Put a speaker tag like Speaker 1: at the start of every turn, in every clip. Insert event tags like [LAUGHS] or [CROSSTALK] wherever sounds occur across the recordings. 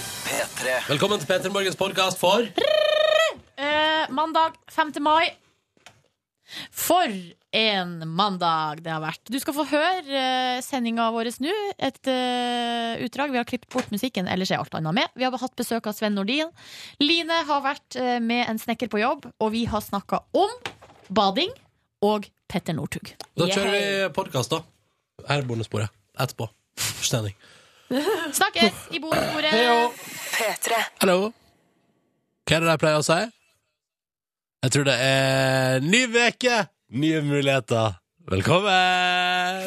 Speaker 1: P3.
Speaker 2: Velkommen til Petter Morgens podkast for
Speaker 3: Eh, mandag 5. mai. For en mandag det har vært. Du skal få høre eh, sendinga vår nå. Et eh, utdrag. Vi har klippet bort musikken, ellers er alt annet med. Vi har hatt besøk av Sven Nordin. Line har vært eh, med en snekker på jobb, og vi har snakka om bading og Petter Northug.
Speaker 2: Da kjører vi podkast, da. Her er bondesporet. Etterpå. Stemning.
Speaker 3: Snakkes i bordbordet!
Speaker 2: Hallo. Hva er det de pleier å si? Jeg tror det er ny uke, nye muligheter. Velkommen!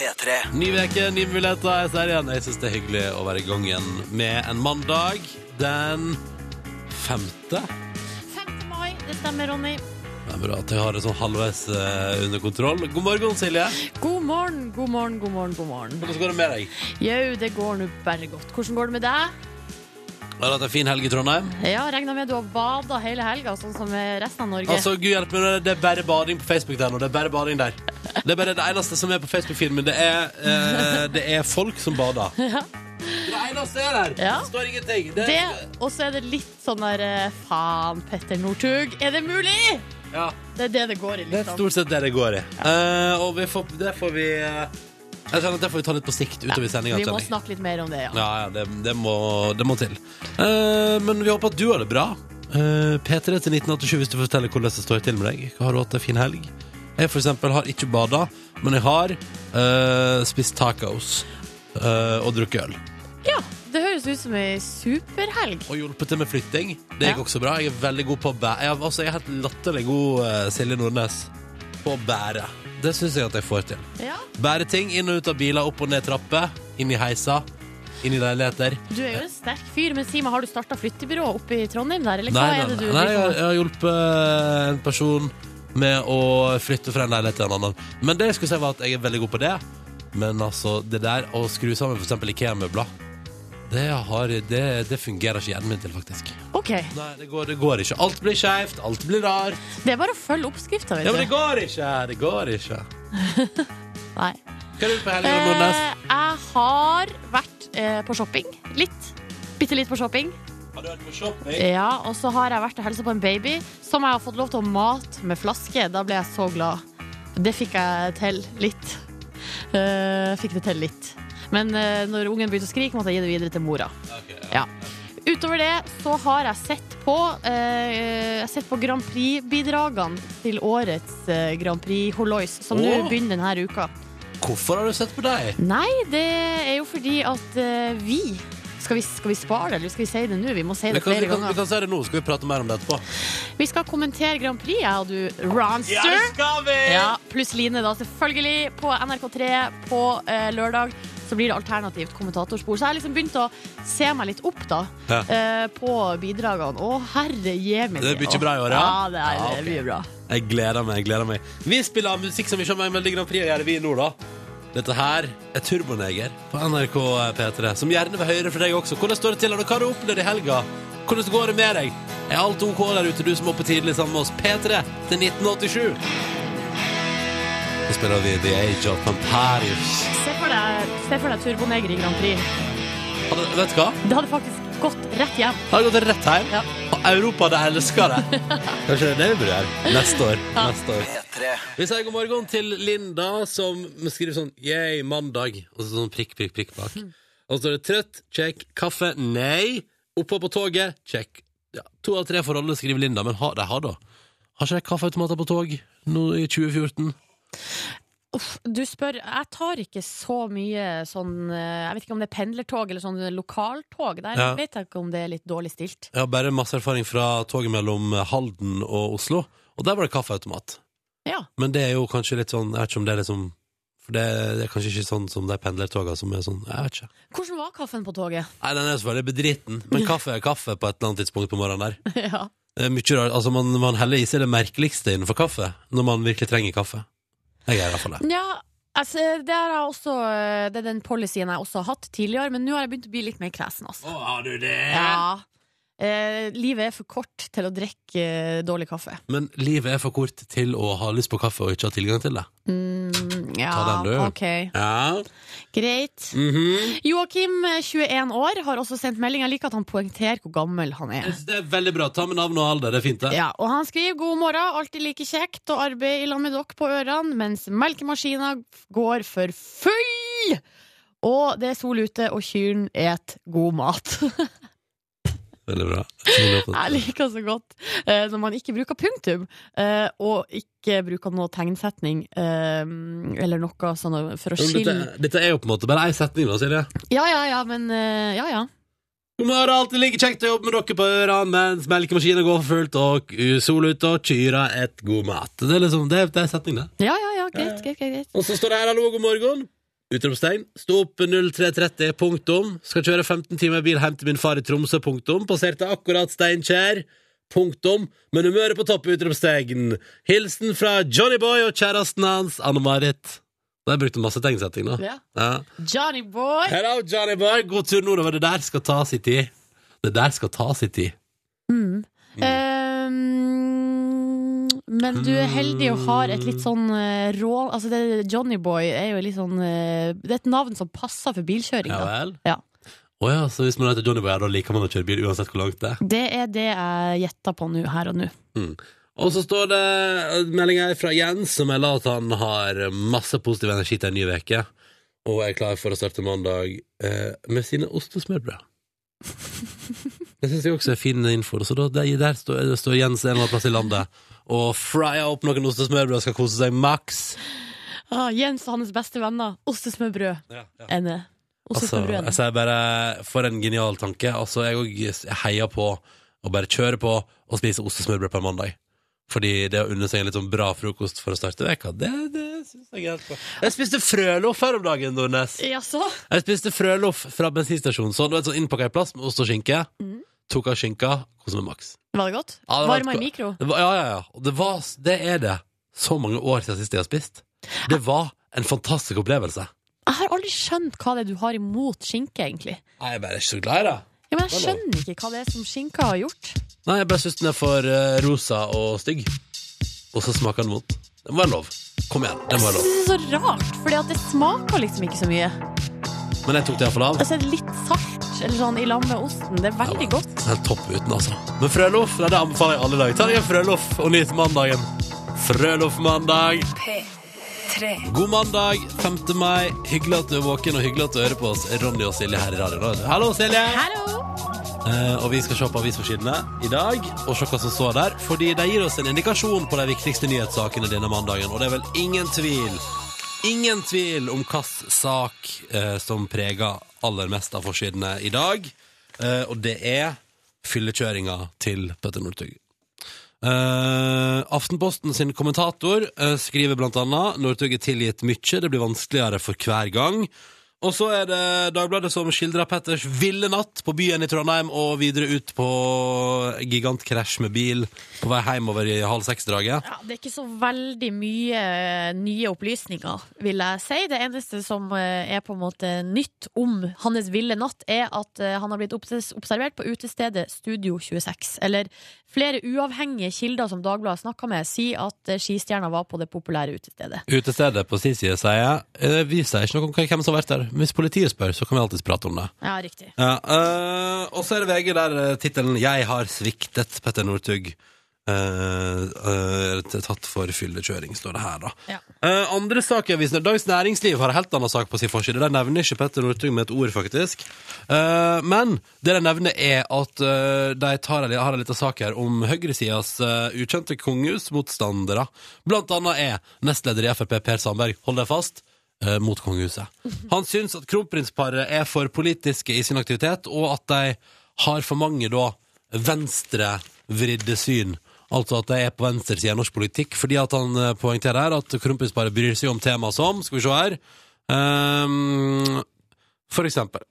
Speaker 1: P3.
Speaker 2: Ny uke, nye muligheter. Jeg sier igjen, jeg syns det er hyggelig å være i gang igjen med en mandag den femte.
Speaker 3: 5. mai, det stemmer, Ronny.
Speaker 2: Det er bra at jeg har det sånn halvveis eh, under kontroll. God morgen, Silje.
Speaker 3: God morgen, god morgen, god morgen. god morgen
Speaker 2: Hvordan går det med deg?
Speaker 3: Jau, det går nå bare godt. Hvordan går det med deg?
Speaker 2: Har du hatt en fin helg i Trondheim?
Speaker 3: Ja, regner med du har bada hele helga, sånn som resten av Norge.
Speaker 2: Altså, Gud hjelpe meg, det er bare bading på Facebook der nå. Det er bare bading der. Det er bare det eneste som er på Facebook-filmen. Det, er, eh, det er folk som bader. Det eneste er der.
Speaker 3: Ja.
Speaker 2: Det står ingenting. Det,
Speaker 3: det, og så er det litt sånn der eh, Faen, Petter Northug, er det mulig?!
Speaker 2: Ja,
Speaker 3: Det er det det går i,
Speaker 2: det er
Speaker 3: liksom.
Speaker 2: stort sett det det går i. Eh, og vi får, det får vi eh, Jeg kjenner at det får vi ta litt på sikt utover sendinga.
Speaker 3: Vi må snakke litt mer om det, ja.
Speaker 2: Ja, ja, det, det, må, det må til. Eh, men vi håper at du har det bra. Eh, P3 til 1987 hvis du forteller hvordan det står til med deg. Har du hatt en fin helg? Jeg for eksempel har ikke bada, men jeg har eh, spist tacos eh, og drukket øl.
Speaker 3: Ja, Det høres ut som ei superhelg.
Speaker 2: Og hjulpet til med flytting. Det gikk
Speaker 3: Ja.
Speaker 2: også bra. Jeg er veldig god på å bære. Jeg, er- altså, jeg er helt latterlig god, eh, Silje Nordnes, på å bære. Det syns jeg at jeg får til.
Speaker 3: Ja,
Speaker 2: Bære ting inn og ut av biler, opp og ned trapper, inn i heiser, inn i leiligheter.
Speaker 3: Du er jo en sterk fyr, men si meg, har du starta flyttebyrå oppe i Trondheim der, eller hva
Speaker 2: Nei,
Speaker 3: er det
Speaker 2: nei,
Speaker 3: du
Speaker 2: nei, jeg,
Speaker 3: driver med?
Speaker 2: jeg har hjulpet en person med å flytte fra en leilighet til en annen. Men det jeg skulle si var at jeg er veldig god på det. Men altså, det der å skru sammen f.eks. IKEA-møbler, det, har, det, det fungerer ikke hjernen min til, faktisk.
Speaker 3: OK.
Speaker 2: Nei, det går, det går ikke. Alt blir skeivt, alt blir rart.
Speaker 3: Det er bare å følge oppskrifta,
Speaker 2: Ja, men det
Speaker 3: vet du.
Speaker 2: går ikke! Det går ikke.
Speaker 3: Nei.
Speaker 2: Hva er du på helga,
Speaker 3: Eh,
Speaker 2: Nordnes?
Speaker 3: jeg har vært eh, på shopping. Litt. Bitte litt på shopping.
Speaker 2: Har du vært på shopping?
Speaker 3: Ja, og så har jeg vært og helsa på en baby som jeg har fått lov til å mate med flaske. Da ble jeg så glad. Det fikk jeg til litt. Eh, fikk det til litt. Men eh, når ungen begynte å skrike, måtte jeg gi det videre til mora.
Speaker 2: Ok, ja.
Speaker 3: Ja. Utover det så har jeg sett på eh, Jeg har sett på Grand Prix-bidragene til årets eh, Grand Prix Holois, som nå
Speaker 2: Åh.
Speaker 3: begynner denne uka.
Speaker 2: Hvorfor har du sett på deg?
Speaker 3: Nei, det er jo fordi at eh, vi skal vi, skal vi spare det, eller skal vi si det nå? Vi må si
Speaker 2: Vi
Speaker 3: det
Speaker 2: kan, vi, kan,
Speaker 3: flere
Speaker 2: vi
Speaker 3: ganger.
Speaker 2: kan si det nå, skal vi prate mer om det etterpå.
Speaker 3: Vi skal kommentere Grand Prix, jeg og du, Ronster.
Speaker 2: skal vi!
Speaker 3: Ja, pluss Line, da, selvfølgelig. På NRK3 på eh, lørdag så blir det alternativt kommentatorspor. Så jeg har liksom begynt å se meg litt opp da
Speaker 2: Ja.
Speaker 3: eh, på bidragene. Å, herre jemi.
Speaker 2: Det er mye bra i år,
Speaker 3: ja?
Speaker 2: ja?
Speaker 3: det er,
Speaker 2: Ja,
Speaker 3: det er mye bra.
Speaker 2: Jeg gleder meg. jeg gleder meg Vi spiller musikk som vi ikke har med Melodi Grand Prix å gjøre, vi nå, da. Dette her er Turboneger på NRK P3, som gjerne vil høre fra deg også. Hvordan står det til? Og hva har du opplevd i helga? Hvordan går det med deg? Er alt OK der ute, du som er oppe tidlig sammen med oss? P3 til 1987. Så spiller vi The Age of Pamparius.
Speaker 3: Se for deg, se for deg Turboneger i Grand Prix.
Speaker 2: Hadde, vet du hva?
Speaker 3: Det hadde faktisk gått rett hjem.
Speaker 2: Det Har gått rett hjem.
Speaker 3: Ja.
Speaker 2: Og Europa hadde elska det. Kanskje det er det vi burde gjøre neste år. Neste år.
Speaker 1: P3.
Speaker 2: Vi sier god morgen til Linda, som skriver sånn Yay, mandag. Og så sånn prikk, prikk, prikk bak. Og så står det trøtt, check. Kaffe, nei. Oppå på toget, check. Ja, to av tre forhold, skriver Linda, men ha, de har da. Har ikke de kaffeautomater på tog nå i 2014?
Speaker 3: Uff, du spør, jeg tar ikke så mye sånn eh, Jeg vet ikke om det er pendlertog eller sånn lokaltog. Der
Speaker 2: Ja.
Speaker 3: vet jeg ikke om det er litt dårlig stilt.
Speaker 2: Jeg har bare masse erfaring fra toget mellom Halden og Oslo, og der var det kaffeautomat.
Speaker 3: Ja.
Speaker 2: Men det er jo kanskje litt sånn, jeg vet ikke om det er liksom For det, det er kanskje ikke sånn som de pendlertogene som er sånn, jeg vet ikke.
Speaker 3: Hvordan var kaffen på [LAUGHS] toget?
Speaker 2: Nei, den er selvfølgelig bedriten, men kaffe er kaffe på et eller annet tidspunkt på morgenen der.
Speaker 3: ja.
Speaker 2: Det er mye rart. Altså, man, man heller i seg det merkeligste innenfor kaffe, når man virkelig trenger kaffe. Jeg er i hvert fall det.
Speaker 3: Ja, altså, det, har jeg også, eh, det er den policyen jeg også har hatt tidligere, men nå har jeg begynt å bli litt mer kresen. Altså.
Speaker 2: har du det?
Speaker 3: Ja. Eh, eh, livet er for kort til å drikke eh, dårlig kaffe.
Speaker 2: Men livet er for kort til å ha lyst på kaffe og ikke ha tilgang til det.
Speaker 3: Mm, ja,
Speaker 2: Ta den, du.
Speaker 3: ok.
Speaker 2: Ja.
Speaker 3: Greit.
Speaker 2: Mhm.
Speaker 3: Joakim, eh, 21 år, har også sendt melding. Jeg liker at han poengterer hvor gammel han er.
Speaker 2: Jeg synes Det er veldig bra. Ta med navn og alder. Det er fint, det.
Speaker 3: Ja, og han skriver 'God morgen, alltid like kjekt å arbeide i lag med dere på ørene', mens melkemaskina går for full! Og det er sol ute, og kyrne et god mat. [LAUGHS]
Speaker 2: Veldig bra. Jeg håper at-
Speaker 3: Jeg liker så godt eh, når man ikke bruker punktum, eh, og ikke bruker noe tegnsetning, eh, eller noe sånn for å
Speaker 2: Jo, men
Speaker 3: skille
Speaker 2: Dette, dette er jo på en måte bare ei setning, da, Silje.
Speaker 3: Ja, ja, ja, men eh, Ja, ja.
Speaker 2: God morgen, alltid like kjekt å jobbe med dere på ørene mens melkemaskinen går for fullt og uh, sol ute og kyra et god mat. Det er liksom, det er, det er setningen, det.
Speaker 3: Ja, ja, ja, greit, greit, greit. greit.
Speaker 2: Og så står det her 'hallo, god morgen'. Utropstegn. Sto opp 03.30, punktum. Skal kjøre 15 timer i bil hjem til min far i Tromsø, punktum. Passerte akkurat Steinkjer, punktum. Men humøret på topp, utropstegn. Hilsen fra Johnny Boy og kjæresten hans, Anne-Marit. Der brukte du masse tegnsetting, da.
Speaker 3: Ja.
Speaker 2: Ja.
Speaker 3: Johnny boy!
Speaker 2: Hello, Johnny Boy. God tur nordover. Det der skal ta sin tid. Det der skal ta sin tid.
Speaker 3: Mm. Eh, men du er heldig og har et litt sånn eh, rå Altså, det, Johnny Boy er jo litt sånn eh, Det er et navn som passer for bilkjøring.
Speaker 2: Ja
Speaker 3: Da.
Speaker 2: vel?
Speaker 3: Ja.
Speaker 2: Å ja, så hvis man heter Johnny Boy, ja, da liker man å kjøre bil uansett hvor langt det er.
Speaker 3: Det er det jeg gjetter på nå, her og nå.
Speaker 2: Og så står det meldinga fra Jens som melder at han har masse positiv energi til en ny uke. Og er klar for å starte mandag eh, med sine ost- og smørbrød. Det syns jeg også er fin info. Så da, der, der står, der står Jens en eller annen plass i landet og fryer opp noen ost- og smørbrød og skal kose seg maks.
Speaker 3: Ah, Jens og hans beste venner. Ostesmørbrød.
Speaker 2: Ja, ja.
Speaker 3: Enne.
Speaker 2: Altså,
Speaker 3: Ostesmørbrød.
Speaker 2: jeg sier bare For en genial tanke. Altså, jeg òg heier på å bare kjøre på og spise ost og smørbrød på en mandag. Fordi det å unne seg en litt sånn bra frokost for å starte veka, det, det syns jeg er helt bra. Jeg spiste frøloff her om dagen, Nordnes.
Speaker 3: Jaså?
Speaker 2: Jeg spiste frøloff fra bensinstasjonen. Sånn, du vet, sånn innpakka i plast med ost og skinke.
Speaker 3: Mhm.
Speaker 2: Tok av skinka, koste meg maks.
Speaker 3: Var det godt?
Speaker 2: Ja, det var
Speaker 3: Varma
Speaker 2: godt.
Speaker 3: i mikro?
Speaker 2: Det var, ja, ja, ja. Og Det, var, det er det. Så mange år siden sist jeg har spist. Det var en fantastisk opplevelse.
Speaker 3: Jeg har aldri skjønt hva det er du har imot skinke, egentlig.
Speaker 2: Jeg er bare ikke så glad i det.
Speaker 3: Ja,
Speaker 2: Det
Speaker 3: men jeg
Speaker 2: er lov.
Speaker 3: skjønner ikke hva det er som skinka har gjort.
Speaker 2: Nei, jeg ble synes den er for eh, rosa og stygg. Og så smaker den vondt. Det må være lov. Kom igjen, det må
Speaker 3: Jeg
Speaker 2: være lov.
Speaker 3: synes det er så rart, for det smaker liksom ikke så mye.
Speaker 2: Men jeg tok det iallfall av.
Speaker 3: Altså, det er litt salt eller sånn, i lag med osten. Det er veldig godt.
Speaker 2: Den er topp uten, altså. Men frøloff nei, det anbefaler jeg alle i dag. Ta deg en frøloff og nyt mandagen. Frøloff-mandag. God mandag, 5. mai. Hyggelig at du er våken, og hyggelig at du hører på oss, Ronny og Silje, her i radioen. også. Hallo, Silje!
Speaker 3: Hallo!
Speaker 2: Eh, og vi skal se på avisforsidene i dag og se hva som står der. Fordi de gir oss en indikasjon på de viktigste nyhetssakene denne mandagen. Og det er vel ingen tvil Ingen tvil om hvilken sak eh, som preger aller mest av forsidene i dag. Eh, og det er fyllekjøringa til Petter Northug. Eh, Aftenposten sin kommentator eh, skriver blant annet Northug er tilgitt mye, det blir vanskeligere for hver gang. Og så er det Dagbladet som skildrer Petters ville natt på byen i Trondheim og videre ut på gigantkrasj med bil på vei hjemover i halv seks-draget.
Speaker 3: Ja, det er ikke så veldig mye eh, nye opplysninger, vil jeg si. Det eneste som eh, er på en måte nytt om hans ville natt, er at eh, han har blitt obs- observert på utestedet Studio 26. Eller flere uavhengige kilder som Dagbladet snakka med, sier at eh, skistjerna var på det populære utestedet.
Speaker 2: Utestedet på sin side sier eh, Vi sier ikke noe om hvem som har vært der. Men Hvis politiet spør, så kan vi alltids prate om det.
Speaker 3: Ja, riktig.
Speaker 2: Ja, eh, og så er det VG der eh, tittelen 'Jeg har sviktet Petter Northug'. eh, eh, tatt for fyllekjøring, står det her, da.
Speaker 3: Ja.
Speaker 2: Eh, andre saker i avisen Dagens Næringsliv har en helt annen sak på sin forside. De nevner ikke Petter Northug med et ord, faktisk. Eh, men det de nevner, er at eh, de tar, en- har en liten sak her om høyresidas uh, ukjente kongehusmotstandere. Blant annet er nestleder i Frp Per Sandberg, hold deg fast, eh, mot kongehuset. Han syns at kronprinsparet er for politiske i sin aktivitet, og at de har for mange da venstrevridde syn. Altså at de er på venstresida i norsk politikk, fordi at han eh, poengterer her at kronprinsparet bryr seg om temaer som Skal vi se her. ehm, for eksempel.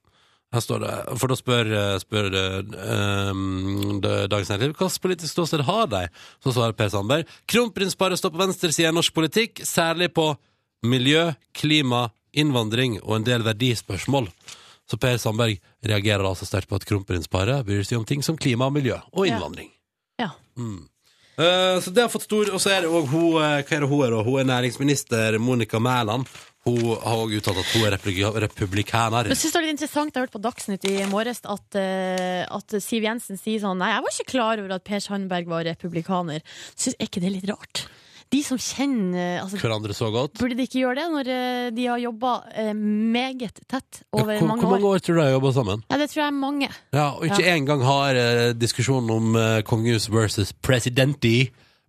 Speaker 2: Her står det, for da spør, spør det, ehm, det Dagens Næringsliv hvilket politisk ståsted har de? Så svarer Per Sandberg kronprinsparet står på venstresida i norsk politikk, særlig på miljø, klima, innvandring og en del verdispørsmål. Så Per Sandberg reagerer altså sterkt på at kronprinsparet bryr seg om ting som klima og miljø, og
Speaker 3: Ja.
Speaker 2: innvandring.
Speaker 3: Ja.
Speaker 2: Mm. Eh, så det har fått stor Og så er det òg hun eh, Hva er det hun er, da? Hun er næringsminister Monica Mæland. Hun har òg uttalt at hun er republi- republikaner.
Speaker 3: Men synes det var litt interessant, Jeg hørte på Dagsnytt i morges at, eh, at Siv Jensen sier sånn Nei, jeg var ikke klar over at Per Sandberg var republikaner. Synes, er ikke det litt rart? De som kjenner eh, altså,
Speaker 2: Hverandre så godt.
Speaker 3: Burde de ikke gjøre det når eh, de har jobba eh, meget tett
Speaker 2: Ja,
Speaker 3: over
Speaker 2: hvor,
Speaker 3: mange
Speaker 2: hvor
Speaker 3: år?
Speaker 2: mange år tror du de har jobba sammen?
Speaker 3: Ja, det tror jeg er mange.
Speaker 2: Ja, og ikke engang har eh, diskusjonen om eh, kongehus versus presidenti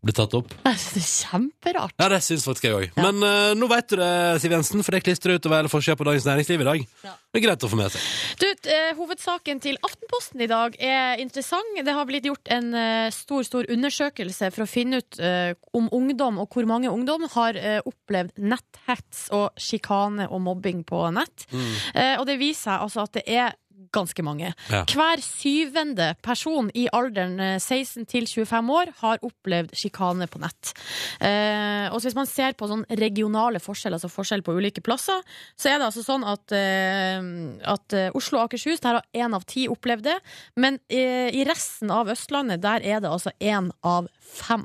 Speaker 2: blitt tatt opp.
Speaker 3: Jeg synes det er kjemperart.
Speaker 2: Ja, det syns faktisk jeg òg. Men eh, nå vet du det, Siv Jensen, for det klistrer utover hele forsida på Dagens Næringsliv i dag.
Speaker 3: Ja.
Speaker 2: Det er greit å få med seg.
Speaker 3: Du, eh, hovedsaken til Aftenposten i dag er interessant. Det har blitt gjort en eh, stor stor undersøkelse for å finne ut eh, om ungdom og hvor mange ungdom har eh, opplevd netthets og sjikane og mobbing på nett. Eh, og det viser seg altså at det er ganske mange.
Speaker 2: Ja.
Speaker 3: Hver syvende person i alderen eh, 16 til 25 år har opplevd sjikane på nett. Eh, og så hvis man ser på sånn regionale forskjeller, altså forskjell på ulike plasser, så er det altså sånn at, eh, at eh, Oslo og Akershus, der har én av ti opplevd det. Men eh, i resten av Østlandet, der er det altså én av fem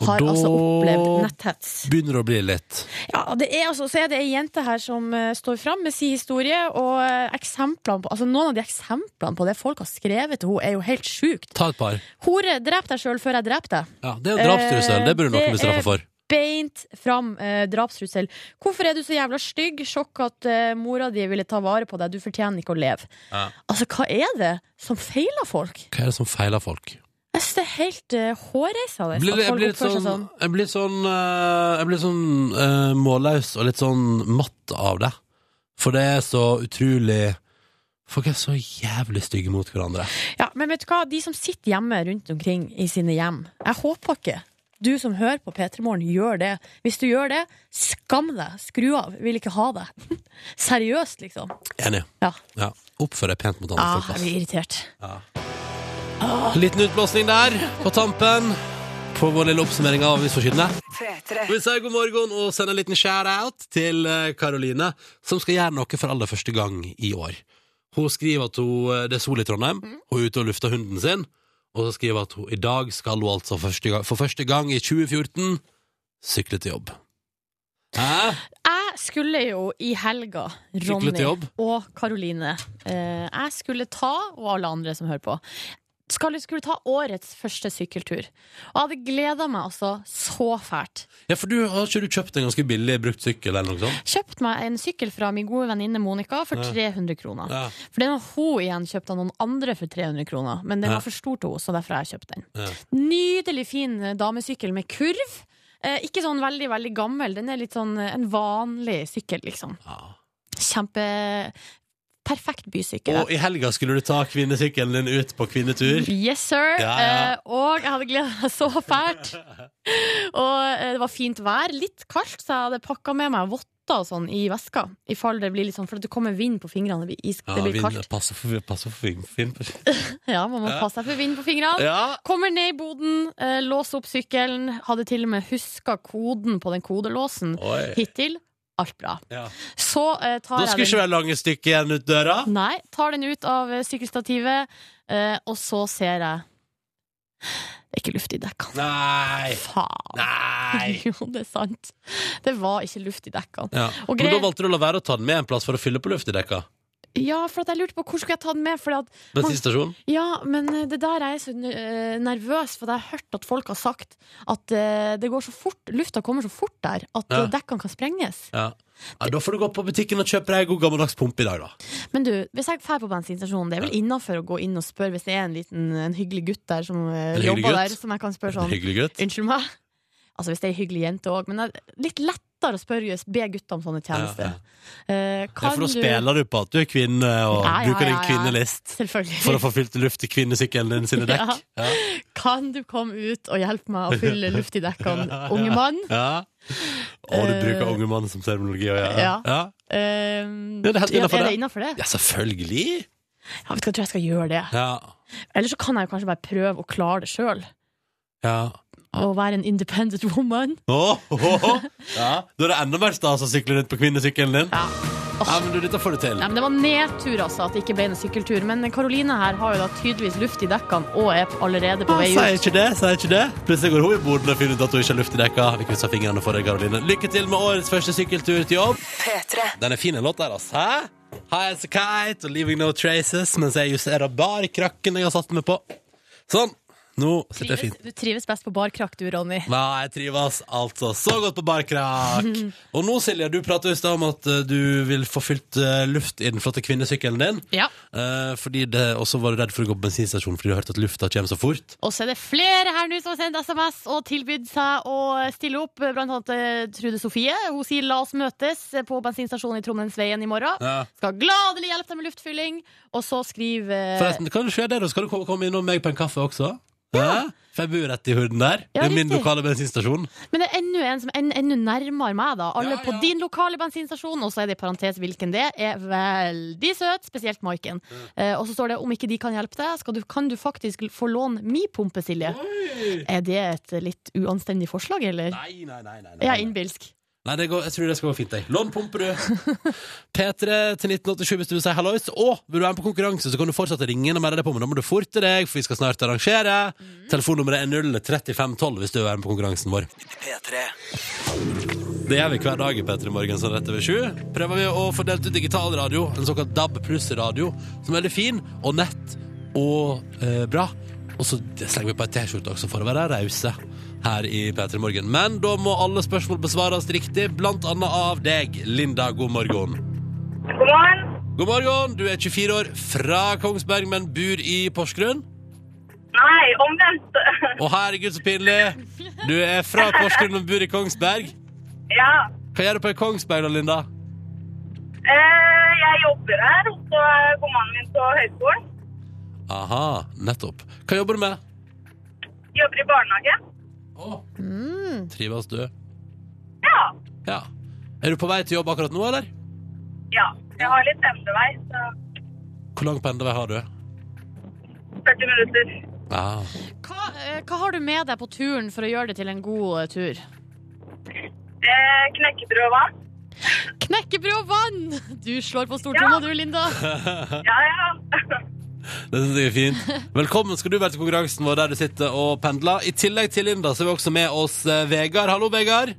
Speaker 2: Og
Speaker 3: har
Speaker 2: da-
Speaker 3: altså opplevd netthets.
Speaker 2: Begynner å bli litt
Speaker 3: Ja, det er altså, så er det ei jente her som eh, står fram med sin historie, og eh, eksemplene på, altså noen av de eksemplene på det folk har skrevet til henne, er jo helt sjukt.
Speaker 2: Ta et par.
Speaker 3: Hore, drep deg sjøl før jeg dreper deg.
Speaker 2: Ja, det er en drapstrussel.
Speaker 3: Eh,
Speaker 2: Det burde
Speaker 3: det
Speaker 2: noen bli
Speaker 3: er-
Speaker 2: straffa for.
Speaker 3: Beint fram eh, drapstrussel. Hvorfor er du så jævla stygg? Sjokk at eh, mora di ville ta vare på deg. Du fortjener ikke å leve.
Speaker 2: Ja.
Speaker 3: Altså, hva er det som feiler folk?
Speaker 2: Hva er det som feiler folk?
Speaker 3: Jeg synes det er helt uh, hårreisende
Speaker 2: Blir,
Speaker 3: at
Speaker 2: jeg
Speaker 3: folk
Speaker 2: blir litt
Speaker 3: oppfører seg
Speaker 2: sånn,
Speaker 3: sånn.
Speaker 2: jeg blir sånn, eh, jeg blir sånn eh, målløs og litt sånn matt av det. For det er så utrolig Folk er så jævlig stygge mot hverandre.
Speaker 3: Ja, men vet du hva, de som sitter hjemme rundt omkring i sine hjem, jeg håper ikke du som hører på P3 Morgen, gjør det. Hvis du gjør det, skam deg. Skru av. Vil ikke ha deg. [LAUGHS] Seriøst, liksom.
Speaker 2: Enig.
Speaker 3: Ja.
Speaker 2: Ja. Oppfør deg pent mot andre
Speaker 3: Ah,
Speaker 2: folk.
Speaker 3: jeg
Speaker 2: ass.
Speaker 3: blir irritert.
Speaker 2: Liten utblåsning der, på tampen. På vår lille oppsummering av Avisforsidene. Vi sier god morgen og sender en liten shout-out til eh, Karoline, som skal gjøre noe for aller første gang i år. Hun skriver at hun, eh, det er sol i Trondheim, hun er ute og lufter hunden sin. Og så skriver hun at hun, i dag skal hun altså første gang, for første gang i 2014 sykle til jobb. Hæ?
Speaker 3: Jeg skulle jo i helga,
Speaker 2: Sykle til
Speaker 3: Ronny
Speaker 2: jobb?
Speaker 3: og Karoline eh, Jeg skulle ta, og alle andre som hører på skal, skulle ta årets første sykkeltur. Og jeg hadde gleda meg altså så fælt.
Speaker 2: Ja, for du har ikke du kjøpt en ganske billig brukt sykkel eller noe sånt?
Speaker 3: Kjøpt meg en sykkel fra min gode venninne Monica for 300 kroner.
Speaker 2: Ja.
Speaker 3: For den har hun igjen kjøpt av noen andre for 300 kroner, men den
Speaker 2: Ja.
Speaker 3: var for stor til henne, så derfor har jeg kjøpt den.
Speaker 2: Ja.
Speaker 3: Nydelig fin eh, damesykkel med kurv. Eh, ikke sånn veldig, veldig gammel, den er litt sånn eh, en vanlig sykkel, liksom.
Speaker 2: Ja.
Speaker 3: Kjempe Perfekt bysykkel.
Speaker 2: Og i helga skulle du ta kvinnesykkelen din ut på kvinnetur.
Speaker 3: Yes, sir!
Speaker 2: Ja, ja.
Speaker 3: Eh, og jeg hadde gleda meg så fælt.
Speaker 2: [LAUGHS]
Speaker 3: og eh, det var fint vær. Litt kaldt, så jeg hadde pakka med meg votter og sånn i veska. I fall det blir litt sånn, For det kommer vind på fingrene, det blir, is, det blir kaldt.
Speaker 2: Pass for, pass for Finn. [LAUGHS]
Speaker 3: Ja, Man må
Speaker 2: Ja.
Speaker 3: passe seg for vind på fingrene.
Speaker 2: Ja.
Speaker 3: Kommer ned i boden, eh, låser opp sykkelen. Hadde til og med huska koden på den kodelåsen.
Speaker 2: Oi.
Speaker 3: Hittil alt bra.
Speaker 2: Ja.
Speaker 3: Så eh,
Speaker 2: Da
Speaker 3: tar
Speaker 2: skulle
Speaker 3: jeg
Speaker 2: ikke
Speaker 3: den,
Speaker 2: være lange stykker igjen ut døra.
Speaker 3: nei, tar den ut av eh, sykkelstativet, eh, og så ser jeg Det er ikke luft i dekkene.
Speaker 2: Nei!
Speaker 3: Faen!
Speaker 2: Nei!
Speaker 3: [LAUGHS] Jo, det er sant. Det var ikke luft i dekkene.
Speaker 2: Ja.
Speaker 3: Og
Speaker 2: Men da
Speaker 3: greia-
Speaker 2: valgte du å la være å ta den med en plass for å fylle på luft i dekka.
Speaker 3: Ja, for at jeg lurte på hvor skulle jeg ta den med. Fordi at
Speaker 2: Bensinstasjon.
Speaker 3: Ja, men det der er jeg så eh, nervøs, for jeg har hørt at folk har sagt at eh, det går så fort, lufta kommer så fort der at
Speaker 2: Ja.
Speaker 3: eh, dekkene kan sprenges.
Speaker 2: Ja. Ja, da får du gå på butikken og kjøpe deg en god gammeldags pumpe i dag, da.
Speaker 3: Men du, hvis jeg drar på bensinstasjonen, det er vel innafor å gå inn og spørre hvis det er en liten en hyggelig gutt der som eh,
Speaker 2: En hyggelig
Speaker 3: jobber
Speaker 2: gutt?
Speaker 3: der, som jeg kan spørre sånn
Speaker 2: Hyggelig gutt.
Speaker 3: Unnskyld meg? Altså hvis det er ei hyggelig jente òg, men det er litt lettere å spørre, be gutta om sånne tjenester. Eh,
Speaker 2: Ja,
Speaker 3: kan
Speaker 2: for da
Speaker 3: du
Speaker 2: spiller du på at du er kvinne, og
Speaker 3: Ja, ja,
Speaker 2: bruker din
Speaker 3: ja, ja.
Speaker 2: kvinnelist
Speaker 3: Selvfølgelig.
Speaker 2: for å få fylt luft i kvinnesykkelen din sine dekk. Ja.
Speaker 3: [LAUGHS] Kan du komme ut og hjelpe meg å fylle luft i dekkene, unge mann?
Speaker 2: [LAUGHS] Ja. Og du
Speaker 3: Eh,
Speaker 2: bruker unge mann som terminologi. Og ja.
Speaker 3: ja.
Speaker 2: Ja.
Speaker 3: Ehm,
Speaker 2: Ja, det er helt innenfor det.
Speaker 3: innenfor det?
Speaker 2: ja, selvfølgelig!
Speaker 3: Ja, vet du hva, jeg tror jeg skal gjøre det.
Speaker 2: Ja.
Speaker 3: Eller så kan jeg kanskje bare prøve å klare det sjøl.
Speaker 2: ja.
Speaker 3: Å være en independent woman.
Speaker 2: Åh, åh, åh. Ja. Da er det enda mer stas å sykle rundt på kvinnesykkelen din.
Speaker 3: Ja.
Speaker 2: Nei, men du, dette får du til.
Speaker 3: Nei, men Det var nedtur altså at det ikke ble en sykkeltur. Men Karoline her har jo da tydeligvis luft i dekkene og er allerede på vei
Speaker 2: Sier
Speaker 3: ut.
Speaker 2: ikke det, sier ikke det. Plutselig går hun i borden og finner ut at hun ikke har luft i dekka. Vi krysser fingrene for deg, Karoline. Lykke til med årets første sykkeltur til jobb.
Speaker 1: P3.
Speaker 2: Den er fin, den låta der, altså. Hæ? High as a kite og Leaving No Traces, mens jeg justerer bare krakken jeg har satt meg på. Sånn. Nå sitter jeg fint.
Speaker 3: Du trives best på barkrakk du, Ronny.
Speaker 2: Nei, jeg trives altså så godt på barkrakk. Og nå, Silje, du pratet i stad om at eh, du vil få fylt eh, luft i den flotte kvinnesykkelen din.
Speaker 3: Ja.
Speaker 2: Eh, fordi det, Og så var du redd for å gå på bensinstasjonen fordi du hørte at lufta kommer så fort.
Speaker 3: Og så er det flere her nå som har sendt SMS og tilbydd seg å stille opp. Blant annet eh, Trude Sofie. Hun sier 'la oss møtes på bensinstasjonen i Trondheimsveien i morgen'.
Speaker 2: Ja.
Speaker 3: Skal gladelig hjelpe deg med luftfylling. Og så skriver eh,
Speaker 2: Forresten, kan du se der, og skal du komme- komme innom meg på en kaffe også? Ja. For jeg bor rett i hurden der.
Speaker 3: Ja,
Speaker 2: det er min
Speaker 3: riktig.
Speaker 2: lokale bensinstasjon.
Speaker 3: Men det er enda en som er en- enda nærmere meg, da. Alle
Speaker 2: Ja, ja.
Speaker 3: på din lokale bensinstasjon, og så er det i parentes hvilken det er. Veldig søt, spesielt Maiken. Eh, og så står det om ikke de kan hjelpe deg, skal du, kan du faktisk få låne mi pumpe, Silje. Er det et litt uanstendig forslag, eller?
Speaker 2: Nei, nei, nei, nei, nei.
Speaker 3: Jeg er innbilsk.
Speaker 2: Nei, det går, jeg tror det skal gå fint, jeg. Lån pumper, du.
Speaker 3: [LAUGHS]
Speaker 2: P3 til 1987 hvis du vil si hallois. Og vil du være med på konkurranse, så kan du fortsatt ringe og melde deg på, men da må du forte deg, for vi skal snart arrangere.
Speaker 3: Mm.
Speaker 2: Telefonnummeret er 03512 hvis du vil være med på konkurransen vår.
Speaker 1: P3.
Speaker 2: Det gjør vi hver dag i P3 Morgen sånn rett over sju. Prøver vi å få delt ut digital radio, en såkalt DAB pluss-radio, som er veldig fin, og nett og eh, bra. Og så slenger vi på ei T-skjorte også, for å være rause her i P3 Morgen. Men da må alle spørsmål besvares riktig, blant annet av deg, Linda. God morgen.
Speaker 4: God morgen.
Speaker 2: God morgen, du er 24 år, fra Kongsberg, men bor i Porsgrunn.
Speaker 4: Nei, omvendt.
Speaker 2: Å, herregud, så pinlig! Du er fra Porsgrunn, men bor i Kongsberg.
Speaker 4: Ja.
Speaker 2: Hva gjør du på i Kongsberg da, Linda?
Speaker 4: Eh, jeg jobber her, og så går mannen min på høyskolen.
Speaker 2: Aha, nettopp. Hva jobber du med?
Speaker 4: Jobber i barnehage.
Speaker 2: Trives du?
Speaker 4: Ja.
Speaker 2: Ja. Er du på vei til jobb akkurat nå, eller?
Speaker 4: Ja. Jeg har litt pendlervei, så
Speaker 2: Hvor lang pendlervei har du?
Speaker 4: 40 minutter.
Speaker 2: Ah.
Speaker 3: Hva, eh, hva har du med deg på turen for å gjøre det til en god eh, tur?
Speaker 4: Eh, knekkebrød og vann.
Speaker 3: Knekkebrød og vann! Du slår på stortromma, du, Linda.
Speaker 4: Ja, ja.
Speaker 2: Det synes jeg er fint. Velkommen skal du være til konkurransen vår der du sitter og pendler. I tillegg til Linda så er vi også med oss eh, Vegard. Hallo, Vegard.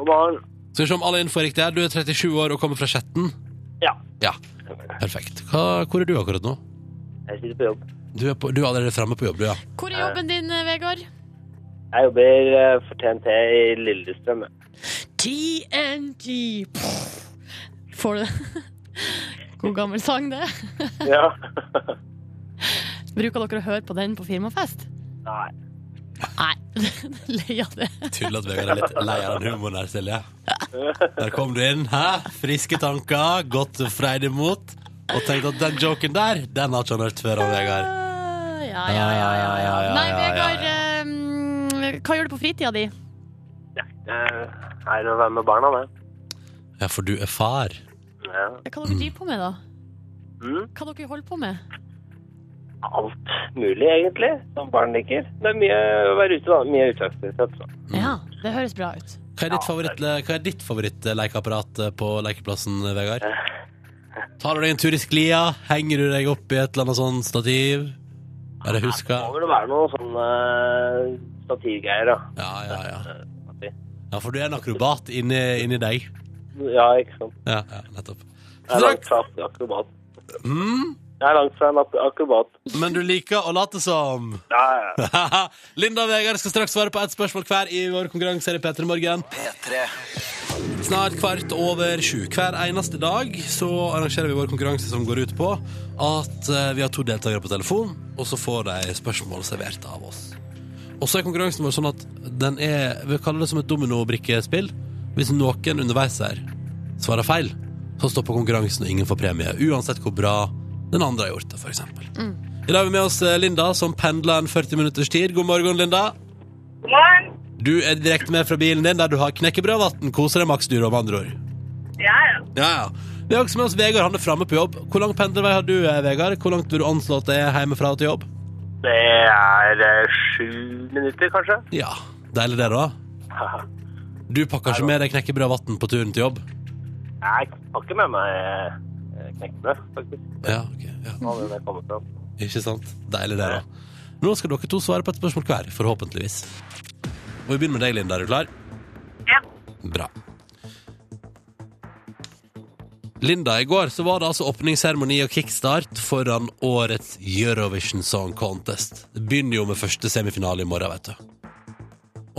Speaker 5: God morgen.
Speaker 2: Skal vi se om all info er riktig her. Du er 37 år og kommer fra Skjetten.
Speaker 5: Ja.
Speaker 2: Ja. Perfekt. Hva, hvor er du akkurat nå?
Speaker 5: Jeg sitter på jobb.
Speaker 2: Du er, på, du er allerede fremme på jobb, du, ja.
Speaker 3: Hvor er jobben din, eh, Vegard?
Speaker 5: Jeg jobber eh, for TNT i [LAUGHS] Lillestrøm. jeg.
Speaker 3: TNG. Pff. Får du det? [LAUGHS] God gammel sang, det.
Speaker 5: Ja.
Speaker 3: Bruker dere å høre på den på firmafest?
Speaker 5: Nei.
Speaker 3: Nei, [LAUGHS] lei av det.
Speaker 2: Tydelig at Vegard er litt lei av den humoren her, Silje. Der kom du inn. Hæ? Friske tanker, godt freid imot. Og tenkte at den joken der, den har ikke han hørt før av Vegard.
Speaker 3: Ja, [LAUGHS] ja, ja, ja, ja,
Speaker 2: Ja, ja, ja, ja, ja, ja.
Speaker 3: Nei, Vegard, eh, hva gjør du på fritida di?
Speaker 5: Det er å være med barna, det.
Speaker 2: Ja, for du er far.
Speaker 5: Ja.
Speaker 3: Hva dere driver på med, da?
Speaker 5: Mm.
Speaker 3: Hva dere holder på med?
Speaker 5: Alt mulig, egentlig, som barn liker. Det er mye å være ute, da. Mye utslagsaktivitet. så.
Speaker 3: Ja, det høres bra ut.
Speaker 2: Hva er ditt, favoritt, hva er ditt favorittlekeapparat eh, på lekeplassen, Vegard? Tar du deg en tur i sklia? Henger du deg opp i et eller annet sånn stativ? Er det huska?
Speaker 5: Må vel være noe sånn eh, stativgreier, da.
Speaker 2: Ja, ja, ja. Ja, for du er en akrobat inni, inni deg.
Speaker 5: Ja, ikke sant.
Speaker 2: Ja, ja, nettopp.
Speaker 5: Jeg er langt
Speaker 2: Straks.
Speaker 5: fra akrobat.
Speaker 2: Mm,
Speaker 5: Jeg er langt fra en ak- akrobat.
Speaker 2: men du liker å late som.
Speaker 5: Ja, ja, ja.
Speaker 2: [LAUGHS] Linda og Vegard skal straks svare på ett spørsmål hver i vår konkurranse her i P3 Morgen.
Speaker 1: P3.
Speaker 2: Snart kvart over sju. Hver eneste dag så arrangerer vi vår konkurranse som går ut på at eh, vi har to deltakere på telefon, og så får de spørsmål servert av oss. Og så er konkurransen vår sånn at den er Vi kaller det som et dominobrikkespill. Hvis noen underveis her svarer feil, så stopper konkurransen, og ingen får premie. Uansett hvor bra den andre har gjort det, f.eks. Mm. I dag har vi med oss eh, Linda, som pendler en 40 minutters tid. God morgen, Linda.
Speaker 4: God morgen.
Speaker 2: Du er direkte med fra bilen din, der du har knekkebrød, vann, koser deg maks, du, om andre ord.
Speaker 4: Ja, ja.
Speaker 2: Ja, ja. Vi har også med oss Vegard, han er framme på jobb. Hvor lang pendlervei har du, eh, Vegard? Hvor langt vil du anslå at det er hjemmefra til jobb?
Speaker 5: Det er eh, sju minutter, kanskje. [LAUGHS]
Speaker 2: Ja, deilig det, da. Du pakker ikke med deg knekkebrød og vann på turen til jobb?
Speaker 5: Jeg har ikke med meg eh, knekkebrød, faktisk.
Speaker 2: Ja, ok. Ja.
Speaker 5: Hva hadde det kommet fra?
Speaker 2: Ikke sant? Deilig det, da. Nå skal dere to svare på et spørsmål hver, forhåpentligvis. Og vi begynner med deg, Linda. Er du klar?
Speaker 4: Ja.
Speaker 2: Bra. Linda, i går så var det altså åpningsseremoni og kickstart foran årets Eurovision Song Contest. Det begynner jo med første semifinale i morgen, vet du.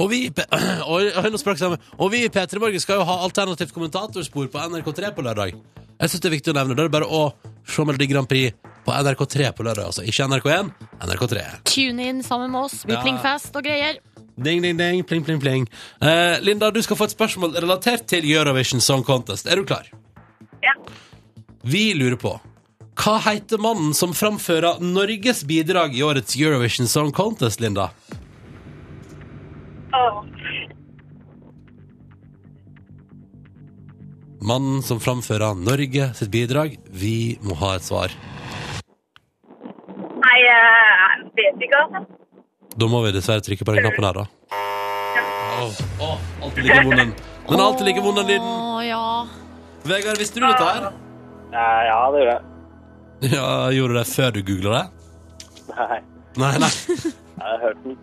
Speaker 2: Og vi, i P- [CLEARS THROAT] og, og, nå sprakk sammen. og vi i P3 Morgen skal jo ha alternativt kommentatorspor på NRK3 på lørdag. Jeg syns det er viktig å nevne det. Det er bare å se Melodi Grand Prix på NRK3 på lørdag, altså. Ikke NRK1, NRK3.
Speaker 3: Tune inn sammen med oss. Blir
Speaker 2: Ja.
Speaker 3: plingfest og greier.
Speaker 2: Ding, ding, ding, pling, pling, pling. Eh, Linda, du skal få et spørsmål relatert til Eurovision Song Contest. Er du klar?
Speaker 4: Ja.
Speaker 2: Vi lurer på hva heter mannen som framfører Norges bidrag i årets Eurovision Song Contest, Linda?
Speaker 4: Åh.
Speaker 2: Mannen som framfører Norge sitt bidrag. Vi må ha et svar.
Speaker 4: Nei, jeg vet ikke, altså.
Speaker 2: Da må vi dessverre trykke på den knappen her, da. Åh, åh, alltid like vond den. Den er alltid like vond, den lyden.
Speaker 3: Å, ja.
Speaker 2: Vegard, visste du dette her?
Speaker 5: Eh, ja, det gjorde jeg.
Speaker 2: Ja, Gjorde du det før du googla det?
Speaker 5: Nei,
Speaker 2: Nei, nei.
Speaker 5: jeg har hørt den.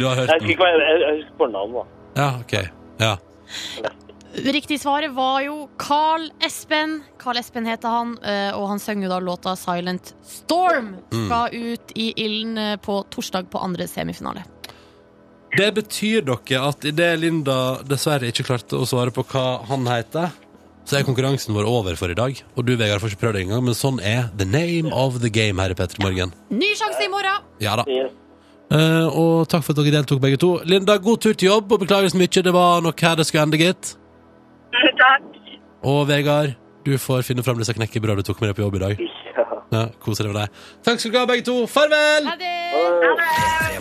Speaker 2: Du har
Speaker 5: Jeg
Speaker 2: hørt
Speaker 5: husker
Speaker 2: den.
Speaker 5: ikke hva jeg, jeg, jeg husker fornavnet, da.
Speaker 2: Ja, OK. Ja.
Speaker 3: Riktig svaret var jo Carl Espen. Carl Espen heter han, eh, og han synger jo da låta 'Silent Storm'. Skal ut i ilden eh, på torsdag på andre semifinale.
Speaker 2: Det betyr dere at idet Linda dessverre ikke klarte å svare på hva han heter, så er konkurransen vår over for i dag. Og du, Vegard, får ikke prøve det engang, men sånn er the name of the game her i P3 Morgen.
Speaker 3: Ny sjanse i morgen!
Speaker 2: Ja da.
Speaker 5: Yes.
Speaker 2: Eh, og takk for at dere deltok, begge to. Linda, god tur til jobb, og beklager så mye. Det var nok her det skulle ende, gitt.
Speaker 4: Takk.
Speaker 2: Og Vegard, du får finne fram disse knekkebrødene du tok med deg på jobb i dag.
Speaker 5: Ja.
Speaker 2: Ja, Kos deg med deg. Takk skal du ha, begge to. Farvel!
Speaker 3: Ha det!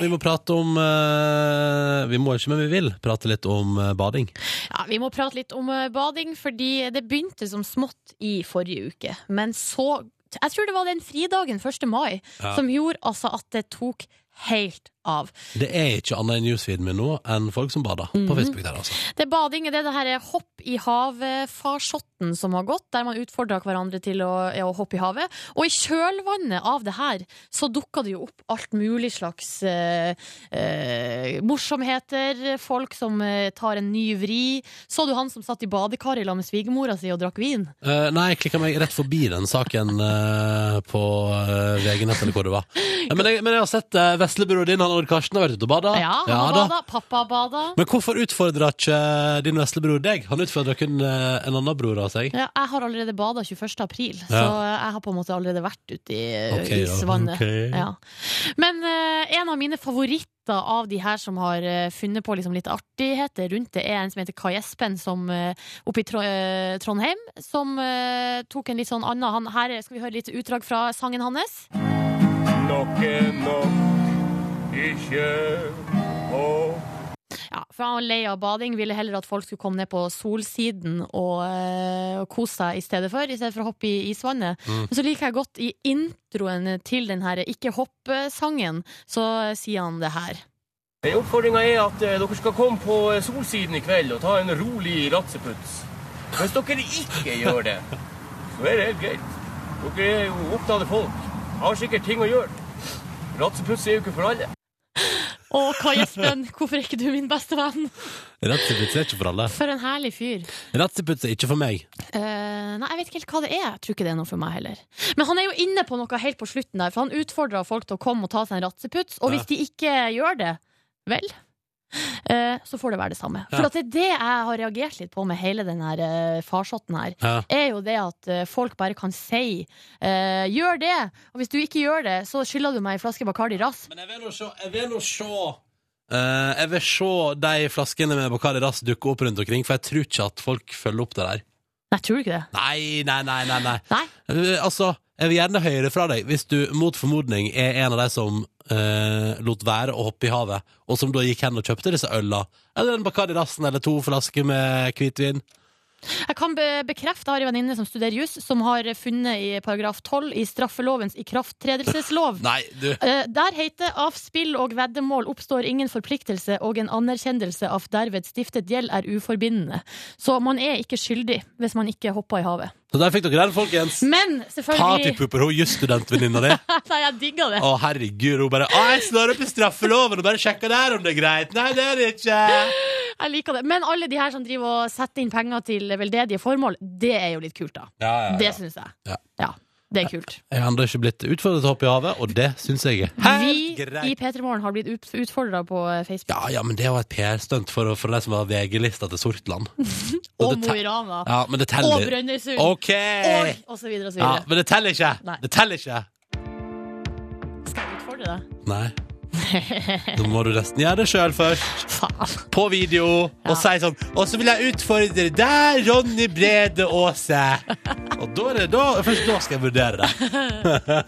Speaker 2: Vi må prate om eh, Vi må ikke, men vi vil prate litt om eh, bading.
Speaker 3: Ja, vi må prate litt om eh, bading, fordi det begynte som smått i forrige uke. Men så Jeg tror det var den fridagen, 1. mai,
Speaker 2: Ja.
Speaker 3: som gjorde altså at det tok helt av.
Speaker 2: Det er ikke annet i newsfeeden min nå enn folk som bader
Speaker 3: Mhm.
Speaker 2: på Facebook der, altså.
Speaker 3: Det er bading, det er det her hopp i havet-farsotten som har gått, der man utfordrer hverandre til å, ja, å hoppe i havet. Og i kjølvannet av det her så dukker det jo opp alt mulig slags eh, eh, morsomheter. Folk som eh, tar en ny vri. Så du han som satt i badekaret i lag med svigermora si og drakk vin?
Speaker 2: Eh, nei, jeg klikka meg rett forbi den saken eh, på uh, VG-nett, eller hvor det var. Eh, men, jeg, men jeg har sett uh, veslebroren din, han Odd Karsten, har vært ute og bada.
Speaker 3: Ja, han har bada. Pappa har bada.
Speaker 2: Men hvorfor utfordrer ikke din veslebror deg? Han utfordrer kun eh, en annen bror av seg.
Speaker 3: Ja, jeg har allerede bada 21. april, så eh,
Speaker 2: Ja.
Speaker 3: jeg har på en måte allerede vært ute i
Speaker 2: Ok,
Speaker 3: okay,
Speaker 2: ja,
Speaker 3: isvannet.
Speaker 2: ok.
Speaker 3: Ja. Men eh, en av mine favoritter av de her som har eh, funnet på liksom litt artigheter rundt det, er en som heter Kai Espen, som eh, oppe i Tro eh, Trondheim, som eh, tok en litt sånn annen han, Her skal vi høre litt utdrag fra sangen hans.
Speaker 1: Nok er nok, ikke håp.
Speaker 3: Ja, for han var lei av bading, ville heller at folk skulle komme ned på solsiden og, eh, og kose seg i stedet for, i stedet for å hoppe i isvannet. Men så liker jeg godt i introen til den her Ikke hopp-sangen, så sier han det her.
Speaker 6: Oppfordringa er at eh, dere skal komme på eh, Solsiden i kveld og ta en rolig ratseputz. Hvis dere ikke gjør det, så er det helt greit. Dere er jo opptatte folk. Har sikkert ting å gjøre. Ratseputz er jo ikke for alle.
Speaker 3: Å, Kai Espen, hvorfor er ikke du min beste venn?
Speaker 2: Ratsiputz er ikke for alle.
Speaker 3: For en herlig fyr.
Speaker 2: Ratsiputz er ikke for meg.
Speaker 3: Eh, nei, jeg vet ikke helt hva det er. Jeg tror ikke det er noe for meg heller. Men han er jo inne på noe helt på slutten der, for han utfordrer folk til å komme og ta seg en ratseputs, og
Speaker 2: Ja.
Speaker 3: hvis de ikke gjør det, vel eh, så får det være det
Speaker 2: Ja.
Speaker 3: samme. For at det er det jeg har reagert litt på med hele den her eh, farsotten her,
Speaker 2: Ja.
Speaker 3: er jo det at eh, folk bare kan si eh, 'gjør det', og hvis du ikke gjør det, så skylder du meg en flaske Bacardi Ras.
Speaker 2: Men jeg vil nå se Jeg vil nå se eh, Jeg vil se de flaskene med Bacardi Ras dukke opp rundt omkring, for jeg tror ikke at folk følger opp det der.
Speaker 3: Nei, tror du ikke det?
Speaker 2: Nei, nei, nei, nei, nei.
Speaker 3: Nei?
Speaker 2: Eh, Altså, jeg vil gjerne høre fra deg hvis du mot formodning er en av de som eh, lot være å hoppe i havet, og som da gikk hen og kjøpte disse øla, eller en Bacardi Rassen eller to flasker med hvitvin.
Speaker 3: Jeg kan be bekrefte, jeg har en venninne som studerer juss, som har funnet i paragraf 12 i straffelovens ikrafttredelseslov.
Speaker 2: Nei, du.
Speaker 3: Eh, Der heter av spill og veddemål oppstår ingen forpliktelse, og en anerkjennelse av derved stiftet gjeld er uforbindende. Så man er ikke skyldig hvis man ikke hopper i havet.
Speaker 2: Så der fikk dere den, folkens.
Speaker 3: Men selvfølgelig
Speaker 2: Partypooper, hun jusstudentvenninna di.
Speaker 3: [LAUGHS] Nei, jeg digger det.
Speaker 2: Å, herregud. Hun bare Å, jeg slår opp i straffeloven og bare sjekker der om det er greit. Nei, det er det ikke.
Speaker 3: Jeg liker det. Men alle de her som driver og setter inn penger til veldedige formål, det er jo litt kult, da.
Speaker 2: Ja, ja,
Speaker 3: Det
Speaker 2: ja.
Speaker 3: syns jeg.
Speaker 2: Ja.
Speaker 3: Ja, det er kult.
Speaker 2: Jeg har ennå ikke blitt utfordret til å hoppe i havet, og det syns jeg er
Speaker 3: Vi
Speaker 2: helt greit.
Speaker 3: i P3 Morgen har blitt utfordra på eh, Facebook.
Speaker 2: Ja, ja, men det var et PR-stunt for, for de som var VG-lista til
Speaker 3: [LAUGHS]
Speaker 2: Sortland. det
Speaker 3: Og Mo i
Speaker 2: te-
Speaker 3: Rana.
Speaker 2: Ja, men det teller.
Speaker 3: Og Brønnøysund.
Speaker 2: Ok!
Speaker 3: Og, og så videre og så
Speaker 2: Ja,
Speaker 3: videre.
Speaker 2: men det teller ikke.
Speaker 3: Nei.
Speaker 2: Det teller ikke.
Speaker 3: Skal jeg utfordre deg?
Speaker 2: Nei.
Speaker 3: [LAUGHS]
Speaker 2: Da må du nesten gjøre det sjøl først.
Speaker 3: Faen.
Speaker 2: På video.
Speaker 3: Ja.
Speaker 2: Og si sånn Og så vil jeg utfordre deg, Ronny Brede Aase.
Speaker 3: [LAUGHS]
Speaker 2: Og da er det da Først da skal jeg vurdere det.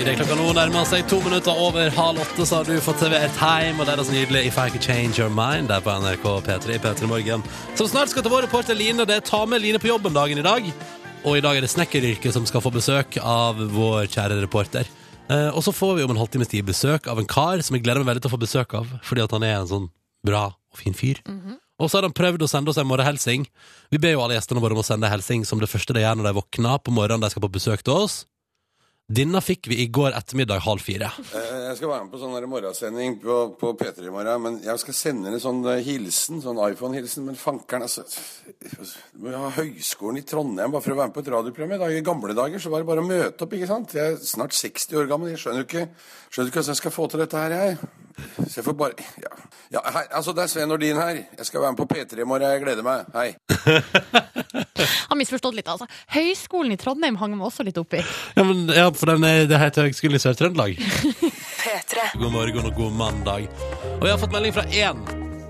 Speaker 2: Idet klokka nå nærmer seg to minutter over halv åtte, så har du fått servert heim og deres nydelige If I Could Change Your Mind der på NRK P3 i P3 Morgen. Som snart skal til vår reporter Line. og Det er ta med Line på jobben dagen i dag. Og i dag er det snekkeryrket som skal få besøk av vår kjære reporter. Eh, og så får vi om en halvtimes tid besøk av en kar som jeg gleder meg veldig til å få besøk av, fordi at han er en sånn bra og fin fyr. Og så har han prøvd å sende oss en morgenhelsing. Vi ber jo alle gjestene våre om å sende en helsing som det første de gjør når de våkner på morgenen de skal på besøk til oss. Denne fikk vi i går ettermiddag halv fire.
Speaker 7: Eh, Jeg skal være med på sånn der morgensending på, på P3 i morgen. Men jeg skal sende en sånn eh, hilsen, sånn iPhone-hilsen. Men fankeren, altså Du må jo ha Høgskolen i Trondheim bare for å være med på et radioprogram. I dag, I gamle dager så var det bare å møte opp, ikke sant? Jeg er snart 60 år gammel. Jeg skjønner jo ikke, skjønner ikke hvordan jeg skal få til dette her, jeg. Så jeg får bare Ja, ja hei, altså, det er Sven Nordin her. Jeg skal være med på P3 i morgen. Jeg gleder meg. Hei.
Speaker 3: Har misforstått litt, altså. Høgskolen i Trondheim hang meg også litt oppi.
Speaker 2: Ja, men ja, for den er, det heter Høgskolen i Sør-Trøndelag. god morgen og god mandag. Og vi har fått melding fra én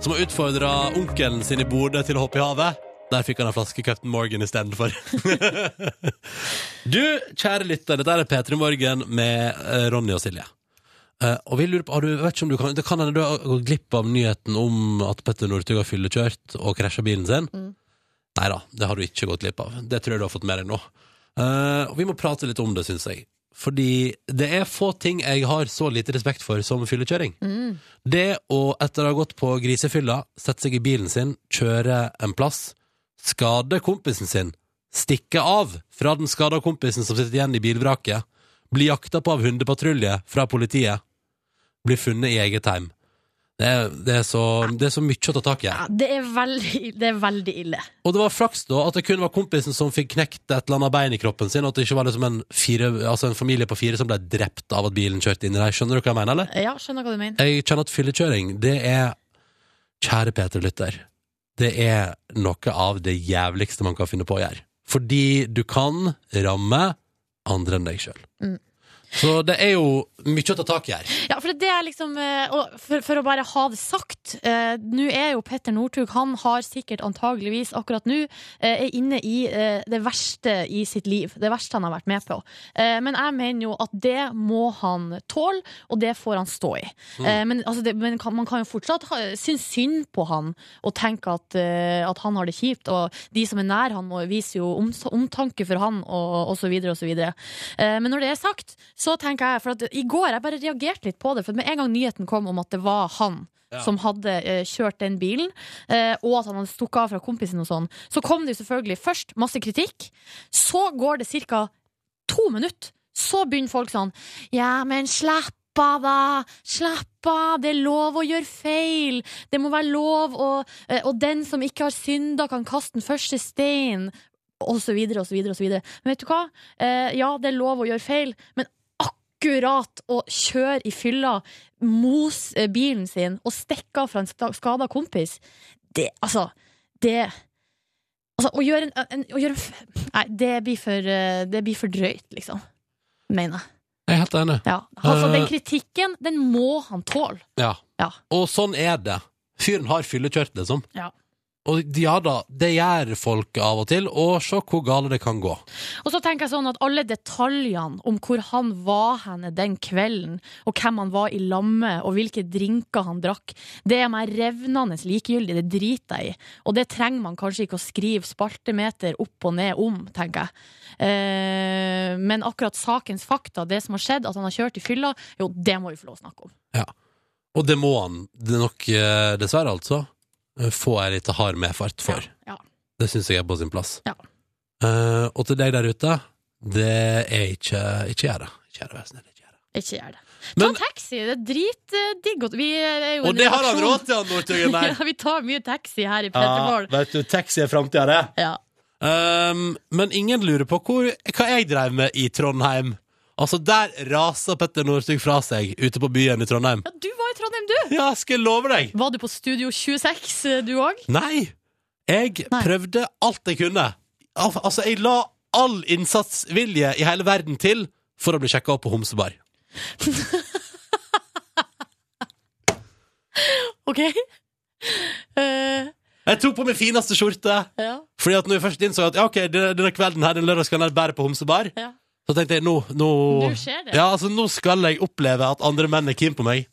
Speaker 2: som har utfordra onkelen sin i Bodø til å hoppe i havet. Der fikk han en flaske Captain Morgan istedenfor. [LAUGHS] du, kjære lytter, dette er P3 Morgen med eh, Ronny og Silje. Eh, og vi lurer på, har du, vet ikke om du kan, Det kan hende du har gått glipp av nyheten om at Petter Northug har fyllekjørt og krasja bilen sin. Nei da, det har du ikke gått glipp av. Det tror jeg du har fått med deg nå. Eh, og vi må prate litt om det, syns jeg. Fordi det er få ting jeg har så lite respekt for som fyllekjøring. Det å, etter å ha gått på grisefylla, sette seg i bilen sin, kjøre en plass, skade kompisen sin, stikke av fra den skada kompisen som sitter igjen i bilvraket, bli jakta på av hundepatrulje fra politiet, bli funnet i eget heim. Det er, det, er så, det er så mye å ta tak i.
Speaker 3: Ja, det, er veldig, det er veldig ille.
Speaker 2: Og det var flaks da at det kun var kompisen som fikk knekt et eller annet bein i kroppen sin, og at det ikke var liksom en, fire, altså en familie på fire som ble drept av at bilen kjørte inn i deg. Skjønner du hva jeg mener, eller?
Speaker 3: Ja, skjønner hva du mener.
Speaker 2: Jeg kjenner at fyllekjøring, det er Kjære Peter Lytter, det er noe av det jævligste man kan finne på å gjøre. Fordi du kan ramme andre enn deg sjøl.
Speaker 3: Mm.
Speaker 2: Så det er jo mye å ta tak i her.
Speaker 3: Ja, for det er liksom eh, og for, for å bare ha det sagt eh, Nå er jo Petter Northug Han har sikkert antageligvis akkurat nå eh, Er inne i eh, det verste i sitt liv Det verste han har vært med på eh, Men jeg mener jo at det må han tåle Og det får han stå i eh, Men, altså det, men kan, man kan jo fortsatt ha, synes synd på han Og tenke at, eh, at han har det kjipt Og de som er nær han må vise jo oms- omtanke for han Og, og så videre og så videre Eh, Men når det er sagt, så tenker jeg For at i går jeg bare reagerte litt på det. For med en gang nyheten kom om at det var han
Speaker 2: Ja.
Speaker 3: som hadde eh, kjørt den bilen, eh, og at han hadde stukket av fra kompisen og sånn, så kom det jo selvfølgelig først masse kritikk. Så går det ca. to minutter. Så begynner folk sånn Ja, men slapp av, da! Slapp av! Det er lov å gjøre feil! Det må være lov å eh, Og den som ikke har synda, kan kaste den første steinen! Og så videre og så videre og så videre. Men vet du hva? Eh, ja, det er lov å gjøre feil, men akkurat å kjøre i fylla, mos eh, bilen sin og stikke av fra en sta- skada kompis, det altså Det Altså, å gjøre en, en, å gjøre en f- Nei, det blir, for, eh, det blir for drøyt, liksom. Mener jeg.
Speaker 2: Jeg er helt enig.
Speaker 3: Ja. Altså,
Speaker 2: Eh.
Speaker 3: den kritikken, den må han tåle.
Speaker 2: Ja.
Speaker 3: Ja.
Speaker 2: Og sånn er det. Fyren har fyllekjørt, liksom.
Speaker 3: Ja.
Speaker 2: Og ja da, det gjør folk av og til, og se hvor gale det kan gå.
Speaker 3: Og så tenker jeg sånn at alle detaljene om hvor han var henne den kvelden, og hvem han var i lamme, og hvilke drinker han drakk, det er meg revnende likegyldig, det driter jeg i. Og det trenger man kanskje ikke å skrive spaltemeter opp og ned om, tenker jeg. Eh, men akkurat sakens fakta, det som har skjedd, at han har kjørt i fylla, jo, det må vi få lov å snakke om.
Speaker 2: Og det må han det er nok, eh, dessverre altså, eh, få ei lita hard medfart for.
Speaker 3: Ja.
Speaker 2: Det syns jeg er på sin plass.
Speaker 3: Ja.
Speaker 2: Eh, og til deg der ute, det er ikke Ikke gjør det. Ikke gjør det, vær snill. Ikke gjør det.
Speaker 3: Ikke gjør det. Ta
Speaker 2: Men-
Speaker 3: en taxi, det er dritdigg. å- Vi er jo
Speaker 2: Og
Speaker 3: en
Speaker 2: det har han
Speaker 3: redaksjon.
Speaker 2: råd til, han Northuggen der!
Speaker 3: [LAUGHS] Ja, vi tar mye taxi her i Petermorgen.
Speaker 2: vet du, taxi er framtida, det.
Speaker 3: Ja.
Speaker 2: Um, men ingen lurer på hvor, hva jeg drev med i Trondheim. Altså, der rasa Petter Northug fra seg ute på byen i Trondheim.
Speaker 3: ja, du var i Trondheim, du!
Speaker 2: Ja, skal jeg love deg!
Speaker 3: Var du på Studio 26, du òg?
Speaker 2: Nei! Jeg
Speaker 3: Nei.
Speaker 2: prøvde alt jeg kunne. Al altså, jeg la all innsatsvilje i hele verden til for å bli sjekka opp på homsebar.
Speaker 3: OK? [LAUGHS] Eh,
Speaker 2: Jeg tok på min fineste skjorte,
Speaker 3: ja.
Speaker 2: Fordi at når jeg først innså at ja, ok, denne denne kvelden her, den lørdagskvelden her bærer på homsebar,
Speaker 3: Ja.
Speaker 2: så tenkte jeg nå, nå
Speaker 3: Nå skjer det.
Speaker 2: Ja, altså, nå skal jeg oppleve at andre menn er keen på meg.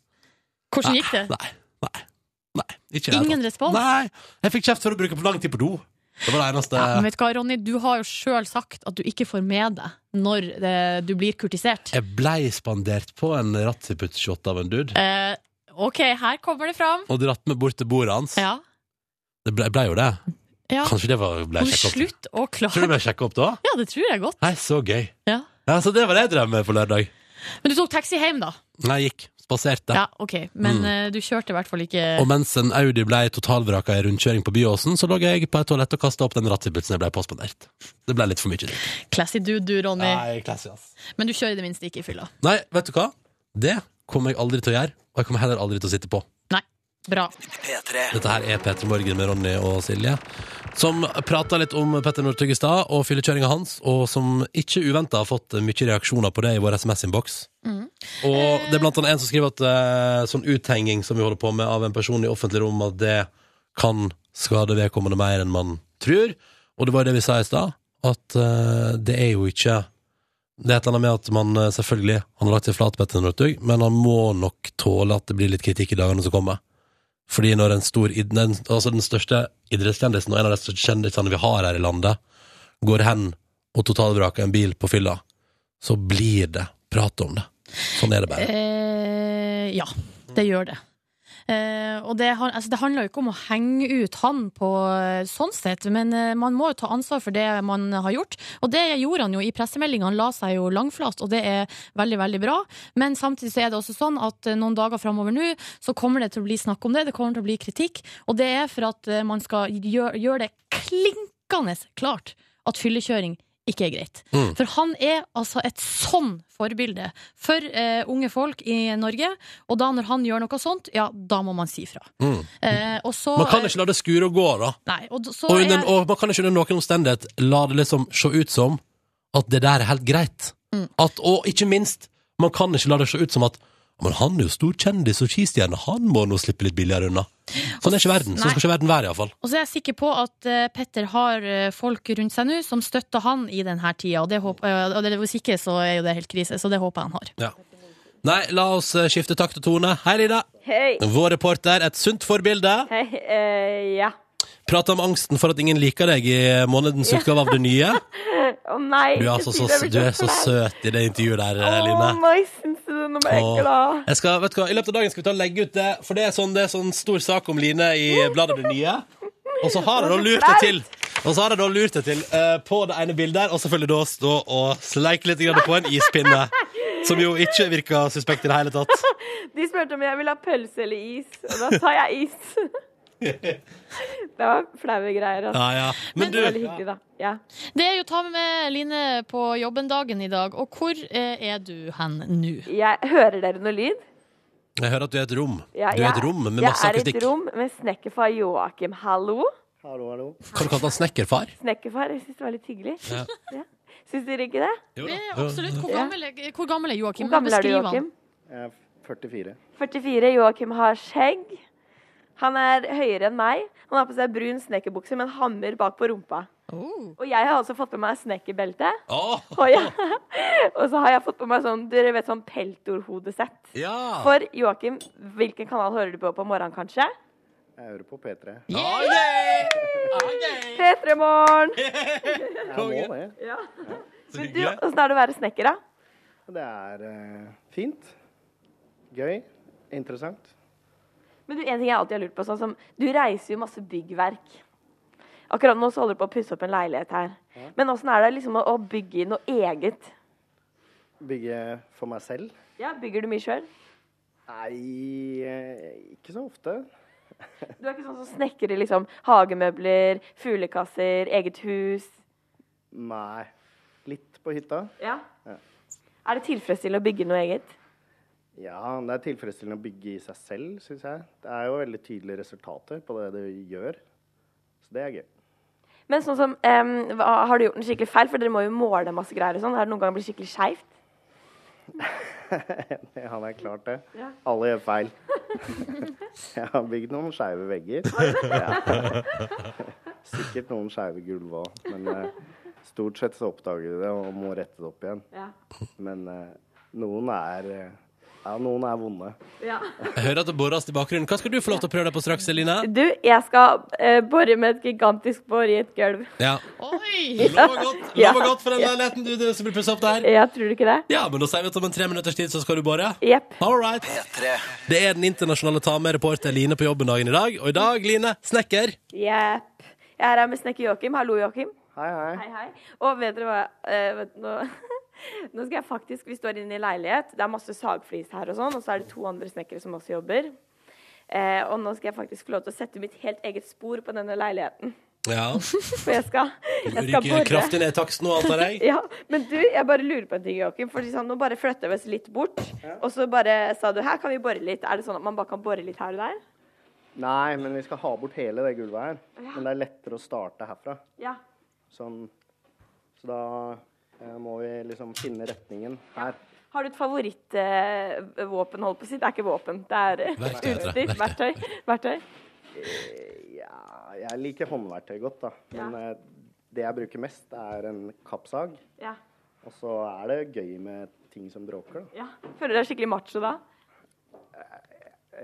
Speaker 3: Hvordan gikk det?
Speaker 2: Nei, nei, nei ikke det.
Speaker 3: Ingen respons?
Speaker 2: Nei, jeg fikk kjeft for å bruke for lang tid på do. Det var det eneste
Speaker 3: Ja, men vet du hva, Ronny, du har jo sjøl sagt at du ikke får med deg når det, du blir kurtisert.
Speaker 2: Jeg blei spandert på en ratsiputshot av en dude,
Speaker 3: Eh, OK, her kommer det fram.
Speaker 2: og dratt meg bort til bordet hans.
Speaker 3: Ja.
Speaker 2: Det blei blei jo det.
Speaker 3: ja.
Speaker 2: Kanskje det var blei
Speaker 3: Og
Speaker 2: sjekka opp.
Speaker 3: Slutt å
Speaker 2: Tror du
Speaker 3: klage.
Speaker 2: ble sjekka opp da?
Speaker 3: Ja, det tror jeg godt.
Speaker 2: Nei, så gøy.
Speaker 3: Ja.
Speaker 2: Ja, Så det var det jeg drev med på lørdag.
Speaker 3: Men du tok taxi hjem, da?
Speaker 2: Nei, jeg gikk. Spaserte.
Speaker 3: Ja, OK. Men
Speaker 2: Mm.
Speaker 3: eh, du kjørte i hvert fall ikke
Speaker 2: Og mens en Audi blei totalvraka i rundkjøring på Byåsen, så lå jeg på et toalett og kasta opp den ratsiputsen jeg blei påspandert. Det blei litt for mye drikk.
Speaker 3: Classy dude, du, Ronny.
Speaker 2: Nei, klasse, ass.
Speaker 3: Men du kjører i det minste ikke i fylla.
Speaker 2: Nei, vet du hva? Det kommer jeg aldri til å gjøre, og jeg kommer heller aldri til å sitte på.
Speaker 3: Bra.
Speaker 2: Dette her er Peter Morgen med Ronny og Silje, som prata litt om Petter Northug i stad og fyllekjøringa hans, og som ikke uventa har fått mye reaksjoner på det i vår SMS-innboks.
Speaker 3: Mhm.
Speaker 2: Og det er blant annet en som skriver at eh, sånn uthenging som vi holder på med av en person i offentlig rom, at det kan skade vedkommende mer enn man tror. Og det var jo det vi sa i stad, at eh, det er jo ikke det er et eller annet med at man eh, selvfølgelig Han har lagt seg flat på Petter Northug, men han må nok tåle at det blir litt kritikk i dagene som kommer. Fordi når en stor, id- den, altså den største idrettskjendisen og en av de største kjendisene vi har her i landet, går hen og totalvraker en bil på fylla, så blir det prat om det. Sånn er det bare.
Speaker 3: Eh, ja, det gjør det. Eh, og det, han- altså, det handler jo ikke om å henge ut han på eh, sånn sett, men eh, man må jo ta ansvar for det man har gjort. Og det gjorde han jo i pressemeldinga, han la seg jo langflat, og det er veldig, veldig bra. Men samtidig så er det også sånn at eh, noen dager framover nå så kommer det til å bli snakk om det, det kommer til å bli kritikk, og det er for at eh, man skal gjøre gjøre det klinkende klart at fyllekjøring ikke er greit.
Speaker 2: Mm.
Speaker 3: For han er altså et sånn forbilde for eh, unge folk i Norge. Og da når han gjør noe sånt, ja, da må man si fra.
Speaker 2: Mm.
Speaker 3: Eh, og så eh,
Speaker 2: Man kan ikke la det skure og gå, da.
Speaker 3: Nei, og d- så
Speaker 2: Og, under,
Speaker 3: er,
Speaker 2: og man kan ikke under noen omstendighet la det liksom se ut som at det der er helt greit.
Speaker 3: Mm.
Speaker 2: At, og ikke minst, man kan ikke la det se ut som at men han er jo stor kjendis og skistjerne, han må nå slippe litt billigere unna. Sånn er ikke verden. Sånn skal ikke verden være, iallfall.
Speaker 3: og så er jeg sikker på at eh, Petter har eh, folk rundt seg nå som støtter han i denne tida. Og, det håper, eh, og det, hvis ikke, så er jo det helt krise. Så det håper jeg han har.
Speaker 2: Nei, la oss eh, skifte takt og tone. Hei, Lida.
Speaker 8: Hei.
Speaker 2: Vår reporter, et sunt forbilde.
Speaker 8: Hei. eh, ja.
Speaker 2: Prata om angsten for at ingen liker deg i månedens utgave av Det nye.
Speaker 8: [LAUGHS] Å nei,
Speaker 2: Du
Speaker 8: ikke
Speaker 2: er, altså
Speaker 8: si
Speaker 2: så,
Speaker 8: det, jeg blir
Speaker 2: du er så
Speaker 8: flau.
Speaker 2: søt i det intervjuet der, eh,
Speaker 8: Å
Speaker 2: Line.
Speaker 8: nei, syns du det? Nå ble jeg
Speaker 2: Åh.
Speaker 8: glad.
Speaker 2: Jeg skal, vet du hva, I løpet av dagen skal vi ta og legge ut det, for det er sånn, det er sånn stor sak om Line i bladet Det nye. Og så har jeg da lurt det til Og så har jeg da lurt det til eh, på det ene bildet der, og selvfølgelig da stå og sleike litt grann på en ispinne. Som jo ikke virker suspekt i det hele tatt.
Speaker 8: De spurte om jeg ville ha pølse eller is, og da sa jeg
Speaker 2: [LAUGHS]
Speaker 8: is. det var flaue greier. Altså.
Speaker 2: Ja, ja. Men
Speaker 8: Det var Veldig
Speaker 2: du,
Speaker 8: hyggelig, da. Ja.
Speaker 3: Det er jo ta med Line på jobben dagen i dag. Og hvor eh, er du hen nå?
Speaker 8: Jeg, hører dere noe lyd?
Speaker 2: jeg hører at du er et rom. Du
Speaker 8: Ja,
Speaker 2: er et rom med masse
Speaker 8: Jeg er i
Speaker 2: akustikk.
Speaker 8: et rom med snekkerfar Joakim. Hallo?
Speaker 2: Kan du kalle han snekkerfar?
Speaker 8: Snekkerfar, jeg syns det var litt hyggelig.
Speaker 2: Ja.
Speaker 8: Ja. Syns dere ikke det?
Speaker 2: Jo
Speaker 3: Det
Speaker 2: da.
Speaker 3: er absolutt. Hvor
Speaker 8: Ja.
Speaker 3: gammel, er- hvor gammel er Joakim?
Speaker 8: Hvor gammel er du,
Speaker 3: Beskriv han.
Speaker 8: Joakim?
Speaker 9: Jeg er 44.
Speaker 8: 44. Joakim har skjegg.
Speaker 10: Han er høyere enn meg. Han har på seg brun snekkerbukse med en hammer bak på rumpa.
Speaker 3: Oh.
Speaker 10: Og jeg har altså fått på meg snekkerbelte.
Speaker 2: Åh,
Speaker 10: Og, jeg, [LAUGHS] og så har jeg fått på meg sånn dere vet, sånn peltorhodesett.
Speaker 2: ja!
Speaker 10: For Joakim, hvilken kanal hører du på på morgenen, kanskje?
Speaker 5: Jeg hører på P3.
Speaker 2: Ah,
Speaker 3: Yeah.
Speaker 2: yeah!
Speaker 10: P3 Morgen!
Speaker 5: Jeg må det.
Speaker 10: Ja.
Speaker 2: Så
Speaker 10: Men du,
Speaker 2: hyggelig.
Speaker 10: åssen er det å være snekker, da?
Speaker 5: Det er eh, fint. Gøy. Interessant.
Speaker 10: Men du, en ting jeg alltid har lurt på, sånn som Du reiser jo masse byggverk. Akkurat nå så holder du på å pusse opp en leilighet her. Men åssen er det liksom å, å bygge noe eget?
Speaker 5: Bygge for meg selv.
Speaker 10: Ja, Bygger du mye sjøl?
Speaker 5: Nei, eh, ikke så ofte.
Speaker 10: Du er ikke sånn som snekrer liksom hagemøbler, fuglekasser, eget hus?
Speaker 5: Nei. Litt på hytta.
Speaker 10: Ja. Er det tilfredsstillende å bygge noe eget?
Speaker 5: Ja, det er tilfredsstillende å bygge i seg selv, syns jeg. Det er jo veldig tydelige resultater på det du gjør. Så det er gøy.
Speaker 10: Men sånn som, em, hva, har du gjort en skikkelig feil? For dere må jo måle masse greier og sånn. Har det noen gang blitt skikkelig skeivt?
Speaker 5: [LAUGHS] Ja, det er klart det.
Speaker 10: Ja.
Speaker 5: Alle gjør feil. [LAUGHS] Jeg har bygd noen skeive
Speaker 10: [LAUGHS]
Speaker 5: vegger. Ja. Sikkert noen skeive gulv òg, men eh, stort sett så oppdager du det og må rette det opp igjen.
Speaker 10: Ja.
Speaker 5: Men eh, noen er eh, Ja, noen er vonde.
Speaker 2: Jeg hører at det borres i bakgrunnen. Hva skal du få lov til å prøve deg på straks, Eline?
Speaker 10: Du, jeg skal eh, bore med et gigantisk bor i et gulv.
Speaker 2: Ja.
Speaker 3: Oi!
Speaker 2: Lover godt,
Speaker 10: Ja.
Speaker 2: lover godt for den leiligheten du, som blir pusset opp der.
Speaker 10: Ja, tror du ikke det?
Speaker 2: Ja, men da sier vi at om en tre minutters tid så skal du bore.
Speaker 10: Jepp.
Speaker 2: All right. Det er den internasjonale ta med-reporter Line på jobben dagen i dag. Og i dag, Line, snekker.
Speaker 10: Jepp. Jeg er her med snekker Joakim. Hallo, Joakim.
Speaker 5: Hei, hei.
Speaker 10: Hei, hei. Og vet dere hva eh, vet, nå, [LAUGHS] nå skal jeg faktisk Vi står inne i leilighet. Det er masse sagflis her og sånn, og så er det to andre snekkere som også jobber. Eh, og nå skal jeg faktisk få lov til å sette mitt helt eget spor på denne leiligheten. [LAUGHS]
Speaker 2: Ja.
Speaker 10: For jeg skal, jeg skal
Speaker 2: Ryker
Speaker 10: bore.
Speaker 2: kraftig ned i taksten og alt av deg.
Speaker 10: Ja, men du, jeg bare lurer på en ting, Joakim. For sånn, nå bare flytter vi oss litt bort. Og så bare sa du her kan vi bore litt. Er det sånn at man bare kan bore litt her og der?
Speaker 5: Nei, men vi skal ha bort hele det gulvet her. Men det er lettere å starte herfra.
Speaker 10: Ja.
Speaker 5: Sånn. Så da eh, må vi liksom finne retningen her.
Speaker 10: Har du et favorittvåpen, holdt på å si? Det er ikke våpen, det er eh,
Speaker 2: Verktøy, heter det.
Speaker 10: utstyr. Verktøy. Verktøy.
Speaker 5: Ja, jeg liker håndverktøy godt, da. Men eh, det jeg bruker mest, er en kappsag.
Speaker 10: Ja.
Speaker 5: Og så er det gøy med ting som bråker, da.
Speaker 10: ja. Føler du deg skikkelig macho da?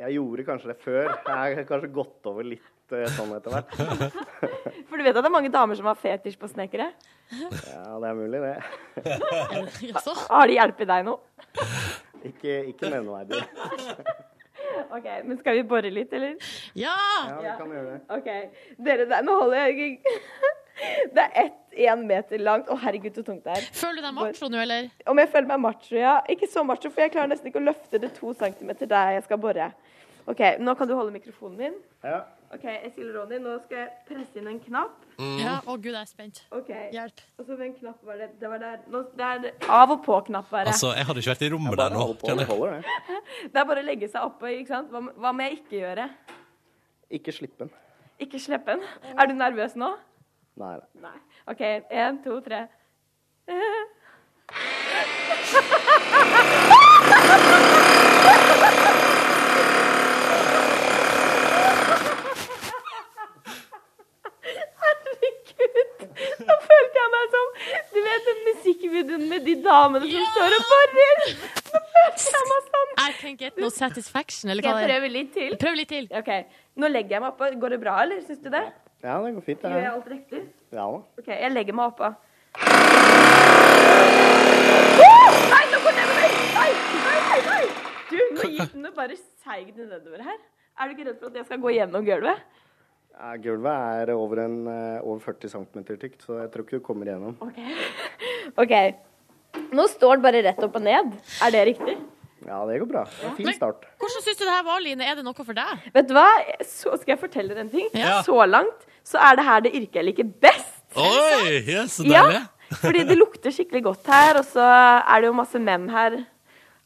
Speaker 5: Jeg gjorde kanskje det før. Jeg har kanskje gått over litt eh, sånn etter hvert.
Speaker 10: For du vet at det er mange damer som har fetisj på snekkere?
Speaker 5: Ja, det er mulig, det.
Speaker 3: Jaså?
Speaker 10: Har de hjulpet deg nå?
Speaker 5: Ikke, ikke nevneverdig.
Speaker 10: OK, men skal vi bore litt, eller?
Speaker 3: Ja!
Speaker 5: Ja, vi kan gjøre det.
Speaker 10: OK. Dere der, nå holder jeg [LAUGHS] Det er ett én meter langt. Å, herregud, så tungt det er.
Speaker 3: Føler du deg macho nå, eller?
Speaker 10: Om jeg føler meg macho, ja. Ikke så macho, for jeg klarer nesten ikke å løfte det to centimeter der jeg skal bore. OK, nå kan du holde mikrofonen min.
Speaker 5: Ja.
Speaker 10: OK, Eskil og Ronny, nå skal jeg presse inn en knapp.
Speaker 3: Ja, Å gud, jeg er spent.
Speaker 10: OK.
Speaker 3: Hjelp.
Speaker 10: Og så en knapp var det. Det var der. Nå, det er av og på-knapp, bare.
Speaker 2: Altså, jeg hadde ikke vært i rommet der
Speaker 5: Bare
Speaker 2: nå.
Speaker 5: hold på,
Speaker 2: kjenner
Speaker 5: det
Speaker 2: jeg.
Speaker 5: holder, det.
Speaker 10: Det er bare å legge seg oppå, ikke sant? Hva, hva må jeg ikke gjøre?
Speaker 5: Ikke slipp den.
Speaker 10: Ikke slippe den. Er du nervøs nå?
Speaker 5: Nei, nei.
Speaker 10: Nei. OK, én, to, tre. Herregud. Nå følte jeg meg som Du vet den musikkvideoen med de damene som står og borer? Nå følte jeg meg sånn.
Speaker 3: I can get no satisfaction, eller
Speaker 10: Skal
Speaker 3: hva
Speaker 10: jeg
Speaker 3: det er.
Speaker 10: prøve litt til?
Speaker 3: Prøv litt til.
Speaker 10: OK. Nå legger jeg meg oppå. Går det bra, eller? Syns du det?
Speaker 5: Ja, det går fint, det
Speaker 10: Gjør jeg
Speaker 5: her.
Speaker 10: alt riktig?
Speaker 5: Ja da.
Speaker 10: OK, jeg legger meg oppå. Åh! Nei, nå går det nedover! Nei, nei, nei, nei! Du, nå gikk den og bare seig den nedover her. Er du ikke redd for at jeg skal gå gjennom gulvet?
Speaker 5: Ja, Gulvet er over, en, eh, over 40 cm tykt, så jeg tror ikke du kommer igjennom.
Speaker 10: OK. [LAUGHS] OK. Nå står den bare rett opp og ned. Er det riktig?
Speaker 5: Ja, det går bra. Det er en fin start.
Speaker 3: Hvordan syns du det her var, Line? Er det noe for deg?
Speaker 10: Vet du hva? Så skal jeg fortelle dere en ting.
Speaker 2: Ja.
Speaker 10: Så langt så er det her det yrket jeg liker best.
Speaker 2: Oi! Yes, så deilig.
Speaker 10: Ja, fordi det lukter skikkelig godt her, og så er det jo masse mem her.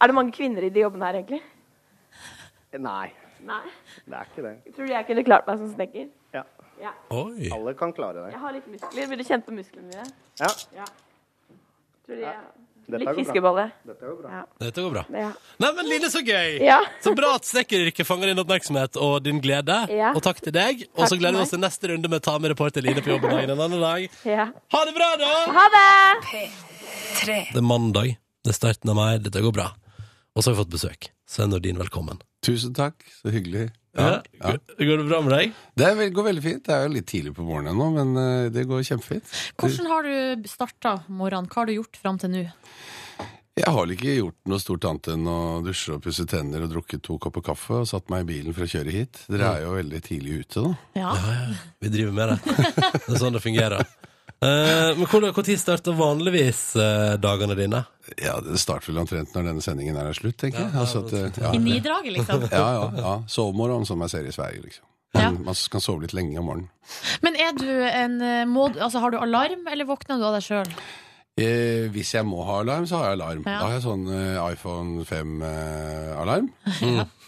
Speaker 10: Er det mange kvinner i de jobbene her, egentlig?
Speaker 5: Nei,
Speaker 10: Nei.
Speaker 5: det er ikke det.
Speaker 10: Tror du jeg kunne klart meg som snekker?
Speaker 5: Ja.
Speaker 2: Oi.
Speaker 5: Alle kan klare det.
Speaker 10: Jeg har litt muskler. Vil du kjenne på musklene mine?
Speaker 5: Ja.
Speaker 8: Tror de, ja.
Speaker 9: Dette
Speaker 8: Litt
Speaker 9: går bra.
Speaker 8: fiskebolle.
Speaker 9: Dette går bra.
Speaker 2: Dette går bra.
Speaker 8: Ja.
Speaker 2: Nei, men Lille, så gøy!
Speaker 8: Ja.
Speaker 2: Så bra at snekkeryrket fanger din oppmerksomhet og din glede.
Speaker 8: Ja.
Speaker 2: Og takk til deg. Og så
Speaker 8: til
Speaker 2: gleder vi
Speaker 8: meg.
Speaker 2: oss til neste runde med Ta med reporter Line på jobb dagen en annen dag.
Speaker 8: ja.
Speaker 2: Ha det bra, da!
Speaker 8: Ha det!
Speaker 2: Det er mandag. Det er starten av meg. Dette går bra. Og så har vi fått besøk. Sven Nordin, velkommen.
Speaker 11: Tusen takk, så hyggelig.
Speaker 2: Ja,
Speaker 11: Ja, ja.
Speaker 2: Går det bra med deg?
Speaker 11: Det er vel- går veldig fint. Det er jo litt tidlig på morgenen nå, men eh, det går kjempefint.
Speaker 3: Hvordan har du starta morgenen? Hva har du gjort fram til nå?
Speaker 11: Jeg har vel ikke gjort noe stort annet enn å dusje og pusse tenner og drukke to kopper kaffe og satt meg i bilen for å kjøre hit. Dere er jo veldig tidlig ute, da.
Speaker 3: Ja.
Speaker 2: Vi driver med det. [LAUGHS] Det er sånn det fungerer. Eh, men hvordan- hvor tid starter vanligvis eh, dagene dine?
Speaker 11: Ja, det starter vel omtrent når denne sendingen er slutt, tenker jeg.
Speaker 2: Ja,
Speaker 11: Altså at, eh, ja,
Speaker 3: I nidraget, liksom.
Speaker 11: [LAUGHS] ja, ja, ja. Sovemorgen, som jeg ser i Sverige, liksom.
Speaker 3: Ja.
Speaker 11: Man, man kan sove litt lenge om morgenen.
Speaker 3: Men er du en eh, må, du- altså, Har du alarm, eller våkner du av deg sjøl?
Speaker 11: Eh, hvis jeg må ha alarm, så har jeg alarm.
Speaker 3: Ja.
Speaker 11: Da har jeg sånn eh, iPhone
Speaker 3: [LAUGHS]
Speaker 11: 5-alarm.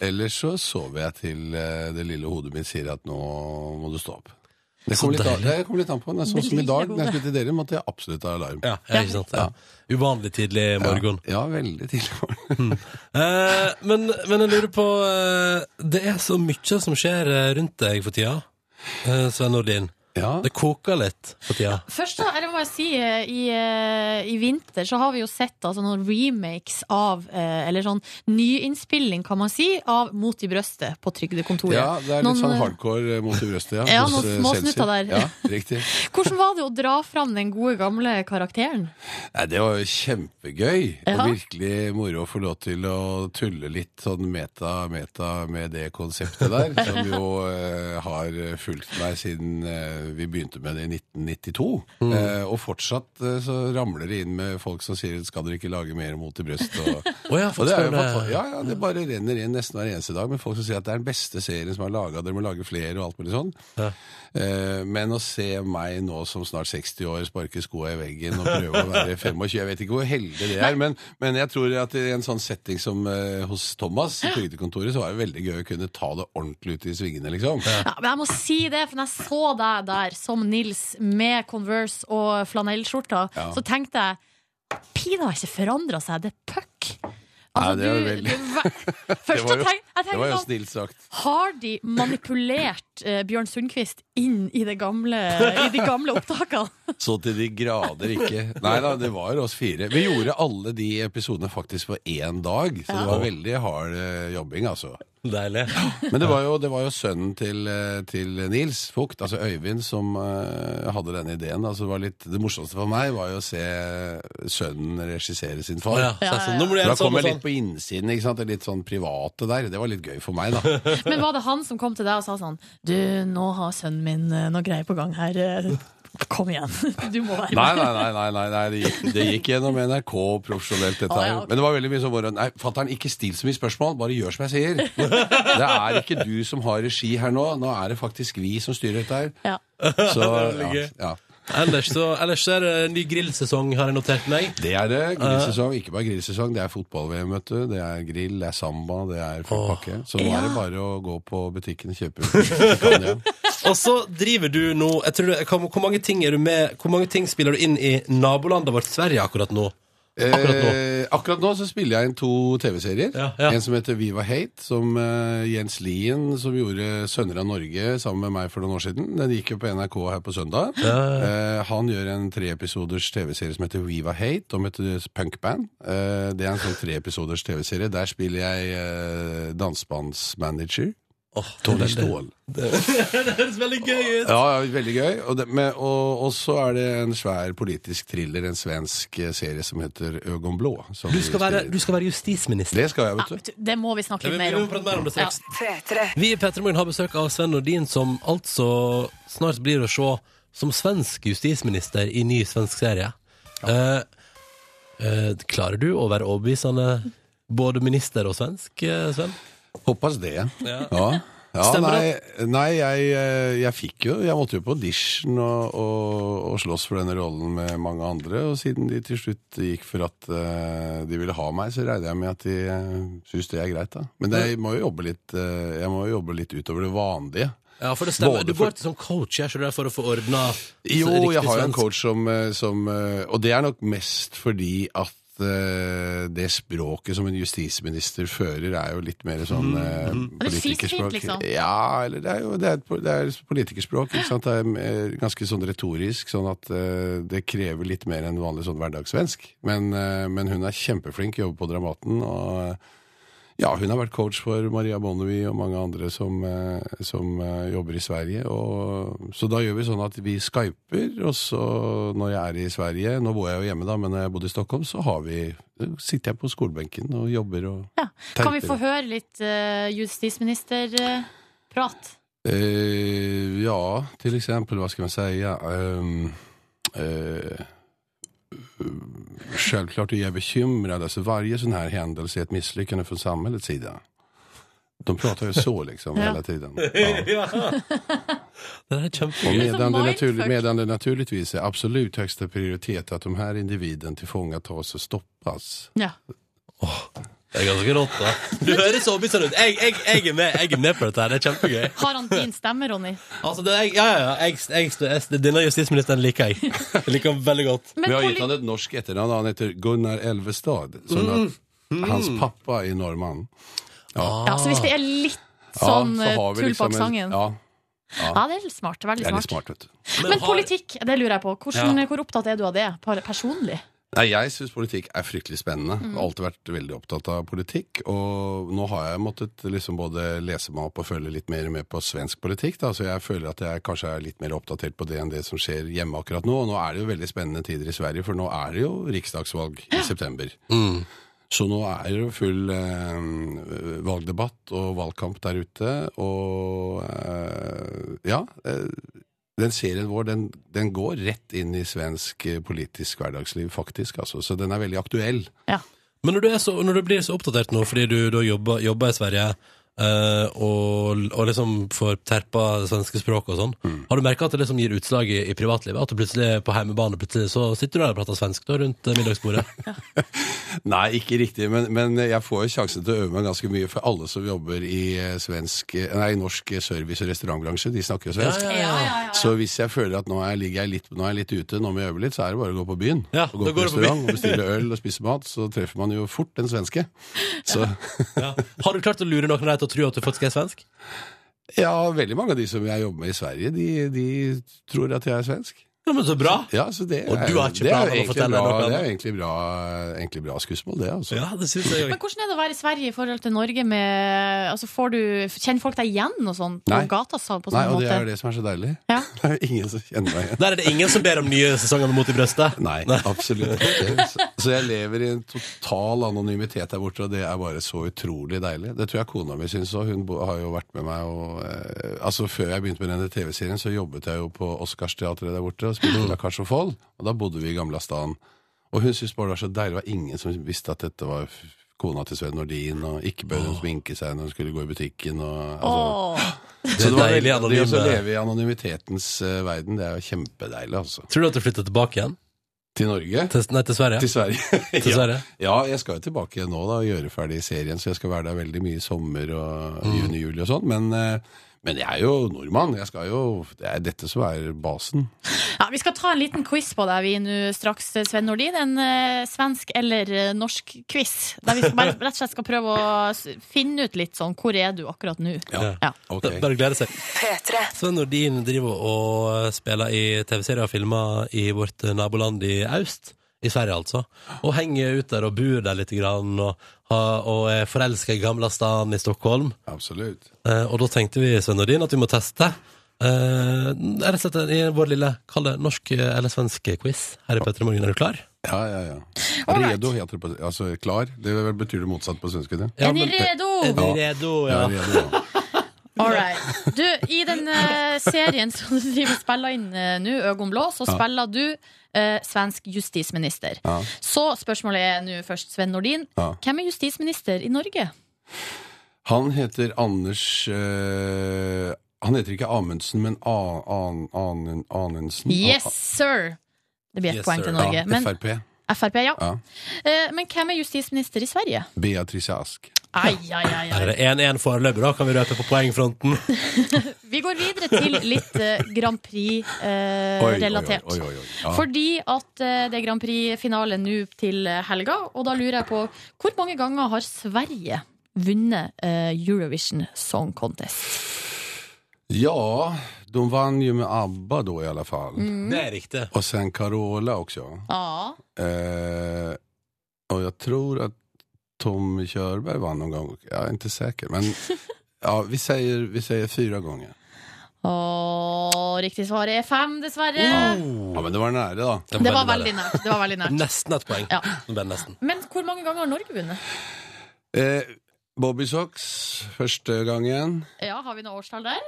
Speaker 11: Ellers så sover jeg til eh, det lille hodet mitt sier at nå må du stå opp. Det
Speaker 2: Så
Speaker 11: kommer litt, an-
Speaker 2: deilig.
Speaker 11: det kommer litt an på. Det er
Speaker 3: Det
Speaker 11: Sånn som i
Speaker 3: lille
Speaker 11: dag, når jeg
Speaker 3: hodet.
Speaker 11: skulle til dere, måtte jeg absolutt ha alarm.
Speaker 2: Ja, ja, ikke sant? Ja. Uvanlig tidlig morgen.
Speaker 11: Ja, ja, veldig tidlig morgen.
Speaker 2: [LAUGHS] Eh, men, men jeg lurer på eh, Det er så mye som skjer eh, rundt deg for tida, eh, Sven Nordin.
Speaker 11: Ja.
Speaker 2: Det koker litt for tida.
Speaker 3: Først da, eller må jeg si, eh, i, eh, i vinter så har vi jo sett altså, noen remakes av eh, Eller sånn nyinnspilling, kan man si, av Mot i brøstet på Trygdekontoret.
Speaker 11: ja, det er litt
Speaker 3: Noen,
Speaker 11: sånn
Speaker 3: eh,
Speaker 11: hardcore eh, mot i brøstet, ja.
Speaker 3: Ja,
Speaker 11: hos,
Speaker 3: noen
Speaker 11: eh,
Speaker 3: små
Speaker 11: Seltzer.
Speaker 3: snutter der.
Speaker 11: Ja, riktig.
Speaker 3: Hvordan var det å dra fram den gode, gamle karakteren?
Speaker 11: Nei, det var jo kjempegøy, og
Speaker 3: Ja.
Speaker 11: virkelig moro å få lov til å tulle litt sånn meta-meta med det konseptet der, som jo eh, har fulgt meg siden eh, vi begynte med det i 1992. Eh, og fortsatt eh, så ramler det inn med folk som sier skal dere ikke lage mer mot i brøst.
Speaker 2: Å ja,
Speaker 11: Og, og det er
Speaker 2: forstår
Speaker 11: jo
Speaker 2: det.
Speaker 11: fantastisk. Ja, ja, det bare renner inn nesten hver eneste dag med folk som sier at det er den beste serien som er laga, dere må lage flere og alt mulig sånn.
Speaker 2: Ja.
Speaker 11: Eh, Men å se meg nå som snart 60 år sparke skoa i veggen og prøve å være 25 Jeg vet ikke hvor heldig det er, men, men jeg tror at i en sånn setting som eh, hos Thomas i Trygdekontoret, så var det veldig gøy å kunne ta det ordentlig ut i svingene, liksom.
Speaker 3: Ja, men jeg må si det, for når jeg så deg der som Nils med Converse og flanellskjorta,
Speaker 11: Ja.
Speaker 3: så tenkte jeg Pina har ikke forandra seg, det er puck. Altså,
Speaker 11: Nei, det er [LAUGHS] det vel.
Speaker 3: Først
Speaker 11: var
Speaker 3: så
Speaker 11: jo-
Speaker 3: tenk, jeg
Speaker 11: Det var
Speaker 3: tenkte
Speaker 11: jo
Speaker 3: sånn
Speaker 11: snilt sagt.
Speaker 3: Har de manipulert eh, Bjørn Sundquist inn i, det gamle, i de gamle opptakene?
Speaker 11: Så til de grader ikke. Nei da, det var oss fire. Vi gjorde alle de episodene faktisk på én dag, så det var veldig hard eh, jobbing, altså.
Speaker 2: Deilig.
Speaker 11: Men det var jo, det var jo sønnen til, eh, til Nils Fugt, altså Øyvind, som eh, hadde denne ideen. da, så det, var litt, det morsomste for meg var jo å se sønnen regissere sin
Speaker 2: Å
Speaker 11: far.
Speaker 2: ja, så er det sånn, nå må du
Speaker 11: Da
Speaker 2: gjøre
Speaker 11: kom
Speaker 2: sånn og
Speaker 11: jeg
Speaker 2: sånn.
Speaker 11: litt på innsiden, ikke sant? det litt sånn private der. Det var litt gøy for meg, da.
Speaker 3: [LAUGHS] Men var det han som kom til deg og sa sånn Du, nå har sønnen min eh, noe greier på gang her. eh, Kom igjen. [LAUGHS] Du må være
Speaker 11: Nei,
Speaker 3: med.
Speaker 11: nei, nei, nei, nei, nei det, gikk, det gikk gjennom NRK profesjonelt, dette
Speaker 3: Å,
Speaker 11: her.
Speaker 3: ja, ok.
Speaker 11: Men det var veldig mye sånn bare, Nei, fatter'n, ikke still så mye spørsmål, bare gjør som jeg sier.
Speaker 3: [LAUGHS]
Speaker 11: Det er ikke du som har regi her nå, nå er det faktisk vi som styrer dette her.
Speaker 3: Ja. [LAUGHS]
Speaker 11: Så,
Speaker 2: veldig
Speaker 11: ja,
Speaker 2: gøy.
Speaker 11: ja.
Speaker 2: Ellers så, ellers så er det ny grillsesong, har jeg notert meg.
Speaker 11: Det er det. Grillsesong. Ikke bare grillsesong, det er fotball-VM, vet du. Det er grill, det er samba, det er full
Speaker 2: Åh.
Speaker 11: pakke. Så nå
Speaker 3: Ja.
Speaker 11: er det bare å gå på butikken og kjøpe [LAUGHS] Britannia.
Speaker 2: Og så driver du nå jeg tror det, hvor, hvor, mange ting er du med, hvor mange ting spiller du inn i nabolandet vårt Sverige akkurat nå? Akkurat nå.
Speaker 11: Eh, akkurat nå så spiller jeg inn to TV-serier.
Speaker 2: Ja, ja.
Speaker 11: En som heter Viva Hate, som eh, Jens Lien, som gjorde Sønner av Norge sammen med meg for noen år siden. Den gikk jo på NRK her på søndag. Eh, han gjør en treepisoders TV-serie som heter Viva Hate, om et eh, punkband. Eh, det er en sånn treepisoders TV-serie. Der spiller jeg eh, dansebandsmanager.
Speaker 2: Åh,
Speaker 11: Tony
Speaker 2: det-
Speaker 11: Ståhl.
Speaker 2: Det høres veldig gøy ut!
Speaker 11: Ja, ja, veldig gøy. Og, det, men- og, og så er det en svær politisk thriller, en svensk eh, serie som heter Øgon Blå. som
Speaker 2: Du
Speaker 11: vi
Speaker 2: skal
Speaker 11: spiller
Speaker 2: være,
Speaker 11: inn.
Speaker 2: du skal være justisminister.
Speaker 11: Det skal jeg, vet du.
Speaker 3: Vet du, Det må vi
Speaker 2: Vi
Speaker 3: snakke
Speaker 2: vi
Speaker 3: litt mer
Speaker 2: må
Speaker 3: om.
Speaker 2: prate mer om det
Speaker 3: Ja.
Speaker 2: straks. Vi i Petremorgen har besøk av Sven Nordin, som altså snart blir å se som svensk justisminister i ny svensk serie. Eh, eh, klarer du å være overbevisende både minister og svensk, eh, Sven?
Speaker 11: Hoppas det.
Speaker 2: Ja. [LAUGHS]
Speaker 11: Ja. Ja,
Speaker 2: Stemmer
Speaker 11: nei, nei jeg, eh, jeg fikk jo Jeg måtte jo på audition og, og, og slåss for denne rollen med mange andre. Og siden de til slutt gikk for at eh, de ville ha meg, så regner jeg med at eh, de uh, syns det er greit. da Men jeg må jo jobbe litt, eh, jeg må jo jobbe litt utover det vanlige.
Speaker 2: Ja, for det stemmer.
Speaker 11: Både
Speaker 2: Du går til sånn coach, jeg, skjønner du, for å få ordna
Speaker 11: Jo, jeg har jo en coach som, eh, som eh, Og det er nok mest fordi at eh, det språket som en justisminister fører, er jo litt mer sånn
Speaker 3: Det er
Speaker 11: eh,
Speaker 3: frisfint,
Speaker 11: politikerspråk.
Speaker 3: liksom.
Speaker 11: Ja, eller det er jo det er, et po- det er politikerspråk. Ikke sant? Det er mer- ganske sånn retorisk, sånn at eh, det krever litt mer enn vanlig sånn hverdagssvensk. Men, eh, men hun er kjempeflink, jobber på Dramaten. og... eh, ja, hun har vært coach for Maria Bonnevie og mange andre som, eh, som eh, jobber i Sverige. Og, så da gjør vi sånn at vi skyper, og så når jeg er i Sverige Nå bor jeg jo hjemme, da, men når jeg bodde i Stockholm, så har vi, sitter jeg på skolebenken og jobber og
Speaker 3: Kan vi få høre litt eh, justisministerprat?
Speaker 11: Eh, ja, till exempel, vad ska man säga? Ehm, eh, självklart är jag bekymrad. Alltså Altså, varje sånn sån här händelse är ett misslyckande från samhällets sida. De pratar
Speaker 2: [LAUGHS]
Speaker 11: ju så liksom
Speaker 2: Ja.
Speaker 11: hela tiden.
Speaker 2: Ja. Det er
Speaker 11: Och
Speaker 2: kjempegøy.
Speaker 11: medan, det naturlig, medan det naturligtvis är absolut högsta prioritet att de här individen tillfångatas och stoppas.
Speaker 3: Ja.
Speaker 2: Det er ganske rått, da. Du høres så mye sånn ut. Jeg, jeg, jeg, er med, jeg er med på dette her. Det er kjempegøy.
Speaker 3: Har han din stemme, Ronny?
Speaker 2: Altså, det, jeg, ja, ja, ja. Jeg, jeg, jeg, denne justisministeren liker jeg. Jeg liker han veldig godt.
Speaker 3: Men
Speaker 11: Vi har
Speaker 3: poli-
Speaker 11: gitt han Mm. ett norsk efternamn. Han heter Gunnar Elvestad. Så
Speaker 2: Mm.
Speaker 11: att Hans pappa är norrman. Ja.
Speaker 3: Ja, så hvis det er litt
Speaker 11: Ja,
Speaker 3: sånn
Speaker 11: Ah, så
Speaker 3: eh,
Speaker 11: har vi
Speaker 3: tull
Speaker 11: liksom
Speaker 3: bak
Speaker 11: en-
Speaker 3: sangen
Speaker 11: ja.
Speaker 3: ja. det er smart. Veldig
Speaker 11: Det er
Speaker 3: smart.
Speaker 11: litt smart, vet du.
Speaker 3: Men, politikk, det lurer jeg på. Hvordan, Hvor opptatt er du av det per- personlig?
Speaker 11: Nei, Jeg syns politikk er fryktelig spennende.
Speaker 3: Mm.
Speaker 11: Jeg har alltid vært veldig opptatt av politikk. Og nå har jeg måttet liksom både lese meg opp og følge litt mer med på svensk politikk. Da. Så jeg føler at jeg kanskje er litt mer oppdatert på det enn det som skjer hjemme akkurat nå. Og nå er det jo veldig spennende tider i Sverige, for nå er det jo riksdagsvalg i september. Så nå er det jo full eh, valgdebatt og valgkamp der ute, og eh, ja. Eh, den serien vår den, den går rett inn i svensk eh, politisk hverdagsliv, faktisk. Altså. Så den er veldig aktuell.
Speaker 2: Men når du, er så, når du blir så oppdatert nå fordi du da jobber, jobber i Sverige eh, og, og liksom får terpa det svenske språket og sånn,
Speaker 11: Mm.
Speaker 2: har du merka at det liksom gir utslag i, i privatlivet? At du plutselig på heimebane plutselig så sitter du der og prater svensk da, rundt eh, middagsbordet?
Speaker 11: Nei, ikke riktig, men, men jeg får jo sjansen til å øve meg ganske mye, for alle som jobber i eh, svensk, eh, nei, norsk eh, service- og restaurantbransje, de snakker jo svensk.
Speaker 2: Ja, ja, ja, ja,
Speaker 11: Så hvis jeg føler at nå er, ligger jeg litt, nå er jeg litt ute, nå må jeg øve litt, så er det bare å gå på byen.
Speaker 2: Ja,
Speaker 11: og gå
Speaker 2: da går
Speaker 11: på
Speaker 2: du på
Speaker 11: restaurant
Speaker 2: byen. [LAUGHS]
Speaker 11: og bestille øl og spise mat, så treffer man jo fort den svenske. Så... [LAUGHS]
Speaker 2: Ja. Har du klart å lure noen av deg til å tro at du faktisk er svensk?
Speaker 11: Ja, veldig mange av de som jeg jobber med i Sverige, de, de tror at jeg er svensk.
Speaker 2: Ja, men så bra!
Speaker 11: Ja, så det
Speaker 2: Og
Speaker 11: er-
Speaker 2: du har ikke
Speaker 11: det er
Speaker 2: planer om å
Speaker 11: jo egentlig
Speaker 2: fortelle
Speaker 11: bra,
Speaker 2: noe
Speaker 11: Det er
Speaker 2: annet?
Speaker 11: jo egentlig bra, egentlig bra skussmål, det. Altså.
Speaker 2: Ja, det synes jeg
Speaker 3: Men hvordan er det å være i Sverige i forhold til Norge med altså får du, Kjenner folk deg igjen og sånn? På
Speaker 11: Nei.
Speaker 3: gata sa på
Speaker 11: Nei,
Speaker 3: sånn
Speaker 11: og det
Speaker 3: måte?
Speaker 11: er jo det som er så deilig.
Speaker 3: Ja.
Speaker 11: [LAUGHS] Det er jo ingen som kjenner meg igjen.
Speaker 2: Der er det ingen som ber om nye sesonger med mot i brøstet?
Speaker 11: Nei, absolutt
Speaker 2: [LAUGHS]
Speaker 11: ikke. Så- Så jeg lever i en total anonymitet der borte, og det er bare så utrolig deilig. Det tror jeg kona mi syns òg. Hun bo- har jo vært med meg og eh, Altså, før jeg begynte med denne TV-serien, så jobbet jeg jo på Oscarsteatret der borte og
Speaker 2: Mm.
Speaker 11: spilte La Cage og Foll, og da bodde vi i Gamla Stan. Og hun syntes bare det var så deilig. Det var ingen som visste at dette var f- kona til Sven Nordin, og ikke bød hun sminke seg når hun skulle gå i butikken og altså.
Speaker 3: Åh.
Speaker 2: Det
Speaker 11: Så
Speaker 2: er
Speaker 11: det var
Speaker 2: deilig
Speaker 11: veldig- det å
Speaker 2: anonyme.
Speaker 11: leve i anonymitetens eh, verden, det er jo kjempedeilig, altså.
Speaker 2: Tror du at du flytter tilbake igjen?
Speaker 11: Til Norge.
Speaker 2: Til, nei, til Sverige?
Speaker 11: [LAUGHS] Til Sverige.
Speaker 2: Til Sverige?
Speaker 11: Ja, jeg skal jo tilbake nå da og gjøre ferdig serien, så jeg skal være der veldig mye i sommer og
Speaker 2: Mm.
Speaker 11: juni, juli og sånn. Men, eh, men jeg er jo nordmann. Jeg skal jo, det er dette som er basen.
Speaker 3: Ja, vi skal ta en liten quiz på deg vi nå straks, Sven Nordin. En eh, svensk eller eh, norsk quiz. Der vi skal bare, rett og slett skal prøve å s- finne ut litt sånn hvor er du akkurat nå. Ja.
Speaker 2: [LAUGHS]
Speaker 11: Ok.
Speaker 2: Det er Bare å glede seg. Sven Nordin driver og spiller i TV-serier og filmer i vårt naboland i Aust. I Sverige, altså. Og henger ut der og bor der litt grann, og, har- og er forelska i gamla stan i Stockholm.
Speaker 11: Absolutt.
Speaker 2: Eh, og da tenkte vi Sven Nordin, at vi må teste. Eh, rett og slett i vår lille kall det norsk eh, eller svensk quiz. Her er Petter Morgen, er du klar?
Speaker 11: Ja, ja, ja. Redo heter det på Altså klar. Det vel betyr det motsatt på svensk, ikke det?
Speaker 2: Ja,
Speaker 3: Er ni
Speaker 2: men-
Speaker 3: redo?
Speaker 2: Er du redo?
Speaker 11: Ja,
Speaker 2: Ja.
Speaker 11: redo, ja.
Speaker 3: All right. Du, i den eh, serien som du driver og spiller inn eh, nå, Øgon blå, så
Speaker 11: Ja.
Speaker 3: spiller du eh, svensk justisminister.
Speaker 11: Ja.
Speaker 3: Så spørsmålet er nå først, Sven Nordin.
Speaker 11: Ja.
Speaker 3: Hvem er justisminister i Norge?
Speaker 11: Han heter Anders eh, Han heter ikke Amundsen, men A An Anen- Anundsen.
Speaker 3: Yes, sir! Det blir ett
Speaker 2: Yes,
Speaker 3: poeng til
Speaker 2: sir.
Speaker 3: Norge.
Speaker 11: Ja,
Speaker 3: Men,
Speaker 11: Frp.
Speaker 3: Frp, ja.
Speaker 11: Ja.
Speaker 3: Eh, Men hvem er justisminister i Sverige?
Speaker 11: Beatrice Ask.
Speaker 3: Ai, ai, ai, ai.
Speaker 2: Her er det 1-1 foreløpig, da. Kan vi røpe på poengfronten?
Speaker 3: Vi går videre til litt eh, Grand eh,
Speaker 2: Oi, oi,
Speaker 3: Prix-relatert.
Speaker 2: oi, oi, oi, ja.
Speaker 3: Fordi at eh, det er Grand Prix-finale nå til eh, helga, og da lurer jeg på hvor mange ganger har Sverige vunnet eh, Eurovision Song Contest?
Speaker 11: Ja, de vann ju med ABBA då i alla fall.
Speaker 3: Mm. Det är
Speaker 2: riktigt.
Speaker 11: Och sen Carola också.
Speaker 3: Ja.
Speaker 11: Eh, och jag tror att Tommy Körberg vann någon gång. Jag är inte
Speaker 3: [LAUGHS]
Speaker 11: säker, men ja, vi, säger, vi säger fyra gånger.
Speaker 3: Og riktig svar er fem, dessverre.
Speaker 11: Ja, men det var nära då.
Speaker 3: Det var veldig nært. Det var veldig [LAUGHS] nært.
Speaker 2: Nesten et poeng.
Speaker 3: Ja.
Speaker 2: nesten.
Speaker 3: Men hvor mange ganger har Norge vunnet?
Speaker 11: Eh, Bobby Socks, första gången.
Speaker 3: Ja, Har vi noe årstall der?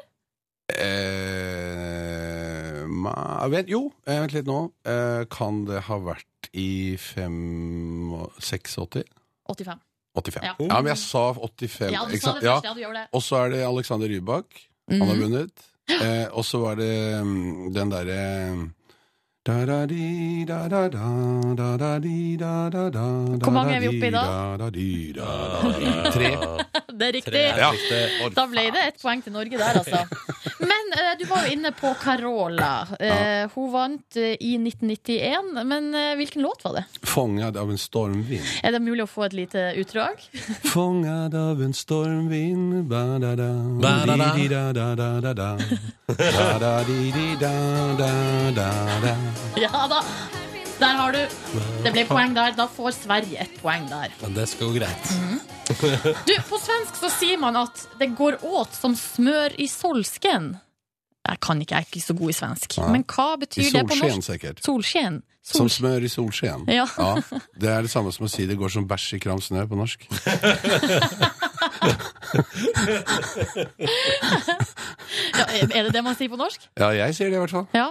Speaker 11: Eh, ma, vent, jo, eh, vent litt nå. Eh, kan det ha vært i fem- 86?
Speaker 3: 85.
Speaker 11: 85.
Speaker 3: Ja.
Speaker 11: Ja. men jeg sa 85.
Speaker 3: Ja, du
Speaker 11: ikke
Speaker 3: sa
Speaker 11: sant?
Speaker 3: det først, ja, du gjør det.
Speaker 11: Og så er det Alexander Rybak. Han har
Speaker 3: Mhm.
Speaker 11: vunnet. Eh, og så var det mm, den derre Hvor
Speaker 3: Hvor mange er vi oppe i da?
Speaker 11: Tre.
Speaker 3: [LAUGHS] Det er riktig.
Speaker 11: Ja.
Speaker 3: Da ble det ett poeng til Norge der, altså. Men eh, du var jo inne på Carola. Eh, Hun vant eh, i 1991, men eh, hvilken låt var det?
Speaker 11: Fångad av en stormvind.
Speaker 3: [LAUGHS] Er det mulig å få et lite utdrag? [LAUGHS]
Speaker 11: Fångad av en stormvind Ba-da-da
Speaker 2: Ba-da-da.
Speaker 11: Di-di-da-da-da-da Ba-da-di-di-da-da-da-da
Speaker 3: Ja da! Der har du. Det ble poeng der. Da får Sverige ett poeng der.
Speaker 2: Men det skal gå greit.
Speaker 3: Du, på svensk så sier man at det går åt som smør i solsken. Jeg kan ikke, jeg er ikke så god i svensk.
Speaker 11: Nei.
Speaker 3: Men hva betyr
Speaker 11: I
Speaker 3: det på
Speaker 11: solsken,
Speaker 3: norsk?
Speaker 11: sikkert.
Speaker 3: Solsken.
Speaker 11: Som smør i solsken.
Speaker 3: Ja.
Speaker 11: Det er det samme som å si det går som bæsj i kram snø på norsk.
Speaker 3: Ja, er det det man sier på norsk?
Speaker 11: Ja, jeg sier det i hvert fall.
Speaker 3: Ja.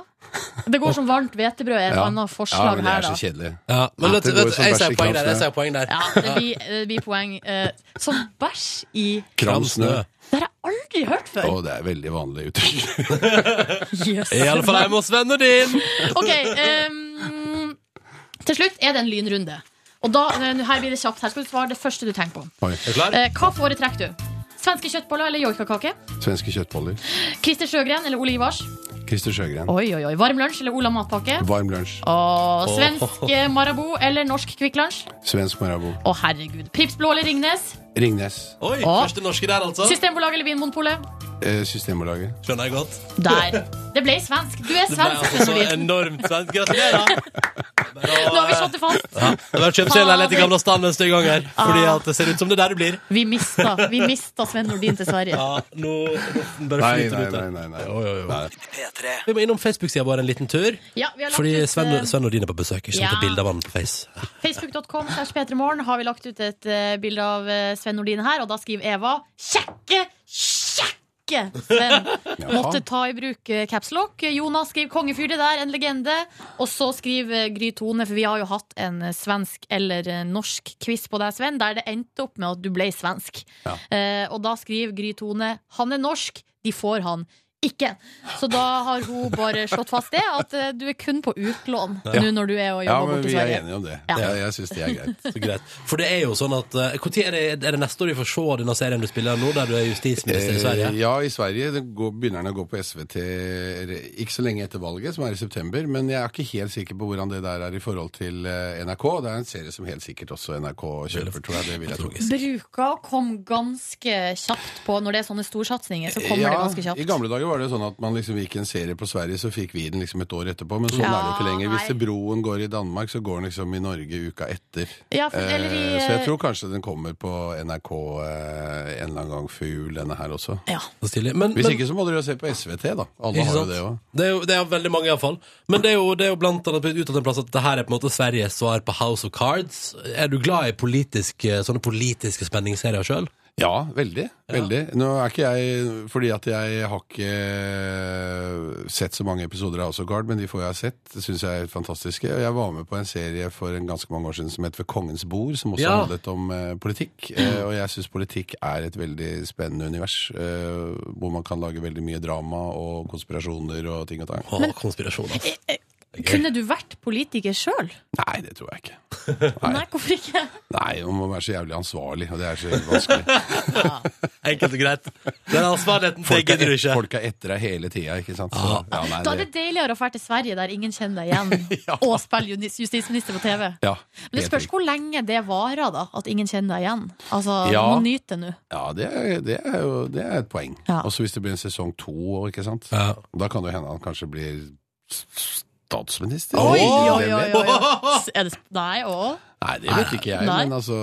Speaker 3: Det går som varmt hvetebrød er et
Speaker 11: Ja.
Speaker 3: annet
Speaker 11: Ja,
Speaker 3: forslag
Speaker 11: men det
Speaker 3: her,
Speaker 11: er
Speaker 3: da.
Speaker 11: så kjedelig.
Speaker 2: Ja, men
Speaker 11: At
Speaker 2: vet,
Speaker 11: det går
Speaker 2: vet,
Speaker 11: som
Speaker 2: jeg
Speaker 11: bæsj i
Speaker 2: sier poeng
Speaker 11: kram
Speaker 2: der. Jeg
Speaker 11: snø.
Speaker 2: sier poeng der.
Speaker 3: Ja, det blir, det blir poeng. Eh, som bæsj i
Speaker 11: Kram snø.
Speaker 3: Det har jeg aldri hørt
Speaker 11: Å,
Speaker 3: før!
Speaker 11: det er veldig vanlig uttrykk. [LAUGHS]
Speaker 3: Jøss.
Speaker 2: Iallfall hjemme hos vennen
Speaker 3: [LAUGHS]
Speaker 2: din.
Speaker 3: Ok, ehm, til slutt er det en lynrunde. Og da, eh, her blir det kjapt. Her skal du svare det første du tenker på.
Speaker 11: Oi.
Speaker 3: Eh, hva foretrekker du? Svenske kjøttboller eller joikakake?
Speaker 11: Svenske kjøttboller.
Speaker 3: Christer Sjøgren eller Ole Ivars?
Speaker 11: Christer Sjøgren.
Speaker 3: Oi, oi, oi. Varm lunsj eller Ola matpakke?
Speaker 11: Varm lunsj.
Speaker 3: Og svensk eh, Marabou eller norsk Kvikk Lunsj?
Speaker 11: Svensk Marabou.
Speaker 3: Å, herregud. Prips Blå eller Ringnes?
Speaker 11: Ringnes.
Speaker 2: Oi, første norske der, altså.
Speaker 3: Systembolaget eller Vinmonopolet?
Speaker 11: Eh, Systembolaget.
Speaker 2: Skjønner jeg godt.
Speaker 3: Der. Det ble svensk. Du er
Speaker 2: Det ble
Speaker 3: svensk,
Speaker 2: altså så
Speaker 3: Svendelin.
Speaker 2: enormt svensk. Gratulerer.
Speaker 3: [LAUGHS] Nå har vi slått det fast.
Speaker 2: Ja, det var kjøpt seg en leilighet i gamle stand neste gang her. Fordi at det ser ut som det der det blir.
Speaker 3: Vi mista, vi mista Sven Nordin til Sverige.
Speaker 2: Ja, nå nå bare
Speaker 11: Nei,
Speaker 2: flyter det
Speaker 11: nei,
Speaker 2: ut
Speaker 11: nei.
Speaker 2: her.
Speaker 11: nei, nei.
Speaker 2: Jo, jo, jo. Vi må innom Facebook-sida vår en liten tur.
Speaker 3: Ja, vi har lagt
Speaker 2: Fordi
Speaker 3: ut,
Speaker 2: Sven,
Speaker 3: eh,
Speaker 2: Sven Nordin er på besøk. Ikke sant?
Speaker 3: Ja.
Speaker 2: Det er bilde av han på Face.
Speaker 3: Facebook.com slash Petremorgen har vi lagt ut et eh, bilde av eh, Sven Nordin her, og da skriver Eva Kjekke! Kjekke!
Speaker 11: [LAUGHS]
Speaker 3: Sven måtte ta i bruk eh, caps lock. Jonas skriver 'Kongefyr, det der, en legende'. Og så skriver eh, Gry Tone, for vi har jo hatt en eh, svensk eller eh, norsk quiz på deg, Sven, der det endte opp med at du ble svensk. Eh, og da skriver Gry Tone 'Han er norsk, de får han'. Ikke. Så da har hun bare slått fast det, at eh, du er kun på utlån
Speaker 2: Ja.
Speaker 3: nå når du er og
Speaker 11: Ja,
Speaker 3: jobber
Speaker 11: men
Speaker 3: borte i
Speaker 11: vi er
Speaker 3: Sverige.
Speaker 11: enige om det.
Speaker 3: Ja.
Speaker 11: Jeg, jeg syns det er [LAUGHS] greit.
Speaker 2: Så greit. For det er jo sånn at eh, hvor tid er, det, er det neste år vi får se denne serien du spiller nå, der du er justisminister i Sverige?
Speaker 11: Eh, ja, i Sverige det går, begynner den å gå på SVT ikke så lenge etter valget, som er i september. Men jeg er ikke helt sikker på hvordan det der er i forhold til eh, NRK. Det er en serie som helt sikkert også NRK kjøper, tror jeg. Det vil jeg tro.
Speaker 3: bruker å komme ganske kjapt på når det er sånne storsatsinger. Så kommer det ganske
Speaker 11: I
Speaker 3: kjapt.
Speaker 11: gamle dager var det sånn at man liksom gikk en serie på Sverige, så fikk vi den liksom et år etterpå. Men sånn
Speaker 3: Ja,
Speaker 11: er det jo ikke lenger. Hvis
Speaker 3: nei.
Speaker 11: det broen går i Danmark, så går den liksom i Norge uka etter.
Speaker 3: Ja, for- eller i,
Speaker 11: Eh, så jeg
Speaker 3: eh,
Speaker 11: tror kanskje den kommer på NRK eh, en eller annen gang før jul, denne her også.
Speaker 3: Ja.
Speaker 2: Så stilig. Men,
Speaker 11: Hvis
Speaker 2: men-
Speaker 11: ikke så må dere jo se på SVT, da. Alle
Speaker 2: Ikke
Speaker 11: har jo
Speaker 2: sant?
Speaker 11: det òg.
Speaker 2: Det er jo det er jo veldig mange, iallfall. Men det er jo, det er jo blant annet blitt uttalt en plass at det her er på en måte Sveriges svar på House of Cards. Er du glad i politiske, sånne politiske spenningsserier sjøl?
Speaker 11: Ja, veldig. veldig. Nå er ikke jeg Fordi at jeg har ikke sett så mange episoder av House of Guard, men de få jeg har sett, syns jeg er fantastiske. Og Jeg var med på en serie for en ganske mange år siden som het Ved kongens bord, som også
Speaker 2: Ja.
Speaker 11: handlet om eh, politikk. Eh, og jeg syns politikk er et veldig spennende univers, eh, hvor man kan lage veldig mye drama og konspirasjoner og ting og tang.
Speaker 2: Å, konspirasjon, altså.
Speaker 3: Kunne du vært politiker sjøl?
Speaker 11: Nei, det tror jeg ikke.
Speaker 2: [LAUGHS]
Speaker 3: Nei. hvorfor ikke?
Speaker 11: Nei, man må være så jævlig ansvarlig, og det er så jævlig vanskelig.
Speaker 2: Enkelt og greit. Den ansvarligheten
Speaker 11: Folk er
Speaker 2: det [LAUGHS] gidder du
Speaker 11: et-
Speaker 2: ikke. Ah.
Speaker 11: Folk er etter deg hele tida, ikke sant. Så, ja, nei,
Speaker 3: Da er det deiligere å dra til Sverige, der ingen kjenner deg igjen,
Speaker 11: [LAUGHS]
Speaker 3: og spille junis- justisminister på TV.
Speaker 11: ja,
Speaker 3: Men det
Speaker 11: helt
Speaker 3: spørs hvor lenge det varer, da. At ingen kjenner deg igjen. Altså,
Speaker 11: Ja.
Speaker 3: man nyter nå.
Speaker 11: Ja, det er, det er jo det er et poeng. Også hvis det blir en sesong to, og ikke sant? da kan det jo hende han kanskje blir s- statsminister.
Speaker 3: Oi,
Speaker 11: Hvem
Speaker 3: oi, oi,
Speaker 11: vet?
Speaker 3: oi. oi. Er det sp- Nei, å?
Speaker 11: Nei, det vet ikke jeg,
Speaker 3: Nei.
Speaker 11: men altså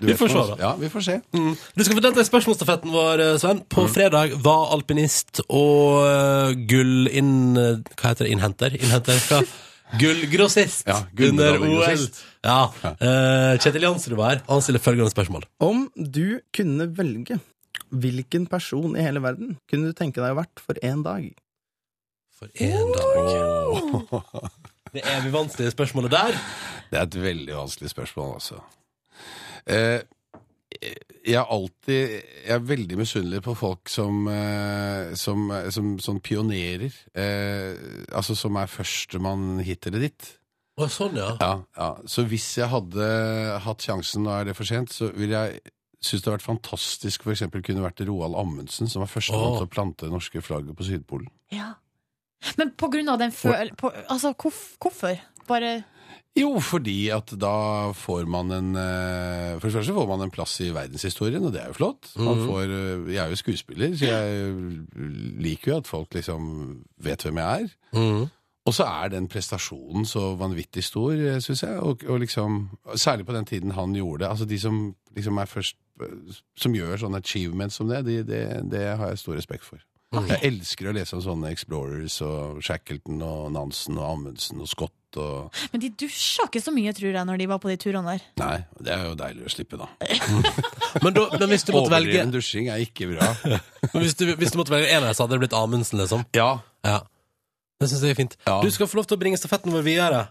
Speaker 11: du
Speaker 2: Vi
Speaker 11: vet
Speaker 2: får se,
Speaker 11: noe.
Speaker 2: da.
Speaker 11: Ja, vi får se. [LAUGHS]
Speaker 2: Mm. Du skal få delta i spørsmålsstafetten vår, eh, Sven. På fredag var alpinist og eh, gullinn... eh, Hva heter det? Innhenter? Innhenter? Hva? Gullgrossist
Speaker 11: Ja,
Speaker 2: under OL.
Speaker 11: gullmedaljegrossist.
Speaker 2: Ja. eh, Kjetil Jansen var her. Han stiller følgende spørsmål.
Speaker 12: Om du kunne velge hvilken person i hele verden kunne du tenke deg å vært for én dag?
Speaker 2: For én dag. Det evig vanskelige spørsmålet der.
Speaker 11: Det er et veldig vanskelig spørsmål, altså. Eh, jeg er alltid Jeg er veldig misunnelig på folk som, eh, som, som, som pionerer. Eh, altså som er førstemann hit eller dit.
Speaker 2: Å, sånn, ja.
Speaker 11: Ja, ja. Så hvis jeg hadde hatt sjansen, nå er det for sent, så ville jeg synes det hadde vært fantastisk for eksempel kunne vært Roald Amundsen, som var førstemann
Speaker 2: Åh.
Speaker 11: til å plante det norske flagget på Sydpolen.
Speaker 3: Ja. Men på grunn av den føl... På, altså, hvorf, hvorfor? Bare
Speaker 11: Jo, fordi at da får man en eh, For det første får man en plass i verdenshistorien, og det er jo flott. Man
Speaker 2: Mhm.
Speaker 11: får, eh, jeg er jo skuespiller, så jeg liker jo at folk liksom vet hvem jeg er. Og så er den prestasjonen så vanvittig stor, syns jeg. Og, og liksom, særlig på den tiden han gjorde det. Altså de som liksom er først Som gjør sånne achievements som det, de, det, det har jeg stor respekt for.
Speaker 2: Mm.
Speaker 11: Jeg elsker å lese om sånne Explorers og Shackleton og Nansen og Amundsen og Scott og
Speaker 3: Men de dusja ikke så mye, tror jeg, når de var på de turene der.
Speaker 11: Nei, det er jo deilig å slippe, da.
Speaker 2: Men, da, men hvis du måtte velge
Speaker 11: Overdreven dusjing er ikke
Speaker 2: [LAUGHS]
Speaker 11: bra.
Speaker 2: Men Hvis du, hvis du måtte velge en av dem, så hadde det blitt Amundsen, liksom?
Speaker 11: Ja.
Speaker 2: ja. Det syns jeg er fint. Du skal få lov til å bringe stafetten vår videre.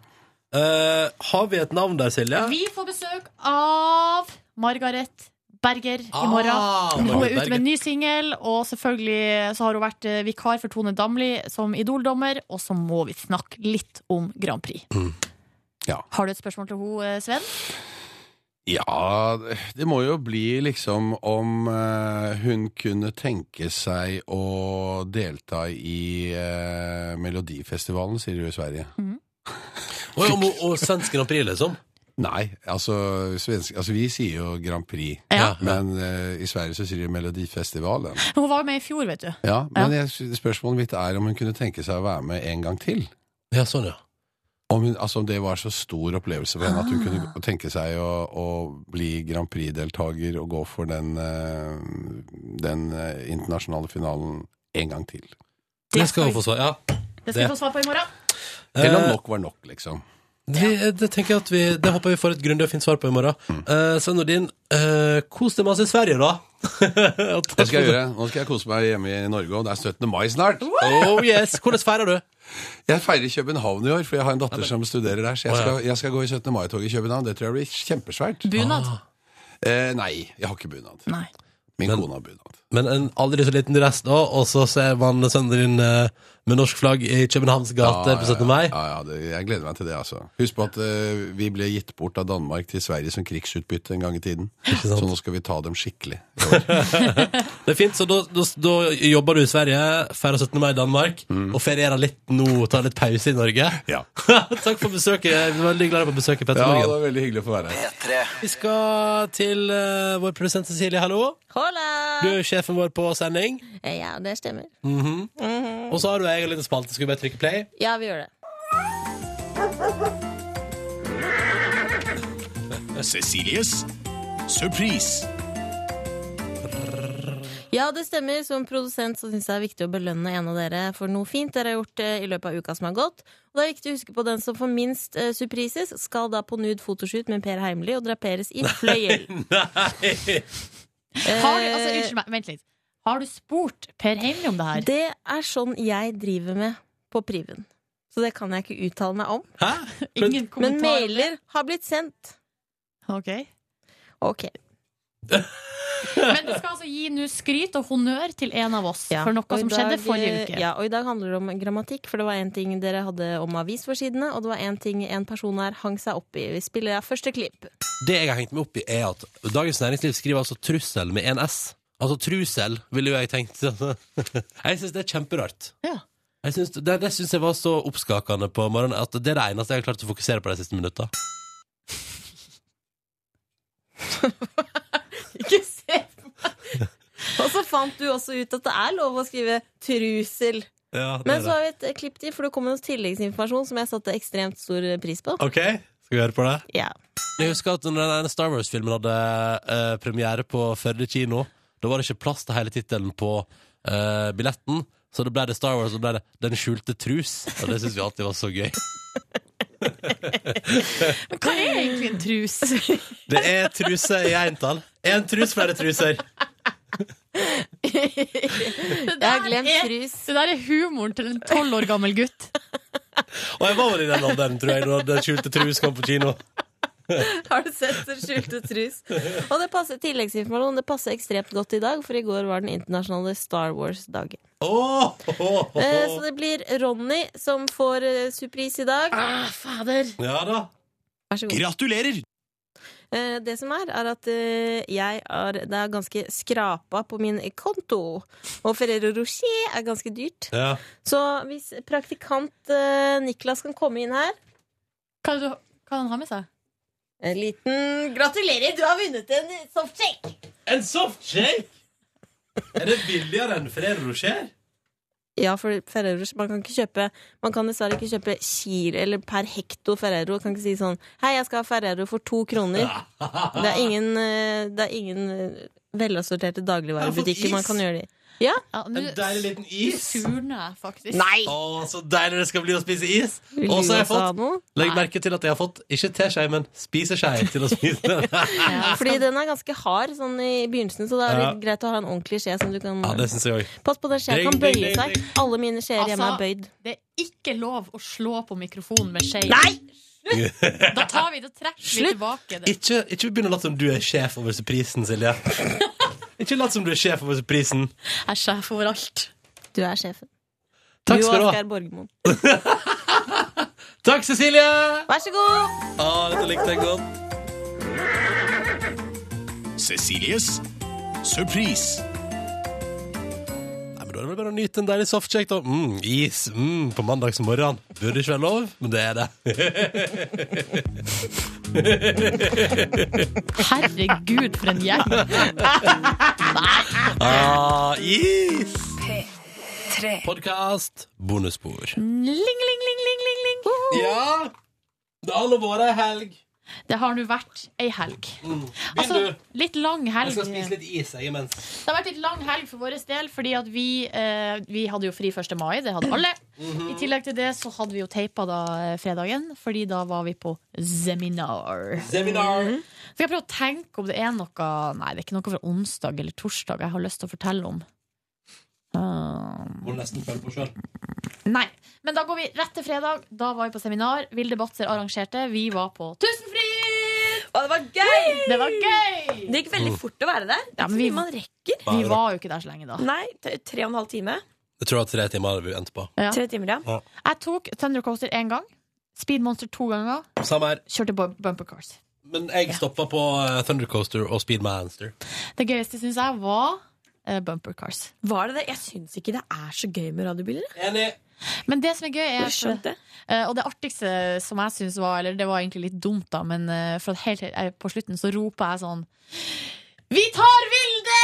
Speaker 2: Eh, har vi et navn der, Silje?
Speaker 3: Vi får besøk av Margaret Berger i morgen.
Speaker 2: Ah,
Speaker 3: hun
Speaker 2: Margaret
Speaker 3: er ute
Speaker 2: Berger.
Speaker 3: med en ny singel, og selvfølgelig så har hun vært eh, vikar for Tone Damli som Idol-dommer, og så må vi snakke litt om Grand Prix.
Speaker 2: Mm.
Speaker 11: Ja.
Speaker 3: Har du et spørsmål til henne, Sven?
Speaker 11: Ja, det må jo bli liksom om eh, hun kunne tenke seg å delta i eh, Melodifestivalen, sier de jo i Sverige.
Speaker 2: Oi, og, og, og svensk Grand Prix, liksom?
Speaker 11: Nei, altså, svensk, altså vi sier jo Grand Prix,
Speaker 3: Ja.
Speaker 11: men eh, i Sverige så sier de Melodifestivalen.
Speaker 3: Hun var jo med i fjor, vet du.
Speaker 11: Ja, men jeg, spørsmålet mitt er om hun kunne tenke seg å være med en gang til.
Speaker 2: Ja, sånn, ja.
Speaker 11: Om, hun, altså, om det var så stor opplevelse for henne at hun
Speaker 2: Ah.
Speaker 11: kunne tenke seg å, å bli Grand Prix-deltaker og gå for den, eh, den eh, internasjonale finalen en gang til.
Speaker 2: Det skal hun få svar ja.
Speaker 3: Det skal vi få svar på i morgen.
Speaker 11: Eller
Speaker 2: Eh,
Speaker 11: om nok var nok, liksom.
Speaker 2: Vi, det tenker jeg at vi Det håper jeg vi får et grundig og fint svar på i morgen.
Speaker 11: Mm.
Speaker 2: Eh, Sven Nordin, eh, kos deg masse i Sverige, da. [LAUGHS]
Speaker 11: Det skal jeg gjøre. Nå skal jeg kose meg hjemme i Norge, og det er 17. mai snart.
Speaker 2: Oh yes, Hvordan feirer du?
Speaker 11: Jeg feirer København i år, for jeg har en datter som studerer der. Så
Speaker 2: Å,
Speaker 11: jeg
Speaker 2: ja.
Speaker 11: skal, jeg skal gå i 17. mai-toget i København. Det tror jeg blir kjempesvært.
Speaker 3: Bunad.
Speaker 2: Ah.
Speaker 11: Eh, nei, jeg har ikke bunad.
Speaker 3: Nei.
Speaker 11: Min
Speaker 2: Men-
Speaker 11: kone har bunad.
Speaker 2: Men en aldri så liten dress nå, og så ser man Sven Nordin eh, med norsk flagg i Københavns gater på 17. mai.
Speaker 11: Ja, ja, det, jeg gleder meg til det, altså. Husk på at eh, vi ble gitt bort av Danmark til Sverige som krigsutbytte en gang i tiden. Så nå skal vi ta dem skikkelig.
Speaker 2: Det er fint, så da, da, da jobber du i Sverige, feirer 17. mai i Danmark, og ferierer litt nå, tar litt pause i Norge.
Speaker 11: Mm. Ja.
Speaker 2: [LAUGHS] Takk for besøket. Jeg var veldig glad for besøket, Petter
Speaker 11: Ja, det
Speaker 2: Morgen.
Speaker 11: var veldig hyggelig å få være her.
Speaker 2: Vi skal til eh, vår produsent Cecilie, hallo. Du er jo sjefen vår på sending.
Speaker 13: Ja, det stemmer.
Speaker 2: Mhm. Og så har du egen liten spalte. Skal vi bare trykke play?
Speaker 13: Ja, vi gjør det.
Speaker 14: Cecilies surprise.
Speaker 13: Ja, det stemmer. Som produsent så syns jeg det er viktig å belønne en av dere for noe fint dere har gjort eh, i løpet av uka som har gått. Og det er viktig å huske på den som får minst eh, surprises, skal da på nude fotoshoot med Per Heimly og draperes i fløyel.
Speaker 2: Nei!
Speaker 3: Har du,
Speaker 13: Eh.
Speaker 3: altså, unnskyld meg, vent litt. Har du spurt Per Heimly om det her?
Speaker 13: Det er sånn jeg driver med på priven. Så det kan jeg ikke uttale meg om.
Speaker 3: Ingen
Speaker 13: Men
Speaker 3: kommentar.
Speaker 13: mailer har blitt sendt.
Speaker 3: Ok.
Speaker 13: Ok.
Speaker 3: [LAUGHS] Men du skal altså gi nå skryt og honnør til en av oss for noe
Speaker 10: og i
Speaker 3: som skjedde
Speaker 10: dag,
Speaker 3: forrige
Speaker 10: eh,
Speaker 3: uke.
Speaker 10: Ja, og i dag handler det om grammatikk, for det var en ting dere hadde om avisforsidene, og det var en ting en person her hang seg opp i. Vi spiller av første klipp.
Speaker 2: Det jeg har hengt meg opp i, er at Dagens Næringsliv skriver altså 'trussel' med en S. Altså trusel, ville jo jeg tenkt. [LAUGHS] Jeg syns det er kjemperart. Jeg synes, det det syns jeg var så oppskakende på morgenen at det er det eneste jeg har klart å fokusere på de siste minutta.
Speaker 10: Ikke se på meg! Og så fant du også ut at det er lov å skrive 'trusel'.
Speaker 2: Ja, det
Speaker 10: Men
Speaker 2: er
Speaker 10: så har
Speaker 2: det.
Speaker 10: vi et klipp til, for det kom noe tilleggsinformasjon som jeg satte ekstremt stor pris på.
Speaker 2: OK, skal vi høre på det?
Speaker 10: Ja.
Speaker 2: Jeg husker at når den ene Star Wars-filmen hadde eh, premiere på Førde kino, da var det ikke plass til hele tittelen på eh, billetten, så da ble det Star Wars, og da ble det 'Den skjulte trus', og det syns vi alltid var så gøy.
Speaker 3: Hva er egentlig en
Speaker 10: [LAUGHS]
Speaker 3: trus?
Speaker 2: Det er truse i entall. Én trus, flere truser.
Speaker 3: Det der, er, det der er humoren til en tolv år gammel gutt.
Speaker 10: [LAUGHS]
Speaker 2: Og jeg var vel i den alderen, tror jeg, når Den skjulte trus kom på kino.
Speaker 10: Har du sett Den skjulte trus? Og det passer tilleggsinformasjon. Det passer ekstremt godt i dag, for i går var den internasjonale Star Wars-dagen.
Speaker 2: Oh,
Speaker 10: Eh, Så det blir Ronny som får eh, surprise i dag.
Speaker 3: Ah, fader!
Speaker 2: Ja da.
Speaker 10: Vær så god.
Speaker 15: Gratulerer!
Speaker 10: Eh, Det som er, er at eh, jeg er, det er ganske skrapa på min konto. Og Ferrero Rocher er ganske dyrt.
Speaker 2: Ja.
Speaker 10: Så hvis praktikant eh, Niklas kan komme inn her
Speaker 3: Hva er det han har med seg?
Speaker 10: En liten Gratulerer, du har vunnet en softshake!
Speaker 2: En softshake? Er det billigere enn Ferrero Rocher?
Speaker 10: Ja, for Ferrero Rocher- man kan ikke kjøpe Man kan dessverre ikke kjøpe kilo eller per hekto Ferrero. Kan ikke si sånn 'Hei, jeg skal ha Ferrero for to kroner'. Det er ingen, eh, det er ingen eh, velassorterte
Speaker 2: Jeg
Speaker 10: dagligvarebutikker
Speaker 2: har
Speaker 10: man
Speaker 2: fått
Speaker 10: kan
Speaker 2: is.
Speaker 10: gjøre det i. Ja.
Speaker 2: En deilig liten is.
Speaker 3: Surner jeg, faktisk.
Speaker 2: Å, så deilig det skal bli å spise is!
Speaker 10: Vil
Speaker 2: Og
Speaker 10: du
Speaker 2: så har jeg
Speaker 10: også ha noe?
Speaker 2: fått Legg merke til at jeg har fått ikke teskje, men spiseskje til å spise
Speaker 10: [LAUGHS]
Speaker 2: den.
Speaker 10: Fordi den er ganske hard sånn i begynnelsen, så det er
Speaker 2: Ja.
Speaker 10: litt greit å ha en ordentlig skje som du kan
Speaker 2: Ja, det syns jeg òg.
Speaker 10: Pass på, den skjeen
Speaker 2: Ding,
Speaker 10: kan
Speaker 2: ding,
Speaker 10: bøye
Speaker 2: ding,
Speaker 10: seg.
Speaker 2: ding.
Speaker 10: Alle mine skjeer
Speaker 16: Altså-
Speaker 10: hjemme er bøyd.
Speaker 3: det er ikke lov å slå på mikrofonen med skje. Nei! Slutt! Da tar vi det og trekker vi tilbake det.
Speaker 2: Ikke, ikke begynn å late som du er sjef over surprisen,
Speaker 10: [LAUGHS]
Speaker 2: Silje. ikke lat som du er sjef over surprisen.
Speaker 3: Jeg er sjef overalt.
Speaker 10: Du er sjefen.
Speaker 2: Takk skal du
Speaker 10: og
Speaker 2: ha.
Speaker 10: Asgeir Borgermoen.
Speaker 2: Takk, Cecilie!
Speaker 10: Vær så god!
Speaker 2: Å, dette likte jeg godt.
Speaker 15: Cecilies surprise.
Speaker 2: Nei, men Da er det vel bare å nyte en deilig softshake, da. Mm, is mm, på mandagsmorgen. Burde ikke være lov, men det er det.
Speaker 3: Herregud, for en
Speaker 10: [LAUGHS]
Speaker 3: gjeng.
Speaker 2: ah, [LAUGHS] is!
Speaker 3: P3.
Speaker 2: Podkast. Bonusspor.
Speaker 3: Ling, ling, ling, ling, ling, ling.
Speaker 2: Ja! Det har nå vært ei helg.
Speaker 3: Det har nå vært ei helg.
Speaker 2: Mm. Begynn,
Speaker 3: Altså,
Speaker 2: du.
Speaker 3: litt lang helg.
Speaker 2: Jeg skal spise litt is jeg, imens.
Speaker 3: Det har vært litt lang helg for vår del, fordi at vi, eh, vi hadde jo fri 1. mai. Det hadde alle.
Speaker 2: Mhm.
Speaker 3: I tillegg til det så hadde vi jo teipa da eh, fredagen, fordi da var vi på seminar.
Speaker 2: Seminar.
Speaker 3: Mhm. Skal jeg prøve å tenke om det er noe Nei, det er ikke noe fra onsdag eller torsdag jeg har lyst til å fortelle om. Um,
Speaker 2: Må nesten følge på sjøl.
Speaker 3: nei. Men da går vi rett til fredag. Da var vi på seminar. Vilde Batzer arrangerte. Vi var på Tusenfryd!
Speaker 10: Og det var gøy!
Speaker 3: Det var gøy!
Speaker 16: Det gikk veldig fort å være der. Det er
Speaker 3: Ja,
Speaker 16: ikke så
Speaker 3: men vi-
Speaker 16: mye man rekker.
Speaker 2: Vi var
Speaker 3: jo ikke der så lenge, da.
Speaker 16: Nei, t- tre og en halv time.
Speaker 2: Jeg tror det var tre timer vi endte på.
Speaker 3: Ja.
Speaker 16: Tre timer, ja.
Speaker 2: Ja.
Speaker 3: Jeg tok Thunder Coaster én gang. Speed Monster to ganger.
Speaker 2: Samme her.
Speaker 3: Kjørte bu- bumper cars.
Speaker 2: Men jeg stoppa på eh, Thundercoaster og Speedmaster.
Speaker 3: Det gøyeste syns jeg var eh, bumper cars.
Speaker 16: Var det det? Jeg syns ikke det er så gøy med radiobiler.
Speaker 3: Men det som er gøy, er
Speaker 16: Jeg skjønte det.
Speaker 3: Eh, Og det artigste som jeg syns var Eller det var egentlig litt dumt, da, men eh, for at helt, eh, på slutten så ropa jeg sånn Vi tar Vilde!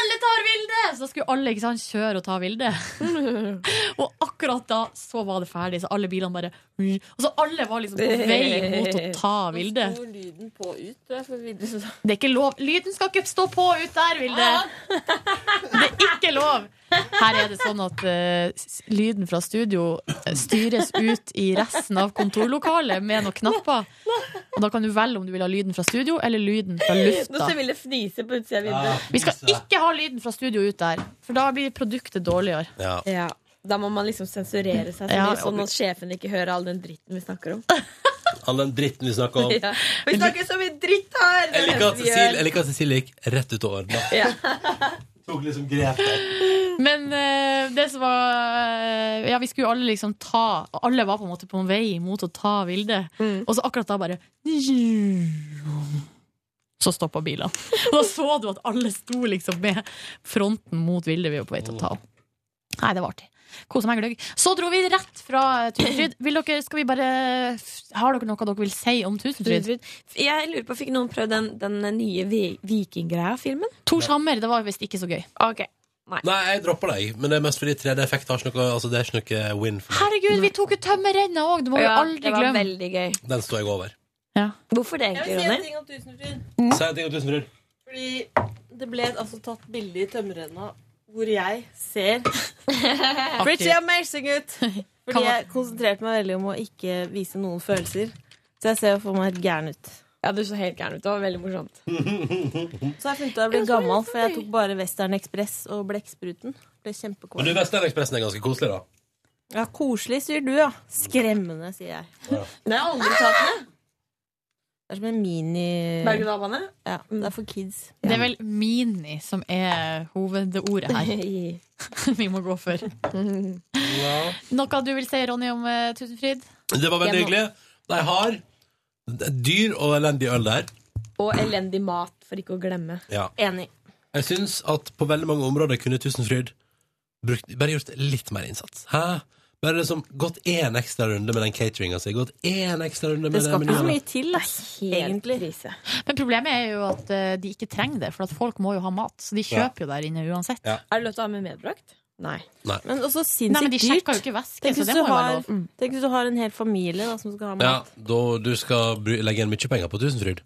Speaker 3: Alle tar Vilde! Så da skulle alle ikke sant, kjøre og ta Vilde.
Speaker 10: [LAUGHS]
Speaker 3: og akkurat da så var det ferdig, så alle bilene bare Og så alle var liksom på vei mot å ta Vilde.
Speaker 10: Nå sto lyden på ut, tror jeg, for Vilde så-
Speaker 3: Det er ikke lov. Lyden skal ikke stå på ut der, Vilde.
Speaker 10: Ah!
Speaker 3: [LAUGHS] Det er ikke lov. Her er det sånn at eh, s- lyden fra studio eh, styres ut i resten av kontorlokalet med noen knapper. Og da kan du velge om du vil ha lyden fra studio eller lyden fra
Speaker 16: Nå
Speaker 3: lufta.
Speaker 16: ser Vilde fnise på utsida av vinduet.
Speaker 3: Vi
Speaker 2: Altså-
Speaker 3: skal ikke ha lyden fra studio ut der, for da blir produktet dårligere.
Speaker 16: Ja. Da må man liksom sensurere seg selv,
Speaker 3: Ja,
Speaker 16: sånn
Speaker 3: og-
Speaker 16: at sjefen ikke hører all den dritten vi snakker om.
Speaker 2: all den dritten vi snakker om.
Speaker 10: [LAUGHS] Ja. Vi snakker så mye dritt her! det er
Speaker 2: Jeg liker at
Speaker 10: det vi gjør.
Speaker 2: Cecilie, jeg liker at Cecilie gikk rett ut og ordna. Tok liksom grep der.
Speaker 3: Men eh, det som var Ja, vi skulle jo alle liksom ta og Alle var på en måte på en vei mot å ta Vilde.
Speaker 10: Mm.
Speaker 3: Og så akkurat da bare Så stoppa bilen. [LAUGHS] Og da så du at alle sto liksom med fronten mot Vilde vi var på vei til å ta. Nei, det var artig. Kose meg gløgg. Så dro vi rett fra Tusenfryd. Vil dere, skal vi bare Har dere noe dere vil si om Tusenfryd?
Speaker 10: Jeg lurer på, Fikk noen prøvd den, den nye vi- vikinggreia-filmen?
Speaker 3: Tors Hammer. Det var visst ikke så gøy.
Speaker 10: Ok, nei
Speaker 2: Nei, jeg dropper deg, men det er mest fordi 3D-effekt har ikke noe Altså, det er ikke noe win. For
Speaker 3: Herregud, vi tok jo tømmerrenna òg! Det må vi
Speaker 10: Ja,
Speaker 3: aldri
Speaker 10: det var
Speaker 3: glemme.
Speaker 10: veldig gøy.
Speaker 2: meg. Den står jeg over.
Speaker 10: Hvorfor det egentlig,
Speaker 13: Jeg vil si en
Speaker 10: Ronny?
Speaker 13: ting om Tusenfryd.
Speaker 2: Si en ting om Tusenfryd.
Speaker 13: Fordi det ble altså tatt bilde i tømmerrenna hvor jeg ser Pretty amazing
Speaker 10: [LAUGHS]
Speaker 13: ut! Fordi
Speaker 10: Kan man-
Speaker 13: jeg konsentrerte meg veldig om å ikke vise noen følelser. Så jeg ser jo for meg helt gæren ut.
Speaker 10: Ja, du så helt gæren ut. Det var veldig morsomt.
Speaker 13: Så jeg funnet ut at jeg ble gammel, for jeg tok bare Western Express og Blekkspruten. Ble
Speaker 2: Men du,
Speaker 13: kjempekåt.
Speaker 2: Vestlandekspressen er ganske koselig, da.
Speaker 13: Ja, koselig, sier du, ja. Skremmende, sier jeg.
Speaker 2: Ja.
Speaker 13: Nei, jeg har aldri tatt den. Det er som en mini
Speaker 10: Berg-og-dal-bane? Mm.
Speaker 13: Ja, det er for kids.
Speaker 3: Det er vel mini som er hovedordet [LAUGHS] her. Vi må gå for. Noe du vil si, Ronny, om eh, Tusenfryd?
Speaker 2: Det var veldig
Speaker 3: Jeg må-
Speaker 2: hyggelig. De har det er dyr og elendig øl der.
Speaker 10: Og elendig mat, for ikke å glemme.
Speaker 2: Ja.
Speaker 10: Enig.
Speaker 2: Jeg syns at på veldig mange områder kunne Tusenfryd brukt, bare gjort litt mer innsats. Hæ? Bare liksom gått én ekstra runde med den cateringa si. Gått én ekstra runde med
Speaker 13: Det skal ikke så mye
Speaker 2: menyen.
Speaker 13: til, ass, egentlig.
Speaker 3: Men problemet er jo at eh, de ikke trenger det, for at folk må jo ha mat. Så de kjøper jo der inne uansett.
Speaker 2: Ja.
Speaker 10: Er det lov til å ha med medbrakt? Nei.
Speaker 2: Nei.
Speaker 13: Men også
Speaker 3: Nei, men
Speaker 13: sinnssykt
Speaker 3: de
Speaker 13: dyrt.
Speaker 3: sjekker jo ikke væske,
Speaker 13: Tenk
Speaker 3: så
Speaker 13: hvis
Speaker 3: det
Speaker 13: du
Speaker 3: må jo være
Speaker 13: har,
Speaker 3: lov.
Speaker 13: mm, tenk hvis du har en hel familie da, som skal ha mat.
Speaker 2: Ja, da du skal bru- legge igjen mye penger på Tusenfryd.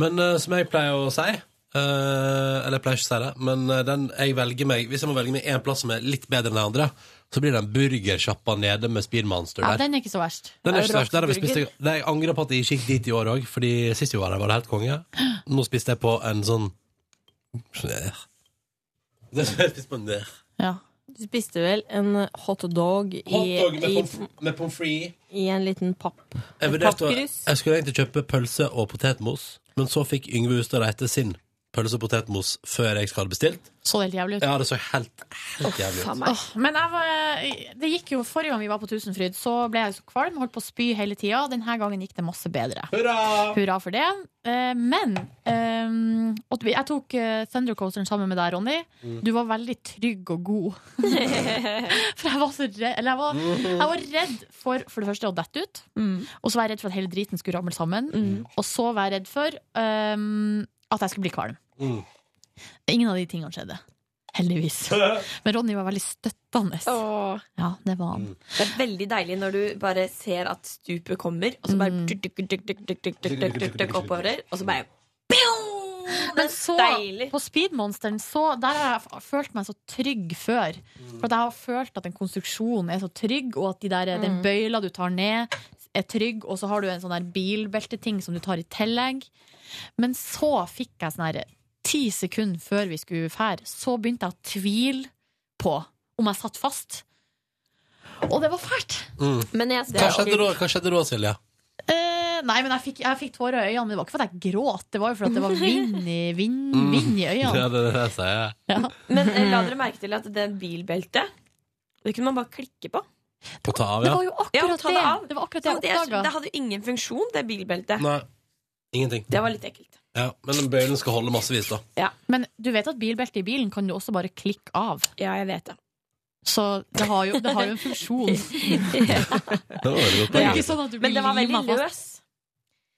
Speaker 2: Men eh, som jeg pleier å si eh, Eller jeg pleier ikke å si det, men eh, den jeg velger meg Hvis jeg må velge meg én plass som er litt bedre enn de andre, så blir det den burgersjappa nede med Speedmonster
Speaker 3: Ja,
Speaker 2: der.
Speaker 3: den er ikke så verst.
Speaker 2: Den er ikke så verst. Der har vi spist det. Nei, Jeg angrer på at jeg ikke gikk dit i år òg, Fordi sist vi var der, var det helt konge. Nå spiste jeg på en sånn Det som [LAUGHS] jeg spiste på en der.
Speaker 13: Du spiste vel en hotdog i,
Speaker 2: Hotdog med
Speaker 13: i,
Speaker 2: pomf- med pommes frites.
Speaker 13: i en liten papp.
Speaker 2: Jeg,
Speaker 13: Et
Speaker 2: vurderte å-
Speaker 13: pappkrus.
Speaker 2: jeg skulle egentlig kjøpe pølse og potetmos, men så fikk Yngve Hustad Reite sin pølse og potetmos før jeg skal ha bestilt.
Speaker 3: Så det helt jævlig ut.
Speaker 2: Ja, det så helt, helt jævlig ut.
Speaker 3: Åh, men jeg var, eh, det gikk jo Forrige gang vi var på Tusenfryd, så ble jeg så kvalm. Holdt på å spy hele tida. Denne gangen gikk det masse bedre.
Speaker 2: Hurra!
Speaker 3: for det. Eh, men eh, og jeg tok eh, Thundercoasteren sammen med deg, Ronny.
Speaker 10: Mm.
Speaker 3: Du var veldig trygg og god. for jeg var så redd Eller jeg var, jeg var redd for for det første å dette ut. Og så var jeg redd for at hele driten skulle ramle sammen. Og så var jeg redd for eh, at jeg skulle bli kvalm. Ingen av de tingene skjedde. Heldigvis. Men Ronny var veldig støttende. Ja, det var han.
Speaker 10: Det er veldig deilig når du bare ser at stupet kommer, og så bare tuk, tuk, tuk, tuk, tuk, tuk, tuk, tuk, tuk, tuk, oppover, og så bare
Speaker 3: Men så, på Speedmonsteren, så der har jeg f- følt meg så trygg før. For at jeg har følt at en konstruksjon er så trygg, og at de der, den
Speaker 10: Mm.
Speaker 3: bøyla du tar ned, er trygg, og så har du en sånn der bilbelteting som du tar i tillegg. Men så fikk jeg sånn her Ti sekunder før vi skulle fære, så begynte jeg å tvile på om jeg satt fast. Og det var fælt!
Speaker 2: Mm.
Speaker 10: Men jeg-
Speaker 2: Hva skjedde da, Hva skjedde da Silje?
Speaker 3: Eh, nei, men jeg fikk, jeg fikk tårer i øynene. Men det var ikke fordi jeg gråt, det var jo fordi det var vind i, vind,
Speaker 2: [LAUGHS]
Speaker 3: vind i øynene.
Speaker 2: Ja, Mm. det, det, det sier jeg.
Speaker 10: Men eh,
Speaker 13: [LAUGHS]
Speaker 10: la dere merke til at det bilbeltet Det kunne man bare klikke på.
Speaker 2: Å ta av,
Speaker 10: Det
Speaker 2: ja.
Speaker 10: var jo akkurat ja, ta det.
Speaker 3: det.
Speaker 10: Av.
Speaker 3: Det var akkurat det jeg
Speaker 10: Så det,
Speaker 3: oppdaget.
Speaker 10: det hadde jo ingen funksjon, det bilbeltet.
Speaker 2: Nei. Ingenting.
Speaker 10: Det var litt ekkelt.
Speaker 2: Ja, men den bøylen skal holde massevis, da.
Speaker 3: Men du vet at bilbelte i bilen kan du også bare klikke av.
Speaker 10: Ja, jeg vet det.
Speaker 3: Så det har jo, det har jo en
Speaker 10: [LAUGHS]
Speaker 3: funksjon.
Speaker 2: Det var veldig godt
Speaker 3: Det er
Speaker 2: poeng.
Speaker 3: ikke sånn at du
Speaker 10: Men
Speaker 3: blir
Speaker 10: det var veldig
Speaker 3: limet fast.
Speaker 10: løs.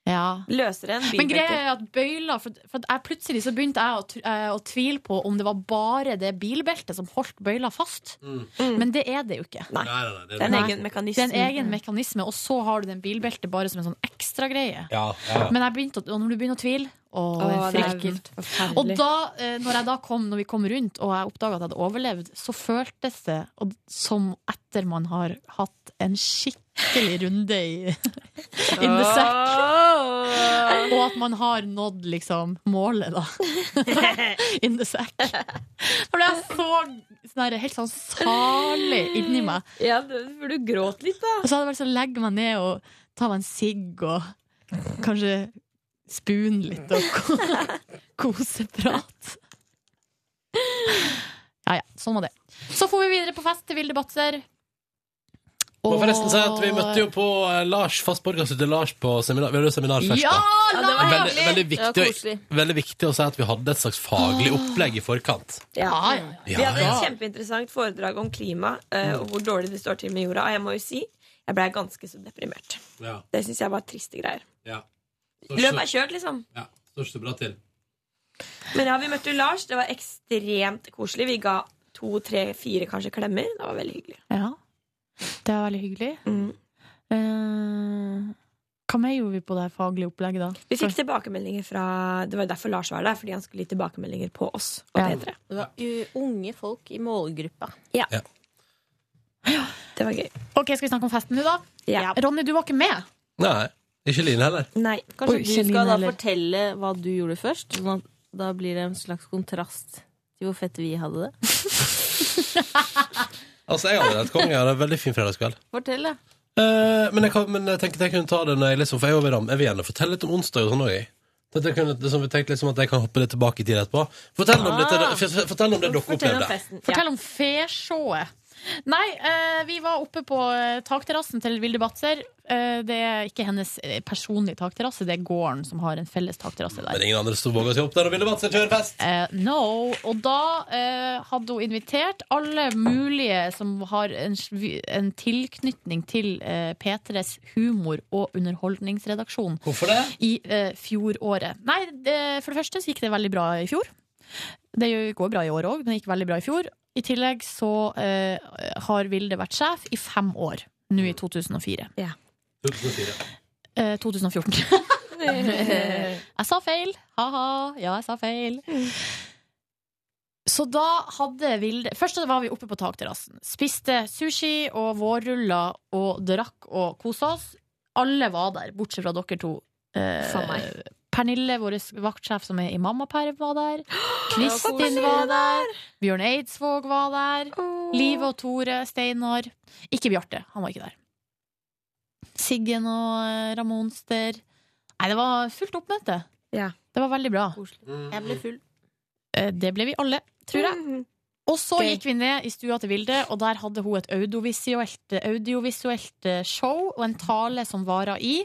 Speaker 3: Ja.
Speaker 10: Løsere enn
Speaker 3: Men greia
Speaker 10: bilbeltet.
Speaker 3: er at bøyler for, for at jeg Plutselig så begynte jeg å, tr- eh, å tvile på om det var bare det bilbeltet som holdt bøyla fast.
Speaker 2: Mm.
Speaker 3: Men det er det jo ikke.
Speaker 2: Nei, nei, nei, det er
Speaker 10: Det er en
Speaker 2: det.
Speaker 10: egen
Speaker 3: Det er
Speaker 10: mekanisme.
Speaker 3: en egen mekanisme, og så har du den bilbeltet bare som en sånn ekstra greie.
Speaker 2: Ja, ja.
Speaker 3: Men jeg begynte, å- og når du begynner å tvile Å,
Speaker 10: Åh,
Speaker 3: det
Speaker 10: det
Speaker 3: er
Speaker 10: er
Speaker 3: ekkelt.
Speaker 10: forferdelig.
Speaker 3: Og da, eh, når jeg da kom, når vi kom rundt, og jeg oppdaga at jeg hadde overlevd, så føltes det og- som etter man har hatt en skikkelig runde i [LAUGHS] in the sack. Og at man har nådd liksom målet, da. [LAUGHS] in the sack. Da ble jeg så sånn her, helt sånn salig inni meg.
Speaker 10: [LAUGHS] Ja, det- for du gråt litt, da.
Speaker 3: Og så hadde jeg bare lyst til å sånn, legge meg ned og ta meg en sigg og kanskje spoon litt og ko- [LAUGHS] koseprat. Ja ja, sånn var det. Så får vi videre på fest til Vilde Batzer.
Speaker 2: Må forresten si at vi møtte jo på eh, Lars Fastborg, altså til Lars på seminar. Vi hadde jo seminarfest.
Speaker 3: Ja,
Speaker 2: da.
Speaker 3: Ja, det var
Speaker 2: veldig,
Speaker 3: hyggelig.
Speaker 2: veldig,
Speaker 3: Det var
Speaker 2: viktig,
Speaker 3: koselig.
Speaker 2: å- veldig viktig å si at vi hadde et slags faglig opplegg i forkant.
Speaker 10: Ja, ja,
Speaker 2: ja.
Speaker 10: Vi hadde
Speaker 2: Ja,
Speaker 10: et
Speaker 2: ja.
Speaker 10: kjempeinteressant foredrag om klima eh, og hvor dårlig det står til med jorda. Og jeg må jo si jeg blei ganske så deprimert.
Speaker 2: Ja.
Speaker 10: Det syns jeg var triste greier.
Speaker 2: Ja.
Speaker 10: Løpet er kjørt, liksom.
Speaker 2: Ja, står ikke så bra til.
Speaker 10: Men ja, vi møtte jo Lars. Det var ekstremt koselig. Vi ga to, tre, fire kanskje klemmer. Det var veldig hyggelig.
Speaker 3: Ja. Det er veldig hyggelig. Eh, hva mer gjorde vi på det her faglige opplegget, da?
Speaker 10: Vi fikk tilbakemeldinger fra Det var jo derfor Lars var der, fordi han skulle gi tilbakemeldinger på oss og
Speaker 3: Ja.
Speaker 10: P3.
Speaker 13: Det var u- unge folk i målgruppa.
Speaker 10: Ja. Det var gøy.
Speaker 3: Ok, Skal vi snakke om festen nå, da? Ronny, du var ikke med.
Speaker 2: Nei. Ikke Line heller.
Speaker 10: Nei.
Speaker 13: Kanskje
Speaker 2: Oi,
Speaker 13: du
Speaker 2: Celine
Speaker 13: skal da
Speaker 2: heller.
Speaker 13: fortelle hva du gjorde først? Sånn at da blir det en slags kontrast til hvor fett vi hadde det.
Speaker 2: Altså, jeg hadde et konge. Jeg hadde en veldig fin fredagskveld.
Speaker 13: Fortell, da.
Speaker 2: Eh, men, jeg kan, men jeg tenkte jeg kunne ta det når jeg liksom For jeg er over rammen. Jeg vil gjerne fortelle litt om onsdag og sånn òg, jeg. Tenkte jeg kunne- Det som vi tenkte liksom at jeg kan hoppe litt tilbake i tid etterpå. Fortell om,
Speaker 3: Ah.
Speaker 2: dette, for- fortell om det dere opplevde.
Speaker 3: Fortell om fesjået. Nei, eh, vi var oppe på eh, takterrassen til Vilde Batzer. Eh, det er ikke hennes eh, personlige takterrasse, det er gården som har en felles takterrasse der.
Speaker 2: Men ingen andre som våga seg opp der og ville vært seg kjøre fest.
Speaker 3: Eh, no. Og da eh, hadde hun invitert alle mulige som har en, sv- en tilknytning til eh, P3s humor- og underholdningsredaksjon.
Speaker 2: Hvorfor det?
Speaker 3: I eh, fjoråret. Nei, det, for det første så gikk det veldig bra i fjor. Det gjør- går bra i år òg, men det gikk veldig bra i fjor. I tillegg så eh, har Vilde vært sjef i fem år, nå i 2004.
Speaker 10: Ja.
Speaker 2: 2004.
Speaker 3: Eh, 2014. jeg sa feil. Ha-ha. Ja, jeg sa feil. Så da hadde Vilde Først var vi oppe på takterrassen. Spiste sushi og vårruller og drakk og kosa oss. Alle var der, bortsett fra dere to. Eh,
Speaker 10: For meg.
Speaker 3: Pernille, vår vaktsjef som er i mammaperm, var der. Kristin
Speaker 10: koselig.
Speaker 3: var der. Bjørn Eidsvåg var der. Live og Tore Steinar. Ikke Bjarte, han var ikke der. Siggen og eh, Ramonster. Nei, det var fullt oppmøte. Det var veldig bra.
Speaker 13: Jeg ble full. Mhm.
Speaker 3: Eh, Det ble vi alle, tror jeg. Og så gikk vi ned i stua til Vilde, og der hadde hun et audiovisuelt, audiovisuelt eh, show og en tale som vara i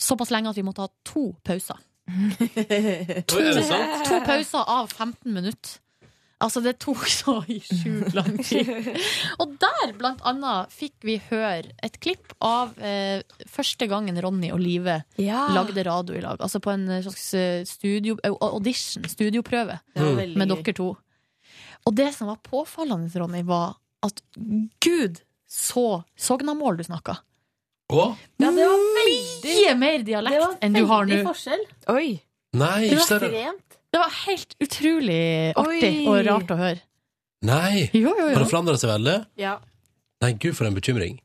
Speaker 3: såpass lenge at vi måtte ha to pauser.
Speaker 2: Oi, er det sant?
Speaker 3: To pauser av 15 minutter. Altså, det tok så i sjukt lang tid. Og der, blant annet, fikk vi høre et klipp av eh, første gangen Ronny og Live
Speaker 10: Ja.
Speaker 3: lagde radio i lag. Altså på en slags eh, studio, au- audition, studioprøve,
Speaker 10: Det var veldig
Speaker 3: med
Speaker 10: gøy.
Speaker 3: dere to. Og det som var påfallende, Ronny, var at gud, så Sognamål du snakka.
Speaker 2: Å?
Speaker 3: Ja, det var mye mer dialekt enn du har nå.
Speaker 13: Veldig forskjell.
Speaker 10: Oi.
Speaker 2: Nei,
Speaker 3: Det var
Speaker 2: ikke det.
Speaker 13: Ekstremt.
Speaker 3: Det var helt utrolig artig
Speaker 13: Oi.
Speaker 3: og rart å høre.
Speaker 2: Nei.
Speaker 3: Jo, jo, jo.
Speaker 2: Har det forandra seg veldig?
Speaker 13: Ja.
Speaker 2: Nei, gud, for en bekymring.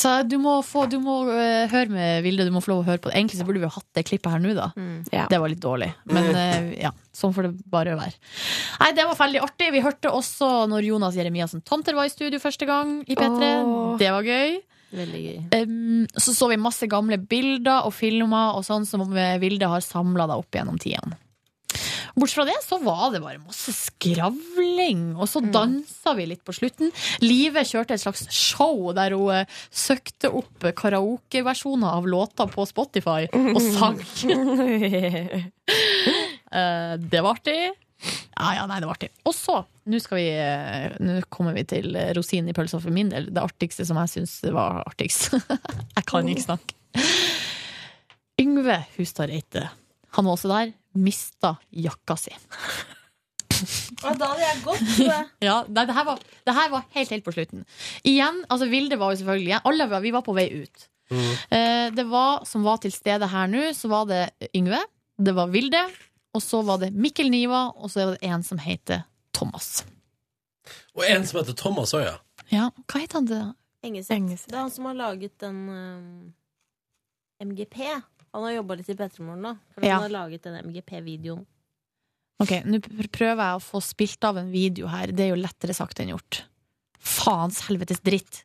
Speaker 3: Så du må, få, du må eh, høre med Vilde, du må få lov å høre på det. Egentlig så burde vi jo hatt det klippet her nå, da. Det var litt dårlig. Men
Speaker 13: Mm.
Speaker 3: eh, ja, sånn får det bare være. Nei, det var veldig artig. Vi hørte også når Jonas Jeremiassen Tomter var i studio første gang i P3.
Speaker 13: Åh.
Speaker 3: Det var gøy.
Speaker 13: Veldig gøy.
Speaker 3: Em, så så vi masse gamle bilder og filmer og sånn som eh, Vilde har samla deg opp gjennom tidene. Bortsett fra det så var det bare masse skravling, og så dansa vi litt på slutten. Live kjørte et slags show der hun eh, søkte opp karaokeversjoner av låter på Spotify og sang. Eh, det var artig. Ja, ja, nei, det var artig. Og så, nå skal vi eh, Nå kommer vi til eh, rosinen i pølsa for min del. Det artigste som jeg syns var artigst. [LAUGHS] jeg kan ikke snakke. Yngve Hustad Reite, han var også der, mista jakka
Speaker 13: [LAUGHS]
Speaker 3: si.
Speaker 13: Og da hadde jeg gått, tror jeg.
Speaker 3: [LAUGHS] Ja, nei, det her var, det her var helt, helt på slutten. Igjen, altså Vilde var jo selvfølgelig Alle var, vi var på vei ut. Eh, Det var, som var til stede her nå, så var det Yngve, det var Vilde, og så var det Mikkel Niva, og så er det en som heter Thomas.
Speaker 2: Og en som heter Thomas òg, ja.
Speaker 3: Ja, hva heter han det? da?
Speaker 13: Engeseth. Det er han som har laget den um, eh, MGP. Han har jobba litt i P3 Morgen nå. For
Speaker 3: Ja.
Speaker 13: han har laget den MGP-videoen.
Speaker 3: Ok, nå pr- prøver jeg å få spilt av en video her. Det er jo lettere sagt enn gjort. Faens helvetes dritt.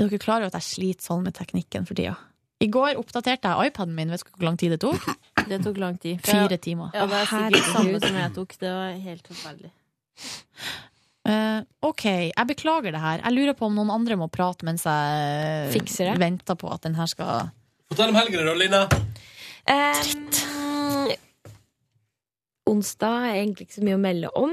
Speaker 3: Er dere klar over at jeg sliter sånn med teknikken for tida? I går oppdaterte jeg iPaden min. Vet dere hvor lang tid det tok?
Speaker 13: Det tok lang tid.
Speaker 3: Fire timer.
Speaker 13: Ja, det er sikkert det samme
Speaker 3: Herregud.
Speaker 13: som jeg tok. Det var helt forferdelig.
Speaker 3: Eh, ok, jeg beklager det her. Jeg lurer på om noen andre må prate mens jeg
Speaker 10: Fikser det.
Speaker 3: venter på at den her skal
Speaker 2: Fortell om helgene, da, Line.
Speaker 10: Dritt. onsdag er egentlig ikke så mye å melde om.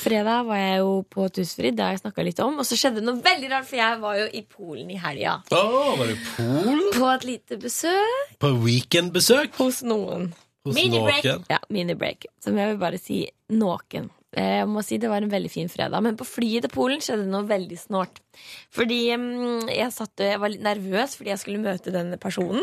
Speaker 10: Fredag var jeg jo på Tusfrid, det har jeg snakka litt om. Og så skjedde det noe veldig rart, for jeg var jo i Polen i helga.
Speaker 2: Å, var du i Polen?
Speaker 10: På et lite besøk
Speaker 2: På weekendbesøk?
Speaker 10: hos noen.
Speaker 2: Hos
Speaker 10: Mini-break.
Speaker 2: noen.
Speaker 10: Ja, mini-break. Som jeg vil bare si noen. Eh, Jeg må si Det var en veldig fin fredag, men på flyet til Polen skjedde det noe veldig snålt. Fordi mm, jeg, satt, jeg var litt nervøs fordi jeg skulle møte denne personen.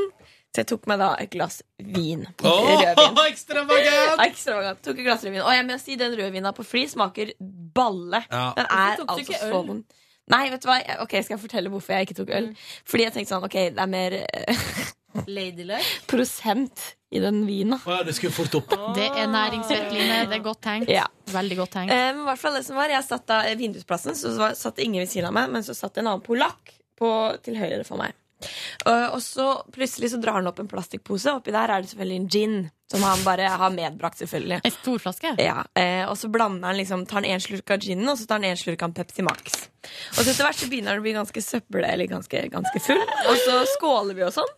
Speaker 10: Så jeg tok meg da et glass vin.
Speaker 2: [LAUGHS]
Speaker 10: Rødvin.
Speaker 2: Ekstravagant!
Speaker 10: Ekstravagant. Tok et glass rødvin. Og jeg må si den rødvina på fly smaker balle.
Speaker 13: Ja.
Speaker 10: Den
Speaker 13: Hvorfor
Speaker 10: er
Speaker 13: tok du
Speaker 10: altså
Speaker 13: ikke øl? Mm.
Speaker 10: så vond. Nei, vet du hva? Jeg- Ok, jeg skal fortelle hvorfor jeg ikke tok øl. Fordi jeg tenkte sånn, ok, det er mer eh, [LAUGHS]
Speaker 13: Ladylike.
Speaker 10: prosent i den vina.
Speaker 2: Å ja, du skulle fort opp.
Speaker 3: Det er næringsfett, Line. Det er godt tenkt.
Speaker 10: Ja.
Speaker 3: Veldig godt tenkt.
Speaker 10: Eh, men i hvert fall det som var, jeg satt da eh, vindusplassen, så var, satt ingen ved siden av meg, men så satt en annen polakk på, til høyre for meg. Eh, og så plutselig så drar han opp en plastikkpose. Oppi der er det selvfølgelig en gin. Som han bare har medbrakt, selvfølgelig.
Speaker 3: En stor flaske?
Speaker 10: Ja, eh, Og så blander han liksom, tar han en slurk av ginen, og så tar han en slurk av Pepsi Max. Og så etter hvert så begynner han å bli ganske søppel, eller ganske, ganske full. Og så skåler vi og sånn.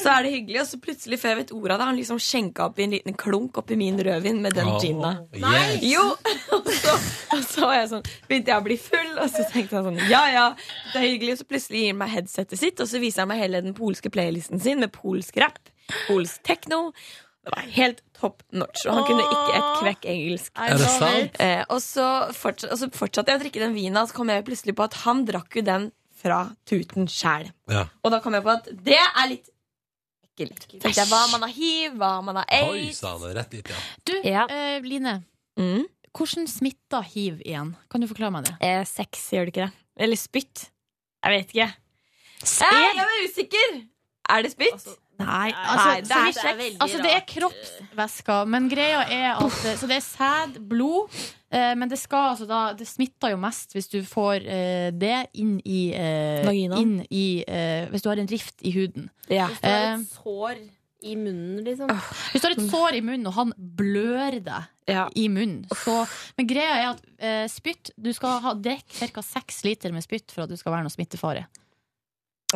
Speaker 10: Så er det hyggelig, og så plutselig før jeg vet ordet av det, har han liksom skjenka oppi en liten klunk oppi min rødvin med den
Speaker 13: Åh,
Speaker 10: gina.
Speaker 13: yes.
Speaker 10: Jo! [LAUGHS] Og så, og så var jeg sånn, begynte jeg å bli full, og så tenkte jeg sånn ja ja, det er hyggelig. Og så plutselig gir han meg headsetet sitt, og så viser han meg hele den polske playlisten sin med polsk rap, polsk tekno. Det var helt top notch, og han kunne ikke et kvekk engelsk.
Speaker 13: Er det sant?
Speaker 10: Eh, og, så fortsatte, og så fortsatte jeg å drikke den vina, så kom jeg plutselig på at han drakk jo den fra tuten sjæl.
Speaker 2: Ja.
Speaker 10: Og da kom jeg på at det er litt ekkelt. Tenkte jeg, Hva om man har hiv, hva om man har
Speaker 2: Oi
Speaker 10: aids? Mm.
Speaker 2: sann, rett dit, ja.
Speaker 3: Du, eh, Line. Hvordan smitter hiv igjen? Kan du forklare meg det?
Speaker 10: Eh, sex, gjør det ikke det? Eller spytt? Jeg vet ikke. Eh, jeg var usikker! Er det spytt?
Speaker 13: Altså,
Speaker 3: Nei,
Speaker 10: Nei, det
Speaker 3: altså,
Speaker 10: er-
Speaker 3: så
Speaker 10: det er
Speaker 3: vi-
Speaker 10: veldig
Speaker 3: altså det er kroppsvæsker, men greia er at eh, Så det er sæd, blod, eh, men det skal altså da Det smitter jo mest hvis du får eh, det inn i, eh,
Speaker 13: Vaginaen.
Speaker 3: inn i eh, Hvis du har en rift i huden.
Speaker 13: Hvis du har
Speaker 3: Eh,
Speaker 13: et sår i munnen, liksom.
Speaker 3: Hvis du har et sår i munnen, og han blør deg i munnen så, Men greia er at eh, spytt Du skal ha drikke ca. seks liter med spytt for at du skal være noe smittefare.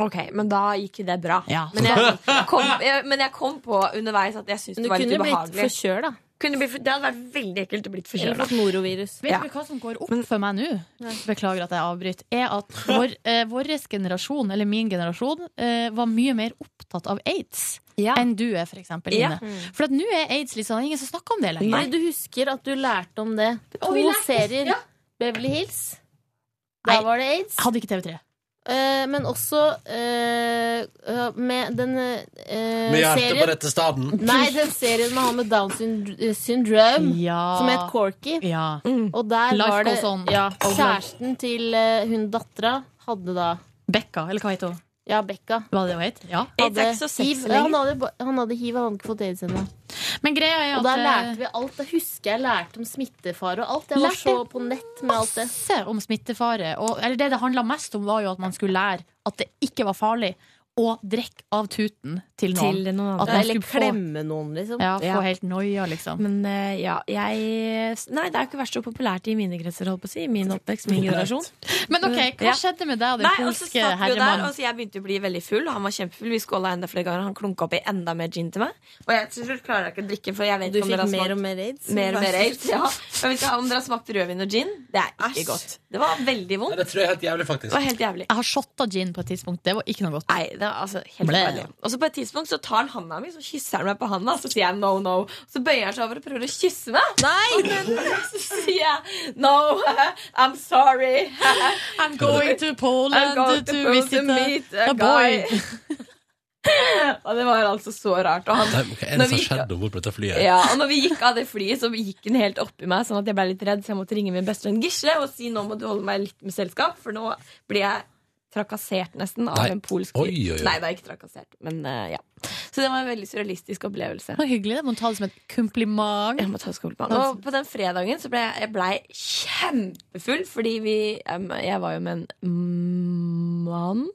Speaker 10: Ok, men da gikk jo det bra. Men, jeg kom, jeg, men jeg kom på underveis at jeg syntes
Speaker 13: Men du
Speaker 10: det var litt
Speaker 13: kunne blitt
Speaker 10: ubehagelig.
Speaker 13: forkjøla.
Speaker 10: Kunne bli for- det hadde vært veldig ekkelt å bli forkjøla.
Speaker 13: Eller fått norovirus.
Speaker 3: Vet du hva som går opp for meg nå? Beklager at jeg avbryter. Er at
Speaker 13: [LAUGHS]
Speaker 3: vår eh, våres generasjon, eller min generasjon, eh, var mye mer opptatt av aids enn du er, for eksempel,
Speaker 13: Ja.
Speaker 3: Line.
Speaker 13: Mm.
Speaker 3: For at nå er aids litt sånn Ingen som snakker om det lenger.
Speaker 13: Nei. Du husker at du lærte om det. To
Speaker 3: vi lærte-
Speaker 13: serier.
Speaker 3: ja.
Speaker 13: Beverly Hills. Der var det aids.
Speaker 3: Hadde ikke TV3.
Speaker 13: Eh, men også eh, eh, med den eh,
Speaker 2: Med hjertet på
Speaker 13: serien
Speaker 2: rette staden.
Speaker 13: Nei, den serien med han med Downs synd- syndrome,
Speaker 3: Ja.
Speaker 13: Um, som het Corky. Og der
Speaker 3: Life
Speaker 13: var det
Speaker 3: goes on.
Speaker 13: ja,
Speaker 3: Oh, life.
Speaker 13: kjæresten til eh, hun dattera hadde da
Speaker 3: Bekka, eller hva heter hun?
Speaker 13: Ja, Bekka.
Speaker 3: Hva det het? Ja.
Speaker 13: Hadde hiv. Ja, han, hadde, ba- han hadde hiv, han hadde ikke fått aids ennå.
Speaker 3: Men greia er
Speaker 13: Og der
Speaker 3: at, eh,
Speaker 13: lærte vi alt. Da husker jeg lærte om smittefare og alt. Jeg var
Speaker 3: Lærte
Speaker 13: så på nett med alt det.
Speaker 3: masse om smittefare. Og, eller det det handla mest om, var jo at man skulle lære at det ikke var farlig å drikke av tuten til noen.
Speaker 10: Til noen
Speaker 3: At
Speaker 10: andre.
Speaker 3: man
Speaker 10: Eller
Speaker 3: skulle få-
Speaker 10: klemme noen, liksom.
Speaker 3: Ja, få
Speaker 10: Ja.
Speaker 3: helt noia, liksom.
Speaker 10: Men eh, ja, jeg Nei, det er jo ikke verst så populært i mine kretser, holdt på å si. I Min oppvekst, min generasjon. Eh,
Speaker 3: Men ok, hva
Speaker 10: Ja.
Speaker 3: skjedde med deg og den
Speaker 10: Nei, og så
Speaker 3: polske
Speaker 10: satt vi jo der,
Speaker 3: herremannen?
Speaker 10: og så jeg begynte å bli veldig full. og Han var kjempefull. Vi skåla enda flere ganger. Han klunka oppi enda mer gin til meg. Og jeg til slutt klarer jeg ikke å drikke, for jeg vet
Speaker 13: Du
Speaker 10: ikke om dere
Speaker 13: fikk
Speaker 10: har smakt
Speaker 13: mer og mer aids?
Speaker 10: Mer
Speaker 13: [LAUGHS]
Speaker 10: og mer aids, ja. Jeg vet ikke om dere har smakt rødvin og gin. Det er ikke godt. Det var veldig vondt.
Speaker 2: Det tror jeg er helt jævlig, faktisk.
Speaker 10: Det var helt jævlig.
Speaker 3: Jeg har shotta gin på et tidspunkt. Det var ikke noe godt.
Speaker 10: Nei, det var altså helt
Speaker 3: Ble.
Speaker 10: forferdelig. Og så på et tidspunkt så tar han handa mi, så kysser han meg på handa, så sier jeg no, no. Så bøyer han seg over og prøver å kysse meg. Nei! Så sier jeg no, I'm sorry.
Speaker 3: I'm going to Poland
Speaker 10: I'm going
Speaker 3: to
Speaker 10: Poland
Speaker 3: visit a-
Speaker 10: meet a,
Speaker 3: a boy.
Speaker 10: guy. [LAUGHS] og det var altså så rart. Og
Speaker 2: Nei,
Speaker 10: han,
Speaker 2: men hva er det som
Speaker 10: når vi
Speaker 2: har
Speaker 10: gikk-
Speaker 2: skjedd om bord på dette flyet?
Speaker 10: [LAUGHS] ja, og når vi gikk av det flyet, så gikk den helt oppi meg, sånn at jeg ble litt redd, så jeg måtte ringe min bestevenn Gisle og si nå må du holde meg litt med selskap, for nå blir jeg trakassert nesten av
Speaker 2: Nei.
Speaker 10: en polsk
Speaker 2: Oi,
Speaker 10: fyr.
Speaker 2: oi, oi.
Speaker 10: Nei, det er ikke trakassert, men eh, ja. Så det var en veldig surrealistisk opplevelse.
Speaker 3: Det var hyggelig. Det må ta det som et kompliment.
Speaker 10: Jeg må ta det som kompliment. Og på den fredagen så ble jeg, jeg ble kjempefull, fordi vi em, Jeg var jo med en mm, Vanen.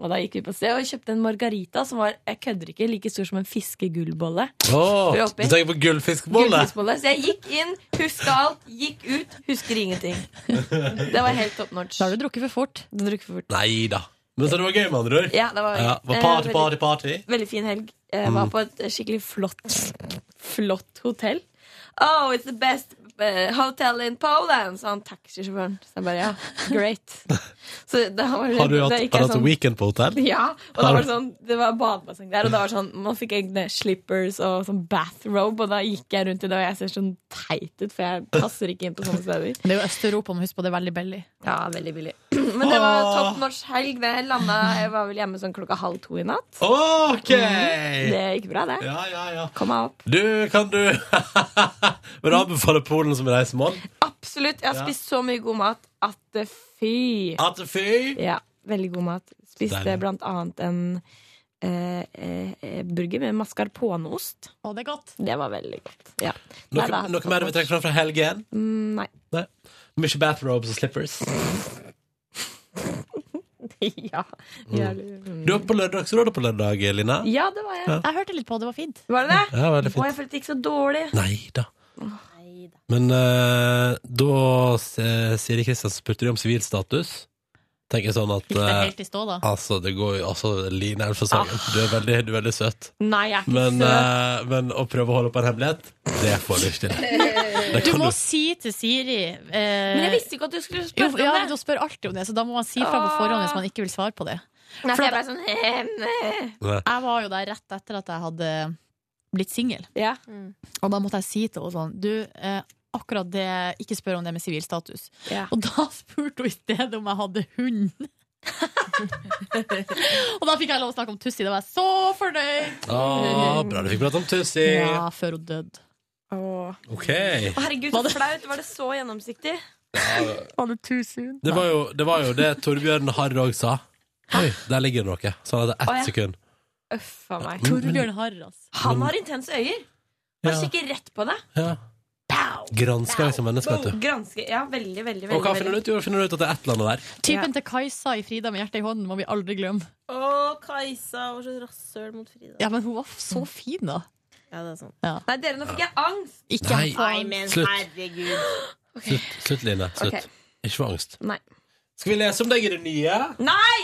Speaker 10: Og da gikk vi på sted og kjøpte en margarita som var jeg kødder ikke, like stor som en fiskegullbolle.
Speaker 2: Åh,
Speaker 10: Tror
Speaker 2: du
Speaker 10: jeg oppi.
Speaker 2: tenker på gullfiskbolle?
Speaker 10: Gullfiskbolle. Så jeg gikk inn, huska alt, gikk ut, husker ingenting. Det var helt top notch. Da har
Speaker 3: du drukket for fort.
Speaker 10: Du har drukket for fort.
Speaker 2: Nei da. Men så det var gøy, med andre ord?
Speaker 10: Ja, det var,
Speaker 2: var
Speaker 10: eh,
Speaker 2: party,
Speaker 10: veldig-
Speaker 2: party, party?
Speaker 10: Veldig fin helg. Jeg var
Speaker 2: Mm.
Speaker 10: på et skikkelig flott, flott hotell. Oh, it's the best eh, hotel in Poland, sa han taxisjåføren. Så jeg bare ja,
Speaker 2: [LAUGHS]
Speaker 10: great. Så da var det-
Speaker 2: Har du hatt,
Speaker 10: da
Speaker 2: har
Speaker 10: gikk
Speaker 2: du
Speaker 10: jeg
Speaker 2: hatt
Speaker 10: sånn-
Speaker 2: weekend på hotell?
Speaker 10: [LAUGHS] Ja, og da var det
Speaker 2: Har-
Speaker 10: sånn Det var badebasseng der, og da var det sånn man fikk egne slippers og sånn bathrobe, og da gikk jeg rundt i det, og jeg ser sånn teit ut, for jeg passer ikke inn på sånne steder.
Speaker 3: Det er jo Øst-Europa, men husk på det er veldig billig.
Speaker 10: [LAUGHS] Ja, veldig billig. [CLEARS THROAT] Men det var top norsk helg. Det landa Jeg var vel hjemme sånn klokka halv to i natt.
Speaker 2: Ok!
Speaker 10: Mhm, Det gikk bra, det.
Speaker 2: Ja, ja, ja.
Speaker 10: Kom meg opp.
Speaker 2: Du, kan du [LAUGHS] Vil du anbefale Polen som reisemål?
Speaker 10: Absolutt. Jeg har
Speaker 2: Ja.
Speaker 10: spist så mye god mat at det fy.
Speaker 2: At det fy?
Speaker 10: Ja, veldig god mat. Spiste
Speaker 2: Deilig.
Speaker 10: blant annet en eh, eh, eh, burger med mascarponeost.
Speaker 3: Å, det er godt.
Speaker 10: Det var veldig godt. Ja.
Speaker 2: Noe,
Speaker 10: Nei, det er
Speaker 2: noe
Speaker 10: top
Speaker 2: mer du vil
Speaker 10: notch.
Speaker 2: trekke fram fra helgen?
Speaker 10: Mm, nei. [LAUGHS]
Speaker 2: Nei. Mye bathrobes og slippers.
Speaker 10: ja. jævlig. Mm.
Speaker 2: Du var på Lørdagsrådet på lørdag, Lina.
Speaker 10: Ja, det var jeg.
Speaker 2: Ja.
Speaker 3: Jeg hørte litt på, det var fint.
Speaker 10: Var det det?
Speaker 2: Ja, veldig fint.
Speaker 10: Å, jeg følte det gikk så dårlig.
Speaker 2: Nei da. Men eh, da eh, Siri Kristiansen spurte de om sivilstatus. Tenker jeg sånn at
Speaker 10: Gikk det
Speaker 2: eh,
Speaker 10: helt i stå, da?
Speaker 2: Altså, det går jo Altså, Line Elfesangen, du, er veldig- du er veldig søt.
Speaker 10: Nei, jeg er ikke
Speaker 2: Men,
Speaker 10: søt.
Speaker 2: eh, men å prøve å holde opp en hemmelighet, det får du ikke til. Det
Speaker 3: Du
Speaker 2: kan
Speaker 3: må
Speaker 2: du.
Speaker 3: si til Siri eh,
Speaker 10: Men jeg visste ikke at du skulle
Speaker 3: jo,
Speaker 10: spørre
Speaker 3: ja,
Speaker 10: om det.
Speaker 3: Hun spør alltid om det, Ah. så da må man si fra på forhånd hvis man ikke vil svare på det.
Speaker 10: Nei,
Speaker 3: For
Speaker 10: for jeg
Speaker 3: da-
Speaker 10: ble sånn eh, nei.
Speaker 3: Jeg var jo der rett etter at jeg hadde blitt singel. Og da måtte jeg si til henne sånn Du, eh, akkurat det Ikke spør om det med sivil status.
Speaker 10: Ja.
Speaker 3: Og da spurte hun i stedet om jeg hadde [LAUGHS] hund. og da fikk jeg lov å snakke om Tussi. Da var jeg så fornøyd!
Speaker 2: Ah, bra du fikk prate om Tussi.
Speaker 3: Ja, før hun døde.
Speaker 2: OK.
Speaker 10: Å, herregud, så flaut. Var det så gjennomsiktig?
Speaker 3: Var det too soon?
Speaker 2: Det var jo det, var jo det Torbjørn Harr òg sa. Oi, der ligger det noe. Så han hadde
Speaker 10: Å, ja.
Speaker 2: ett sekund.
Speaker 10: Uff a meg.
Speaker 2: Torbjørn
Speaker 3: Harras.
Speaker 10: Han har intense øyer.
Speaker 2: Mm.
Speaker 10: Han
Speaker 2: Ja.
Speaker 10: kikker rett på deg.
Speaker 2: Ja. Gransker deg som menneske, vet du.
Speaker 10: Granske. Ja, veldig, veldig, veldig.
Speaker 2: Og hva finner du ut? Jo, finner du ut at det er et eller annet der.
Speaker 3: Typen til Kajsa i Frida med hjertet i hånden må vi aldri glemme.
Speaker 13: Å, Kajsa var så rasshøl mot Frida.
Speaker 3: Ja, men hun var så fin, da.
Speaker 13: Ja, det er sant.
Speaker 3: Ja.
Speaker 10: Nei, dere, nå fikk jeg angst!
Speaker 2: Ikke Nei. angst.
Speaker 13: Nei, men
Speaker 2: Slutt.
Speaker 13: herregud.
Speaker 2: Slutt, slutt Line. Slutt.
Speaker 10: Ok.
Speaker 2: Ikke få angst.
Speaker 10: Nei.
Speaker 2: Skal vi lese om deg i det nye?
Speaker 10: Nei!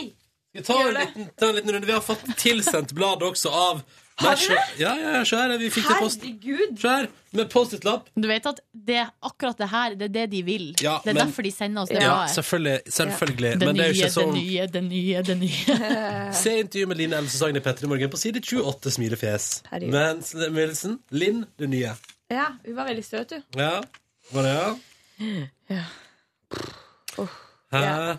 Speaker 2: Vi tar en liten, ta en liten runde. Vi har fått tilsendt bladet også av Nei, se- Ja, ja, ja, se her. Vi fikk det post.
Speaker 10: Herregud!
Speaker 2: Se her, med Post-It-lapp.
Speaker 3: Du vet at det, akkurat det her, det er det de vil.
Speaker 2: Ja,
Speaker 3: det er
Speaker 2: men-
Speaker 3: derfor de sender oss det
Speaker 2: Ja,
Speaker 3: bladet.
Speaker 2: selvfølgelig. selvfølgelig.
Speaker 3: Det
Speaker 2: Men det
Speaker 3: nye,
Speaker 2: er jo ikke
Speaker 3: det
Speaker 2: sånn
Speaker 3: nye, det nye, det
Speaker 13: [LAUGHS]
Speaker 3: nye.
Speaker 2: Se intervjuet med Line Else Sagne Petter i morgen på side 28, smilefjes.
Speaker 10: Herregud.
Speaker 2: Mens Milsen, Linn, det nye.
Speaker 10: Ja, hun var veldig søt, du.
Speaker 2: Ja, var det ja?
Speaker 10: Ja.
Speaker 2: Hæ?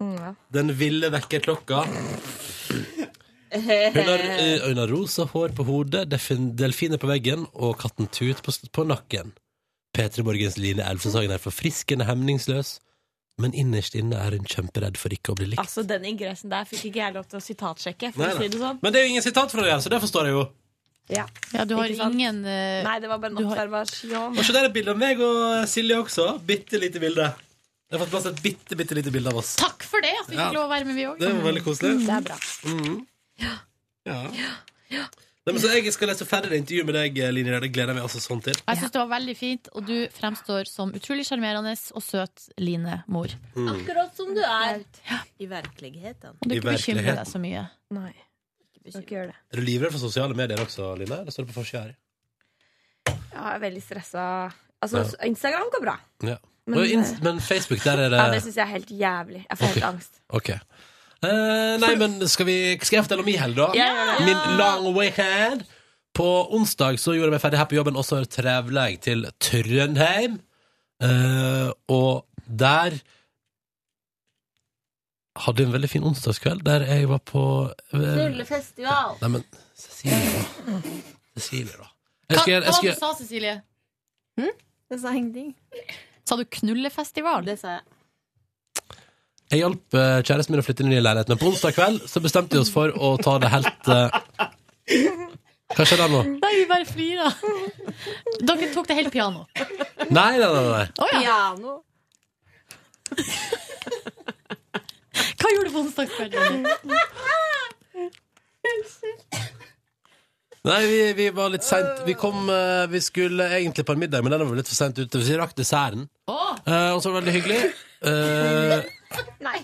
Speaker 10: Mm, ja.
Speaker 2: Den ville vekkerklokka. Hun har, eh, hun har rosa hår på hodet, delfin- delfiner på veggen og katten Tut på, på nakken. P3 Morgens Line Elfensagen er forfriskende hemningsløs, men innerst inne er hun kjemperedd for ikke å bli likt.
Speaker 10: Altså, Den ingressen der fikk ikke jeg lov til å sitatsjekke. For
Speaker 2: Nei,
Speaker 10: å
Speaker 2: nei.
Speaker 10: si det sånn
Speaker 2: Men det er jo ingen sitat fra det, så det forstår jeg jo.
Speaker 10: Ja,
Speaker 3: Ja, du har
Speaker 10: Ikke sant?
Speaker 3: ingen eh,
Speaker 10: Nei, det var bare en
Speaker 3: du har-
Speaker 10: observasjon.
Speaker 2: Og så der er bildet av meg og Silje også. Bitte lite bilde. Jeg har fått plass til et bitte, bitte lite bilde av oss.
Speaker 3: Takk for det, at vi
Speaker 2: Ja.
Speaker 3: fikk lov å være med, vi òg.
Speaker 2: Det var veldig koselig.
Speaker 3: Det er bra.
Speaker 2: Mhm. Ja. Nei, men så jeg skal lese ferdig det intervjuet med deg, Line Røe. Det gleder jeg meg altså sånn til.
Speaker 3: Jeg syns det var veldig fint, og du fremstår som utrolig sjarmerende og søt Line Mor.
Speaker 2: Mm.
Speaker 13: Akkurat som du er i virkeligheten.
Speaker 3: Og du
Speaker 2: I
Speaker 3: ikke bekymrer
Speaker 2: virkeligheten.
Speaker 3: deg så mye.
Speaker 10: Nei. Ikke gjør det.
Speaker 2: Er du livredd for sosiale medier også, Line? Det står det på forsida her.
Speaker 10: Ja, jeg er veldig stressa. Altså,
Speaker 2: Ja.
Speaker 10: s- Instagram går bra.
Speaker 2: Ja.
Speaker 10: Men-
Speaker 2: Men, Inst men Facebook, der er det
Speaker 10: Ja, Det syns jeg er helt jævlig. Jeg får helt
Speaker 2: Ok.
Speaker 10: angst.
Speaker 2: OK. Eh, nei, men skal, vi, skal jeg fortelle om min helg, da?
Speaker 10: Ja, gjør det.
Speaker 2: Min long weekend. På onsdag så gjorde jeg meg ferdig her på jobben, og så trevla jeg til Trøndheim. Eh, og der hadde jeg en veldig fin onsdagskveld, der jeg var på uh,
Speaker 13: Tullefestival.
Speaker 2: Nei, men Cecilie, da. Cecilie, da.
Speaker 3: Hva,
Speaker 2: Jeg skal,
Speaker 3: hva
Speaker 2: jeg
Speaker 3: var det du
Speaker 2: skal,
Speaker 3: sa, Cecilie?
Speaker 13: Hm? Det sa ingenting.
Speaker 3: Sa du knullefestival?
Speaker 13: Det sa jeg.
Speaker 2: Jeg hjalp eh, kjæresten min å flytte inn i den nye leiligheten, men på onsdag kveld så bestemte vi oss for å ta det helt eh, Hva skjer der nå?
Speaker 3: Nei, vi bare flirer. Dere tok det helt piano.
Speaker 2: Nei, nei, nei. nei.
Speaker 3: Å ja.
Speaker 13: Piano.
Speaker 3: Hva gjorde du på onsdagskvelden?
Speaker 2: Nei, vi, vi var litt seint. Vi kom eh, Vi skulle egentlig på en middag, men den var vi litt for seint ute. Så vi rakk desserten.
Speaker 3: Åh!
Speaker 2: Eh, og så var det veldig hyggelig. Eh,
Speaker 13: Nei.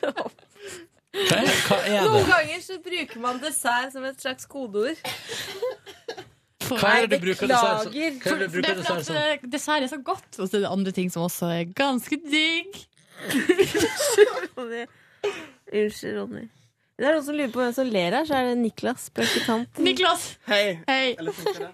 Speaker 2: hva, er, hva er
Speaker 13: Noen
Speaker 2: det?
Speaker 13: ganger så bruker man dessert som et slags kodeord.
Speaker 2: Hva er det du bruker dessert som? Hva er det du
Speaker 3: Det
Speaker 2: bruker
Speaker 3: er
Speaker 2: dessert
Speaker 3: for
Speaker 2: som?
Speaker 3: at eh, dessert er så godt, og så er det andre ting som også er ganske
Speaker 13: [LAUGHS]
Speaker 3: digg.
Speaker 13: Unnskyld, Ronny. Det er noen som lurer på hvem som ler her, så er det Niklas, praktikant.
Speaker 3: Niklas!
Speaker 13: Hei.
Speaker 2: Nei, det funker ikke.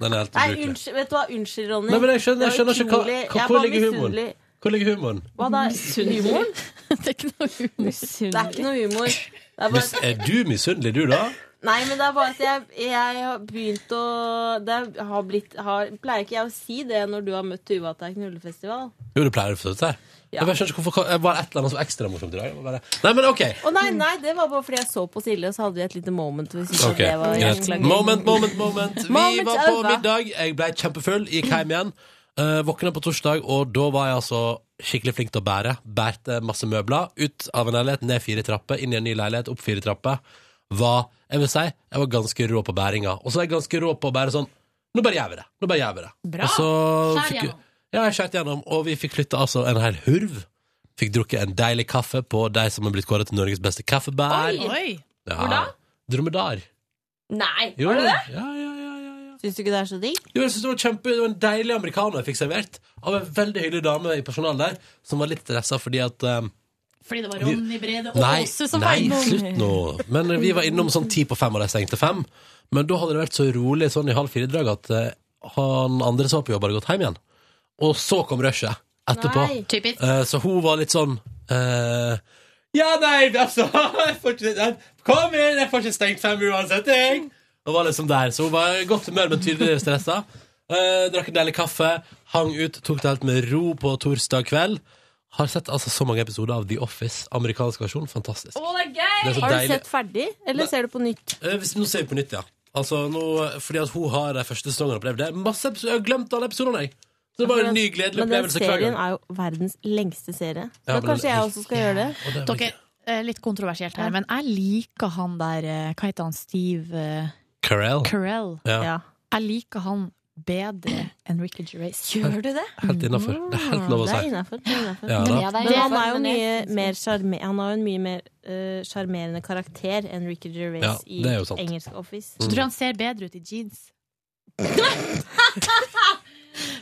Speaker 2: Den er helt
Speaker 13: Nei,
Speaker 2: ubrukelig.
Speaker 13: unnskyld, vet du hva? Unnskyld, Ronny.
Speaker 2: Nei, men jeg skjønner,
Speaker 13: Det
Speaker 2: jeg
Speaker 13: var
Speaker 2: skjønner ikke hva,
Speaker 13: utrolig-
Speaker 2: hva,
Speaker 13: Jeg
Speaker 2: Hvor
Speaker 13: var
Speaker 2: ligger humoren?
Speaker 13: misunnelig.
Speaker 2: Hvor ligger humoren?
Speaker 13: Hva da?
Speaker 3: Misunnelig.
Speaker 13: Humoren?
Speaker 3: [LAUGHS] Det er ikke noe humor.
Speaker 13: Det er ikke noe humor. Det er
Speaker 2: Mis,
Speaker 13: bare...
Speaker 2: er du misunnelig, du, da?
Speaker 13: Nei, men det er bare at jeg, jeg har begynt å Det er- har blitt har, Pleier ikke jeg å si det når du har møtt Tuva til ei knullefestival?
Speaker 2: Jo, det pleier du for dette.
Speaker 13: Ja.
Speaker 2: Jeg bare skjønner ikke hvorfor Det var et eller annet som var ekstra morsomt i dag. Jeg var Bare... Nei, men OK.
Speaker 13: Å nei, nei, det var bare fordi jeg så på Silje, og så hadde vi et lite moment. Hvis ikke
Speaker 2: Ok,
Speaker 13: det var
Speaker 2: greit.
Speaker 13: jævla gøy.
Speaker 2: Moment, moment, moment. Vi
Speaker 13: Moment
Speaker 2: var på
Speaker 13: over.
Speaker 2: middag, jeg ble kjempefull, gikk hjem igjen. Uh, våkna på torsdag, og da var jeg altså skikkelig flink til å bære. Bærte masse møbler. Ut av en leilighet, ned fire trapper, inn i en ny leilighet, opp fire trapper. Var, jeg vil si, jeg var ganske rå på bæringa. Og så er jeg ganske rå på å bære sånn Nå bare gjør vi det. Nå bare gjør vi det.
Speaker 3: Bra.
Speaker 2: Og så
Speaker 3: Skjær
Speaker 2: fikk-
Speaker 3: gjennom.
Speaker 2: Ja, jeg skjært gjennom, og vi fikk flytta altså en hel hurv. Fikk drukket en deilig kaffe på de som er blitt kåret til Norges beste kaffebær. Ja.
Speaker 13: Hvor da?
Speaker 2: Dromedar.
Speaker 13: Nei,
Speaker 2: Jo,
Speaker 13: var det det?
Speaker 2: Ja, ja,
Speaker 13: Syns du ikke det er så digg?
Speaker 2: Jo, jeg synes det var kjempe Det var en deilig amerikaner jeg fikk servert av en veldig hyggelig dame i personalet der, som var litt stressa fordi at eh,
Speaker 3: Fordi det var
Speaker 2: Vi-
Speaker 3: Ronny Brede og
Speaker 2: Nei,
Speaker 3: Åse som
Speaker 2: nei,
Speaker 3: var innom.
Speaker 2: slutt nå! Men vi var innom sånn ti på fem, og de stengte fem. Men da hadde det vært så rolig sånn i halv fire-drag at eh, han andre som var på jobb, hadde gått hjem igjen. Og så kom rushet etterpå.
Speaker 3: Nei. Typisk.
Speaker 2: Eh, så hun var litt sånn eh, Ja, nei, altså [LAUGHS] jeg får ikke, jeg, Kom inn, jeg får ikke stengt fem uansett, jeg! Og var liksom der, Så hun var i godt humør, men tydeligere stressa. Eh, drakk en deilig kaffe, hang ut, tok det helt med ro på torsdag kveld. Har sett altså så mange episoder av The Office, amerikansk versjon. Fantastisk.
Speaker 13: Å, det er
Speaker 2: Det er så
Speaker 13: Har du
Speaker 2: deilig.
Speaker 13: sett ferdig, eller ser du på nytt?
Speaker 2: Eh, hvis, nå ser vi på nytt, ja. Altså, nå, fordi at hun har de første sesongene opplevd det. Masse episoder, Jeg har glemt alle episodene, jeg! Så det var en ny gledelig
Speaker 13: Men den
Speaker 2: opplevelse hver
Speaker 13: serien
Speaker 2: gang.
Speaker 13: er jo verdens lengste serie. Så
Speaker 2: Ja, men den
Speaker 13: kanskje
Speaker 2: er
Speaker 13: jeg
Speaker 2: helt
Speaker 13: også skal gjøre det.
Speaker 3: Dere, eh, litt kontroversielt her, men jeg liker han der eh, Hva heter han? Steve eh,
Speaker 2: Carell.
Speaker 3: Carell.
Speaker 2: Ja. Ja.
Speaker 3: Jeg liker han bedre enn Ricky Gervais.
Speaker 13: Gjør du det?
Speaker 2: Helt innafor. Det er helt lov å
Speaker 13: Mm, Det er
Speaker 2: si.
Speaker 13: innafor.
Speaker 2: Ja, da. Ja, det
Speaker 13: Men
Speaker 2: er
Speaker 13: han
Speaker 3: innenfor,
Speaker 13: er jo
Speaker 3: men
Speaker 13: mye
Speaker 3: jeg-
Speaker 13: mer sjarme- Han har jo en mye mer eh, sjarmerende karakter enn Ricky Gervais
Speaker 2: Ja,
Speaker 13: i
Speaker 2: det er jo sant.
Speaker 13: engelsk Office.
Speaker 3: Så tror jeg han ser bedre ut i jeans. [LAUGHS]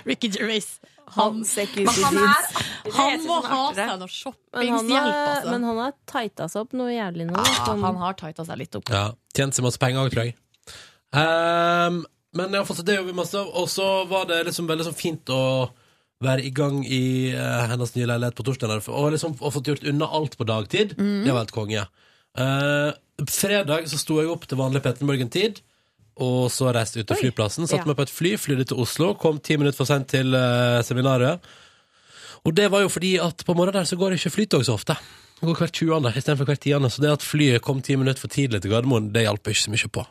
Speaker 3: Ricky Gervais. Han,
Speaker 13: ut i
Speaker 3: Men han
Speaker 13: jeans.
Speaker 3: er- Han må ha seg noe
Speaker 13: Men han,
Speaker 3: shoppingshjelp,
Speaker 13: har,
Speaker 3: altså.
Speaker 13: men han har tighta seg opp noe jævlig nå. sånn-
Speaker 2: Ah, han
Speaker 3: har tighta seg litt opp.
Speaker 2: Ja, Tjent seg masse penger òg, tror jeg. Ehm, men jeg har fått det jobber masse av, og så var det liksom veldig sånn fint å være i gang i eh, hennes nye leilighet på torsdag. der, Og liksom og fått gjort unna alt på dagtid. Det var helt konge. Eh, fredag så sto jeg opp til vanlig Petter Morgen-tid. Og så reiste jeg ut til flyplassen. Satte
Speaker 14: Ja.
Speaker 2: meg på et fly, flydde til Oslo. Kom ti minutter for sent til eh, seminaret. Og det var jo fordi at på morgenen der så går ikke flytog så ofte. Det går hvert 20. i stedet for hvert 10. Så det at flyet kom ti minutter for tidlig til Gardermoen, det hjalp ikke så mye på.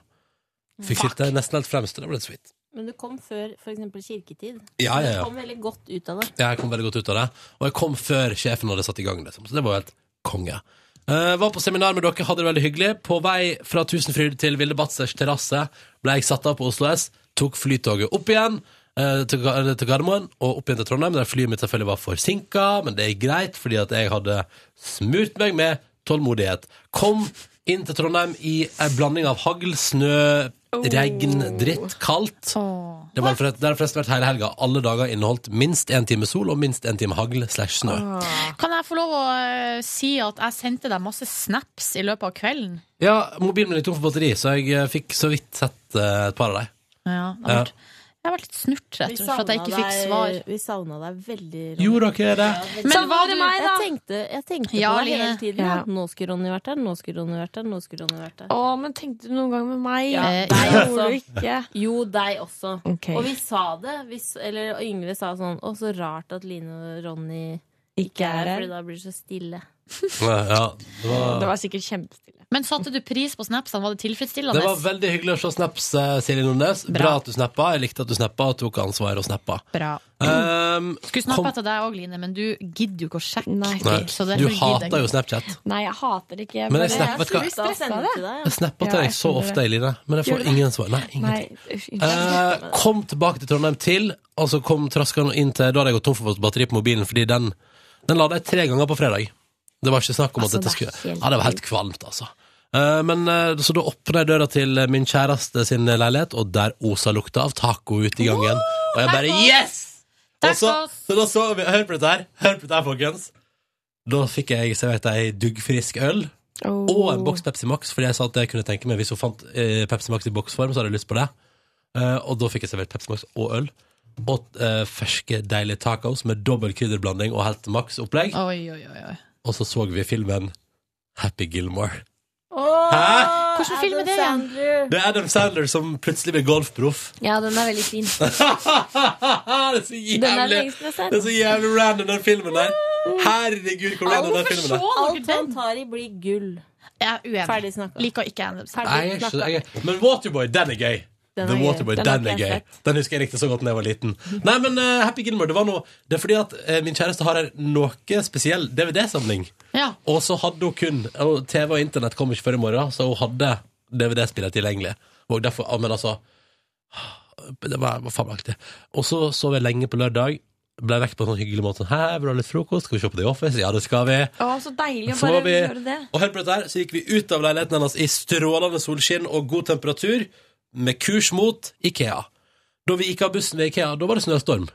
Speaker 2: Fikk sitte nesten helt fremst, og det ble litt sweet.
Speaker 13: Men du kom før f.eks. kirketid.
Speaker 2: Ja, ja, ja.
Speaker 13: Du kom veldig godt ut av det.
Speaker 2: Jeg kom veldig godt ut av det, og jeg kom før sjefen hadde satt i gang, liksom. Så det var jo helt konge. Eh, var på seminar med dere, hadde det veldig hyggelig. På vei fra Tusenfryd til Vilde Batzers terrasse ble jeg satt av på Oslo S, tok flytoget opp igjen eh, til Ga- eller til Gardermoen og opp igjen til Trondheim, der flyet mitt selvfølgelig var forsinka, men det er greit, fordi at jeg hadde smurt meg med tålmodighet. Kom inn til Trondheim i ei blanding av hagl, snø, regn, dritt, kaldt. Det var forresten, det har forresten vært hele helga. Alle dager inneholdt minst én time sol og minst én time hagl slash snø.
Speaker 3: Kan jeg få lov å eh, si at jeg sendte deg masse snaps i løpet av kvelden?
Speaker 2: Ja, mobilen min gikk tom for batteri, så jeg eh, fikk så vidt sett eh, et par av dem.
Speaker 3: Ja, det
Speaker 2: Ja.
Speaker 3: har vært- jeg har vært litt snurt, rett og
Speaker 13: Sånn
Speaker 3: slett, for at jeg ikke fikk svar.
Speaker 13: Vi savna deg veldig. Ronny.
Speaker 2: Gjorde dere det?
Speaker 3: Men var det meg, da?
Speaker 13: Jeg tenkte, jeg tenkte
Speaker 10: Ja,
Speaker 13: på det hele
Speaker 10: Line.
Speaker 13: tiden.
Speaker 10: Ja.
Speaker 13: at Nå skulle Ronny vært der, nå skulle Ronny vært der, nå skulle Ronny vært der.
Speaker 10: Å, men tenkte du noen gang med meg?
Speaker 13: Ja,
Speaker 10: Eh,
Speaker 13: deg
Speaker 10: det
Speaker 13: også.
Speaker 10: gjorde du ikke.
Speaker 13: Jo, deg også.
Speaker 10: Ok.
Speaker 13: Og vi sa det. Vi, s- eller og Yngve sa sånn Å, så rart at Line og Ronny ikke,
Speaker 10: Ikke er
Speaker 13: er her,
Speaker 10: her.
Speaker 13: Fordi da blir det så stille.
Speaker 2: Ja, ja, det var...
Speaker 10: Det var sikkert kjempestille.
Speaker 3: Men satte du pris på snapsene? Var det tilfredsstillende?
Speaker 2: Det var veldig hyggelig å se snaps, eh, Silje Nordnes. Bra.
Speaker 3: Bra.
Speaker 2: at du snappa. Jeg likte at du snappa og tok ansvar og snappa.
Speaker 3: Bra.
Speaker 2: Um,
Speaker 3: Skulle snappe etter deg òg, Line, men du gidder jo ikke å sjekke.
Speaker 2: Nei,
Speaker 3: så det-
Speaker 2: du
Speaker 3: gidder jeg
Speaker 2: hater
Speaker 3: ikke.
Speaker 2: jo Snapchat.
Speaker 10: Nei, jeg hater det ikke.
Speaker 2: Men
Speaker 10: bare-
Speaker 2: jeg snapper- vet du hva?
Speaker 10: blir stresset av det.
Speaker 2: Jeg snapper til
Speaker 10: Ja,
Speaker 2: deg så
Speaker 10: skjønner
Speaker 2: ofte,
Speaker 10: det.
Speaker 2: Eline, men jeg
Speaker 10: Gjør
Speaker 2: får
Speaker 10: du det?
Speaker 2: ingen svar. Nei, ingenting.
Speaker 10: Nei, uff, unnskyld.
Speaker 2: Eh, kom tilbake til Trondheim til, og så kom traskene inn til Da hadde jeg gått tom for batteri på mobilen, fordi den, den lada jeg tre ganger på fredag. Det var ikke snakk om
Speaker 17: Altså,
Speaker 2: at dette
Speaker 17: det er
Speaker 2: skulle
Speaker 17: helt
Speaker 2: Ja, det var helt kvalmt, altså. Eh, men eh, Så da åpna jeg døra til eh, min kjæreste sin leilighet, og der osa lukta av taco ute i gangen. Og jeg bare Yes! Og så, så da så vi Hør på dette her, hør på dette her, folkens. Da fikk jeg servert ei duggfrisk øl
Speaker 17: Mm.
Speaker 2: og
Speaker 10: Oh.
Speaker 2: en boks Pepsi Max, fordi jeg sa at jeg kunne tenke meg hvis hun fant eh, Pepsi Max i boksform, så hadde jeg lyst på det. Eh, og da fikk jeg servert Pepsi Max og øl. Og eh, ferske, deilige tacos med dobbel krydderblanding og helt maks opplegg.
Speaker 3: Oi, oi, oi, oi.
Speaker 2: Og så så vi filmen Happy Gilmore.
Speaker 3: Hæ? Hvordan film er det igjen?
Speaker 2: Det er Adam Sandler som plutselig blir golfproff. [LAUGHS]
Speaker 17: Ja, den er veldig fin.
Speaker 2: det er så jævlig
Speaker 17: Den er lengst jeg har sett.
Speaker 2: Det er så jævlig random, den filmen der. Herregud, hvor random den filmen er.
Speaker 13: Alt han tar i, blir gull.
Speaker 3: Jeg er uenig.
Speaker 13: Ferdig snakka.
Speaker 3: Liker ikke Adam
Speaker 2: Nei, jeg er ikke, jeg, er- men Waterboy, den er gøy.
Speaker 13: Den
Speaker 2: The
Speaker 13: er gøy.
Speaker 2: Waterboy,
Speaker 13: Den
Speaker 2: den,
Speaker 13: har
Speaker 2: er
Speaker 13: ikke jeg
Speaker 2: gøy. Den husker jeg riktig så godt da jeg var liten. Nei, men eh, Happy Gilmore, det var noe Det er fordi at eh, min kjæreste har her noe spesiell DVD-samling.
Speaker 3: Ja.
Speaker 2: Og så hadde hun kun og TV og internett kom ikke før i morgen, så hun hadde DVD-spillet tilgjengelig. Og derfor, ah, men altså ah, Det var, var fabelaktig. Og så sov jeg lenge på lørdag. Ble vekk på en sånn hyggelig måte. Sånn, Hei, vil du ha litt frokost? Skal vi se på The Office? Ja, det skal vi.
Speaker 10: Å, så deilig å
Speaker 2: Så
Speaker 10: bare
Speaker 2: var vi,
Speaker 10: gjøre det.
Speaker 2: og hør på dette her, så gikk vi ut av leiligheten hennes i strålende solskinn og god temperatur, med kurs mot Ikea. Da vi gikk av bussen ved Ikea, da var det snøstorm.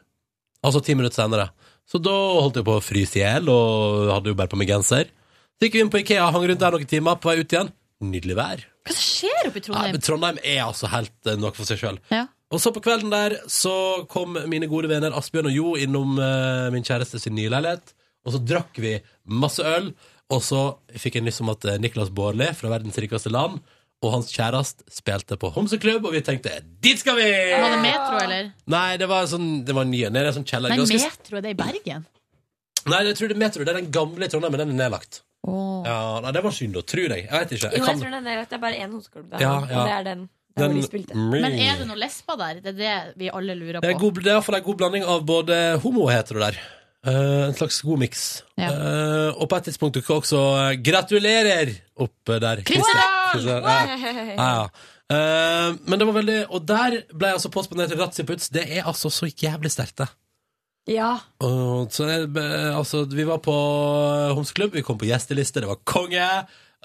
Speaker 2: Altså ti minutter senere. Så da holdt jeg på å fryse i hjel, og hadde jo bare på meg genser. Så gikk vi inn på Ikea, hang rundt der noen timer, på vei ut igjen. Nydelig vær.
Speaker 3: Hva skjer oppe i
Speaker 2: Nei,
Speaker 3: Trondheim?
Speaker 2: men Trondheim er altså helt eh, noe for seg sjøl.
Speaker 3: Ja.
Speaker 2: Og så på kvelden der så kom mine gode venner Asbjørn og Jo innom eh, min kjæreste sin nye leilighet. Og så drakk vi masse øl, og så fikk jeg nyss om at eh, Niklas Baarli fra verdens rikeste land og hans kjæreste spilte på Homseklubb, og vi tenkte dit skal vi!
Speaker 3: Var det Metro, eller?
Speaker 2: Nei, det var sånn, det var nye. Nei, det er sånn kjeller.
Speaker 3: Nei,
Speaker 2: ganske-
Speaker 3: Metro er det i Bergen.
Speaker 2: Nei, jeg tror det er Metro. Det er den gamle i Trondheim, men den er nedlagt.
Speaker 3: Åh.
Speaker 2: Ja, nei, det var synd, da. Tror jeg. Jeg vet ikke.
Speaker 10: Jo,
Speaker 2: Jeg
Speaker 10: jeg
Speaker 2: kan...
Speaker 10: tror den er at det er bare én hoseklubb der,
Speaker 2: Ja, ja.
Speaker 10: og det er den.
Speaker 2: Den-
Speaker 10: den... De spilte.
Speaker 2: Mm.
Speaker 3: Men er det noe lesber der? Det er det vi alle lurer
Speaker 2: Det er,
Speaker 3: på.
Speaker 2: god, det er i hvert fall en god blanding av både homo og hetero der. Eh, en slags god miks.
Speaker 3: Ja.
Speaker 2: Eh, og på et tidspunkt dukka også eh, 'Gratulerer' opp eh, der. Christian! [LAUGHS] Ja. Ja, ja. Eh, men det var veldig Og der ble jeg altså påspandert Ratziputz. Det er altså så jævlig sterkt, det.
Speaker 10: Ja.
Speaker 2: Og så er det, eh, altså, vi var på eh, homseklubb, vi kom på gjesteliste, det var konge.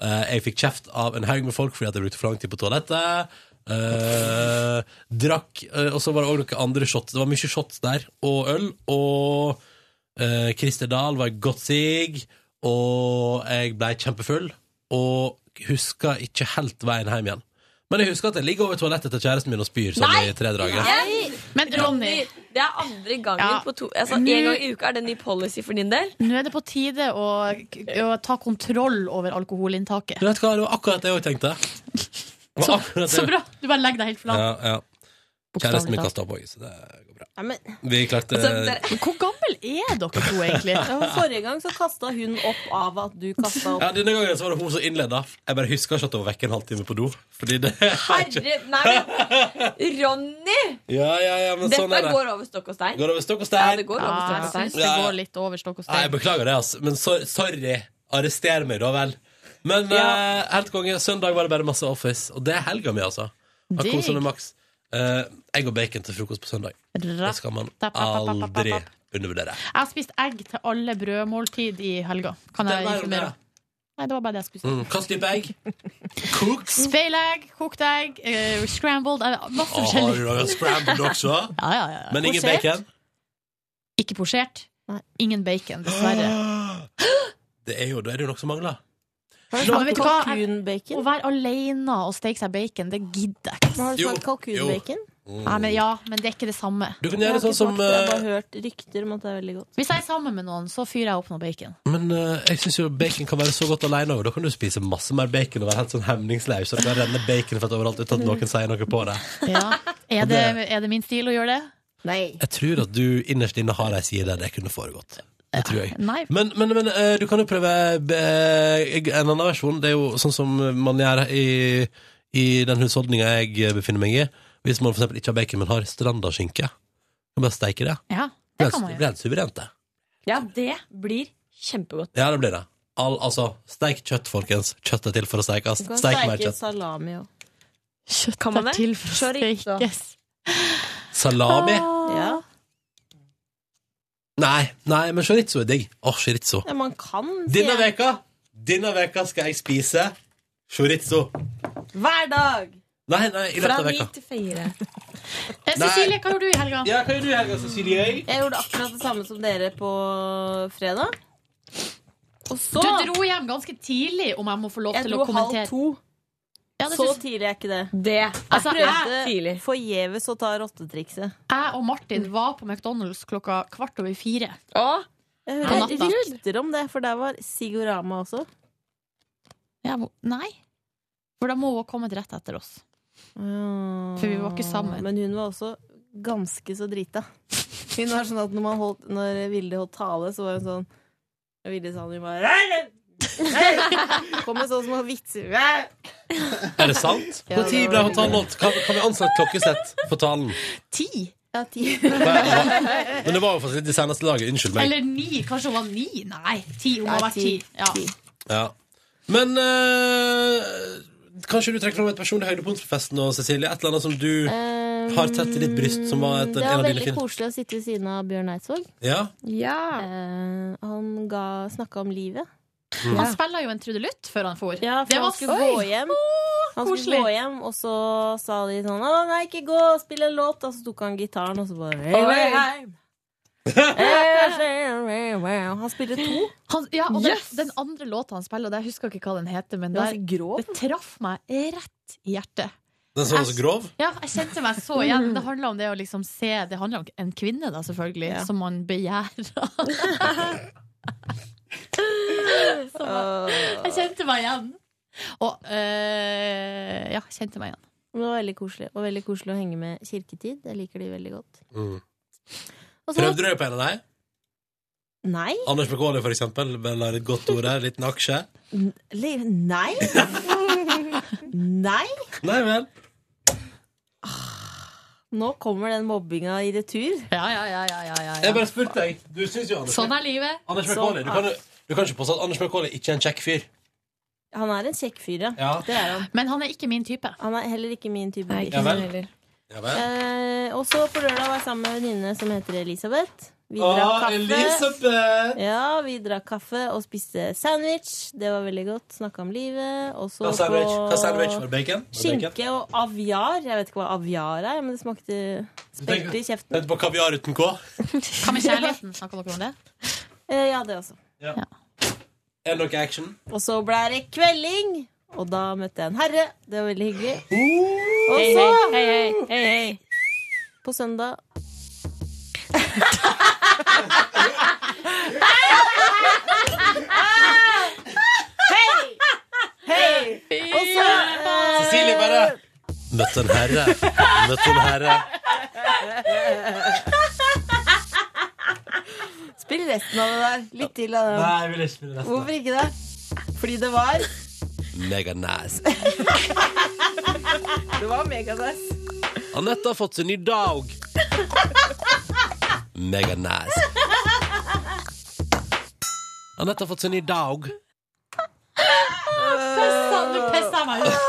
Speaker 2: Eh, jeg fikk kjeft av en haug med folk fordi at jeg brukte for lang tid på toalettet. Eh, drakk eh, Og så var det òg noen andre shots. Det var mye shots der, og øl. Og eh, Christer Dahl var godt sig, og jeg blei kjempefull. Og huska ikke helt veien hjem igjen. Men jeg husker at jeg ligger over toalettet til kjæresten min og spyr sånn i tre drager.
Speaker 10: Nei!
Speaker 3: Men Ronny
Speaker 10: Det er andre gangen
Speaker 3: Ja.
Speaker 10: på to altså,
Speaker 3: Nå-
Speaker 10: En gang i uka er det ny policy for din del.
Speaker 3: Nå er det på tide å, å ta kontroll over alkoholinntaket.
Speaker 2: Du vet hva, Det var akkurat det jeg òg tenkte. Det var akkurat det
Speaker 3: Så
Speaker 2: jeg-
Speaker 3: bra! Du bare legger deg helt flat.
Speaker 2: Ja, ja. Kjæresten min
Speaker 3: talt.
Speaker 2: kasta opp òg, så det går bra.
Speaker 13: Ja, men,
Speaker 2: Vi klarte
Speaker 13: Altså,
Speaker 2: [LAUGHS]
Speaker 13: dere-
Speaker 3: Hvor gammel er dere to, egentlig?
Speaker 13: ja, men forrige gang så kasta hun opp av at du kasta opp.
Speaker 2: ja, Denne gangen så var det hun som innleda. Jeg bare husker ikke at hun var vekke en halvtime på do. Fordi det
Speaker 10: Herre Nei, men Ronny!
Speaker 2: Ja, ja, ja, men
Speaker 10: Dette
Speaker 2: sånn er det.
Speaker 10: går over stokk og stein.
Speaker 2: Går det over stokk og stein.
Speaker 10: Ja, det går over stokk og stein.
Speaker 2: synes det Ja, ja. går
Speaker 3: litt over stokk og
Speaker 2: Nei, jeg beklager det, altså. Men so sorry. Arrester meg, da vel. Men eh, helt konge. Søndag var det bare masse Office. Og det er helga mi, altså. Har
Speaker 3: Digg.
Speaker 2: koset meg maks. Eh, egg og bacon til frokost på søndag. Det skal man aldri undervurdere.
Speaker 3: Jeg har spist egg til alle brødmåltid i helga. Kan
Speaker 2: Det
Speaker 3: jeg
Speaker 2: var jo
Speaker 3: informere
Speaker 2: bra.
Speaker 3: om? Nei, det var bare det jeg skulle si.
Speaker 2: Mm. Hva slags type egg?
Speaker 3: Speilegg, kokt egg, eh, scrambled eh, Masse
Speaker 2: Å, har du laget
Speaker 3: forskjellig.
Speaker 2: scrambled
Speaker 13: [LAUGHS]
Speaker 2: også?
Speaker 3: Ja, ja, ja.
Speaker 2: Men ingen
Speaker 3: Posert.
Speaker 2: bacon?
Speaker 3: Ikke posjert. Ingen bacon, dessverre.
Speaker 2: Det er jo, da er det jo noe som mangler.
Speaker 3: Ja, men vet du hva? Å være alene og steke seg bacon, det gidder jeg ikke.
Speaker 13: Har du smakt kalkunbacon?
Speaker 3: Nei, men ja, men det er ikke det samme.
Speaker 2: Du kan
Speaker 13: Jeg
Speaker 2: gjøre
Speaker 13: har
Speaker 2: sånn
Speaker 13: ikke
Speaker 2: som,
Speaker 13: smakt det, Jeg har
Speaker 2: eh,
Speaker 13: bare hørt rykter om at det er veldig godt.
Speaker 3: Hvis jeg er sammen med noen, så fyrer jeg opp noe bacon.
Speaker 2: Men eh, jeg syns jo bacon kan være så godt alene òg. Da kan du spise masse mer bacon og være helt sånn hemningsløs. Og det kan renne baconfett overalt uten at noen sier noe på det.
Speaker 3: Ja. Er, det, er det min stil å gjøre det?
Speaker 13: Nei.
Speaker 2: Jeg tror at du innerst inne har ei side der det kunne foregått. Det tror jeg.
Speaker 3: Nei.
Speaker 2: Men, men, men eh, du kan jo prøve eh, en annen versjon. Det er jo sånn som man gjør i, i den husholdninga jeg befinner meg i. Hvis man for eksempel ikke har bacon, men har strandaskinke. Kan bare steike det.
Speaker 3: Ja,
Speaker 2: Det
Speaker 3: det kan man
Speaker 2: blir
Speaker 3: gjøre.
Speaker 2: helt suverent, det.
Speaker 10: Ja, det blir kjempegodt.
Speaker 2: Ja, det blir det. Al, altså, steik kjøtt, folkens. Kjøtt er til for å steikes.
Speaker 13: Du kan
Speaker 2: Steik mer
Speaker 13: steike
Speaker 2: kjøtt.
Speaker 13: salami òg.
Speaker 3: Kjøtt
Speaker 13: Kan man
Speaker 3: er
Speaker 13: det?
Speaker 3: til for å
Speaker 13: Chorizo.
Speaker 3: steikes.
Speaker 2: Salami?
Speaker 13: Ja.
Speaker 2: Nei, nei, men chorizo er digg. Åh, chorizo.
Speaker 13: ja, man kan si
Speaker 2: Denne veka, denne veka skal jeg spise chorizo.
Speaker 10: Hver dag!
Speaker 2: Nei, nei, i løpet av veka.
Speaker 13: til fire.
Speaker 2: Eh, Cecilie, Nei.
Speaker 13: hva gjorde du i helga?
Speaker 2: Ja, hva gjorde du i helga, Cecilie?
Speaker 13: Jeg gjorde akkurat det samme som dere på fredag. Og så
Speaker 3: Du dro hjem ganske tidlig, om jeg må få lov
Speaker 13: Jeg
Speaker 3: til å
Speaker 13: dro halv
Speaker 3: kommentere.
Speaker 13: to.
Speaker 3: Ja, det
Speaker 13: Så
Speaker 3: synes-
Speaker 13: tidlig er ikke det.
Speaker 10: Det
Speaker 13: Jeg
Speaker 3: Altså, jeg-
Speaker 13: prøvde forgjeves å ta rottetrikset.
Speaker 3: Jeg og
Speaker 13: Mm.
Speaker 3: Martin var på McDonald's klokka kvart over fire.
Speaker 13: Jeg
Speaker 3: På
Speaker 13: hører
Speaker 3: natta.
Speaker 13: rykter om det, for der var Sigorama også.
Speaker 3: Ja, hvor- nei. For da må hun ha kommet rett etter oss.
Speaker 13: For
Speaker 3: vi var ikke sammen.
Speaker 13: Men hun var også ganske så drita. Hun var sånn at når, man holdt, når Vilde holdt tale, så var hun sånn Og Vilde sa hun var Kom med sånne små vitser.
Speaker 2: Er det sant?
Speaker 13: Ja,
Speaker 2: Når
Speaker 13: det
Speaker 2: tid
Speaker 13: var
Speaker 2: ble
Speaker 13: veldig
Speaker 2: talen holdt? Kan, kan vi ansette klokkesett for talen?
Speaker 3: Ti?
Speaker 13: Ja, ti.
Speaker 2: Men det var jo faktisk i seneste laget. Unnskyld meg.
Speaker 3: Eller ni. Kanskje hun var ni? Nei, ti. Hun
Speaker 13: Nei,
Speaker 3: har vært
Speaker 13: ti.
Speaker 3: ti. Ja.
Speaker 2: Ja. Men eh, kanskje du trekker fram et personlig høydepunkt fra festen nå, Cecilie? Et eller annet som du
Speaker 13: Um,
Speaker 2: har tett i ditt bryst, som var et,
Speaker 13: Det
Speaker 2: en
Speaker 13: var
Speaker 2: av dine
Speaker 13: veldig
Speaker 2: fine
Speaker 13: koselig å sitte ved siden av Bjørn Eidsvåg.
Speaker 2: Ja?
Speaker 13: Eh, han ga- snakka om livet.
Speaker 2: Mm.
Speaker 3: Han spiller jo en trudelutt før han for.
Speaker 13: Ja, for han skulle gå hjem. Han skulle
Speaker 3: koselig.
Speaker 13: gå hjem, og så sa de sånn 'Å, nei, ikke gå, spill en låt', og så tok han gitaren, og så bare hey,
Speaker 10: Oi.
Speaker 13: hey, hey. Hey, hey, hey, hey. Han spiller to.
Speaker 3: Han, ja, og den,
Speaker 13: Yes!
Speaker 3: den andre låta han spiller, der husker jeg ikke hva den heter, men
Speaker 13: Den var
Speaker 3: der,
Speaker 13: så [LAUGHS]
Speaker 3: det traff meg rett i hjertet.
Speaker 2: Den som var så grov?
Speaker 3: Ja, jeg kjente meg så igjen. Det handler om det å liksom se Det handler om en kvinne, da, selvfølgelig, som man begjærer. [LAUGHS] Som jeg- jeg kjente meg igjen. Og eh, ja, kjente meg igjen.
Speaker 13: Men Det var veldig koselig, og veldig koselig å henge med kirketid. Jeg liker de veldig godt.
Speaker 2: Mm.
Speaker 13: Og så-
Speaker 2: Prøvde du deg på en av dem?
Speaker 13: Nei.
Speaker 2: Anders McAuley, for eksempel. Vel, er et godt ord her. Liten aksje.
Speaker 13: N- le- Nei. [LAUGHS] Nei.
Speaker 2: Nei vel.
Speaker 13: Nå kommer den mobbinga i retur.
Speaker 3: Ja, ja, ja. ja, ja, ja.
Speaker 2: Jeg bare spurte deg. Du syns jo Anders
Speaker 3: Sånn er livet.
Speaker 2: Anders McAuley, du, kan, jo- du kan ikke påstå at Anders McAuley ikke er en kjekk fyr.
Speaker 13: Han er en kjekk fyr, ja.
Speaker 2: Ja.
Speaker 13: Det er han.
Speaker 3: Men han er ikke min type.
Speaker 13: Han er heller ikke sånn min type.
Speaker 2: Nei, ikke Ja vel. min heller. Ja vel.
Speaker 13: Eh, og så på lørdag var jeg sammen med en venninne som heter Elisabeth. Vi
Speaker 2: Å,
Speaker 13: drakk kaffe.
Speaker 2: Elisabeth!
Speaker 13: Ja, vi drakk kaffe og spiste sandwich. Det var veldig godt. Snakka om livet. Og så
Speaker 2: Hva sandwich?
Speaker 13: på
Speaker 2: Hva sandwich? Var det bacon? Var det bacon?
Speaker 13: Skinke og aviar. Jeg vet ikke hva aviar er, men det smakte Spilte i kjeften.
Speaker 2: Vent på kaviar uten K.
Speaker 3: Hva med kjærligheten? Snakker dere om det?
Speaker 13: Eh, ja, det også.
Speaker 2: Er det noe action?
Speaker 13: Og så ble det kvelding, og da møtte jeg en herre. Det var veldig hyggelig. Og
Speaker 10: Hei,
Speaker 13: så
Speaker 10: hei, hei, hei,
Speaker 13: På søndag Hei! Hei! Og så eh,
Speaker 2: Cecilie bare Møtte en herre. Møtte en herre.
Speaker 13: Spill resten av det der. Litt til av det.
Speaker 2: Nei, jeg vil ikke spille resten.
Speaker 13: Hvorfor ikke det? Fordi det var
Speaker 2: Mega nice.
Speaker 13: Det var megadass.
Speaker 2: Anette har fått sin ny dag. Mega nice. Anette har fått sin ny dag.
Speaker 3: Pissa, nå pissa jeg meg ut.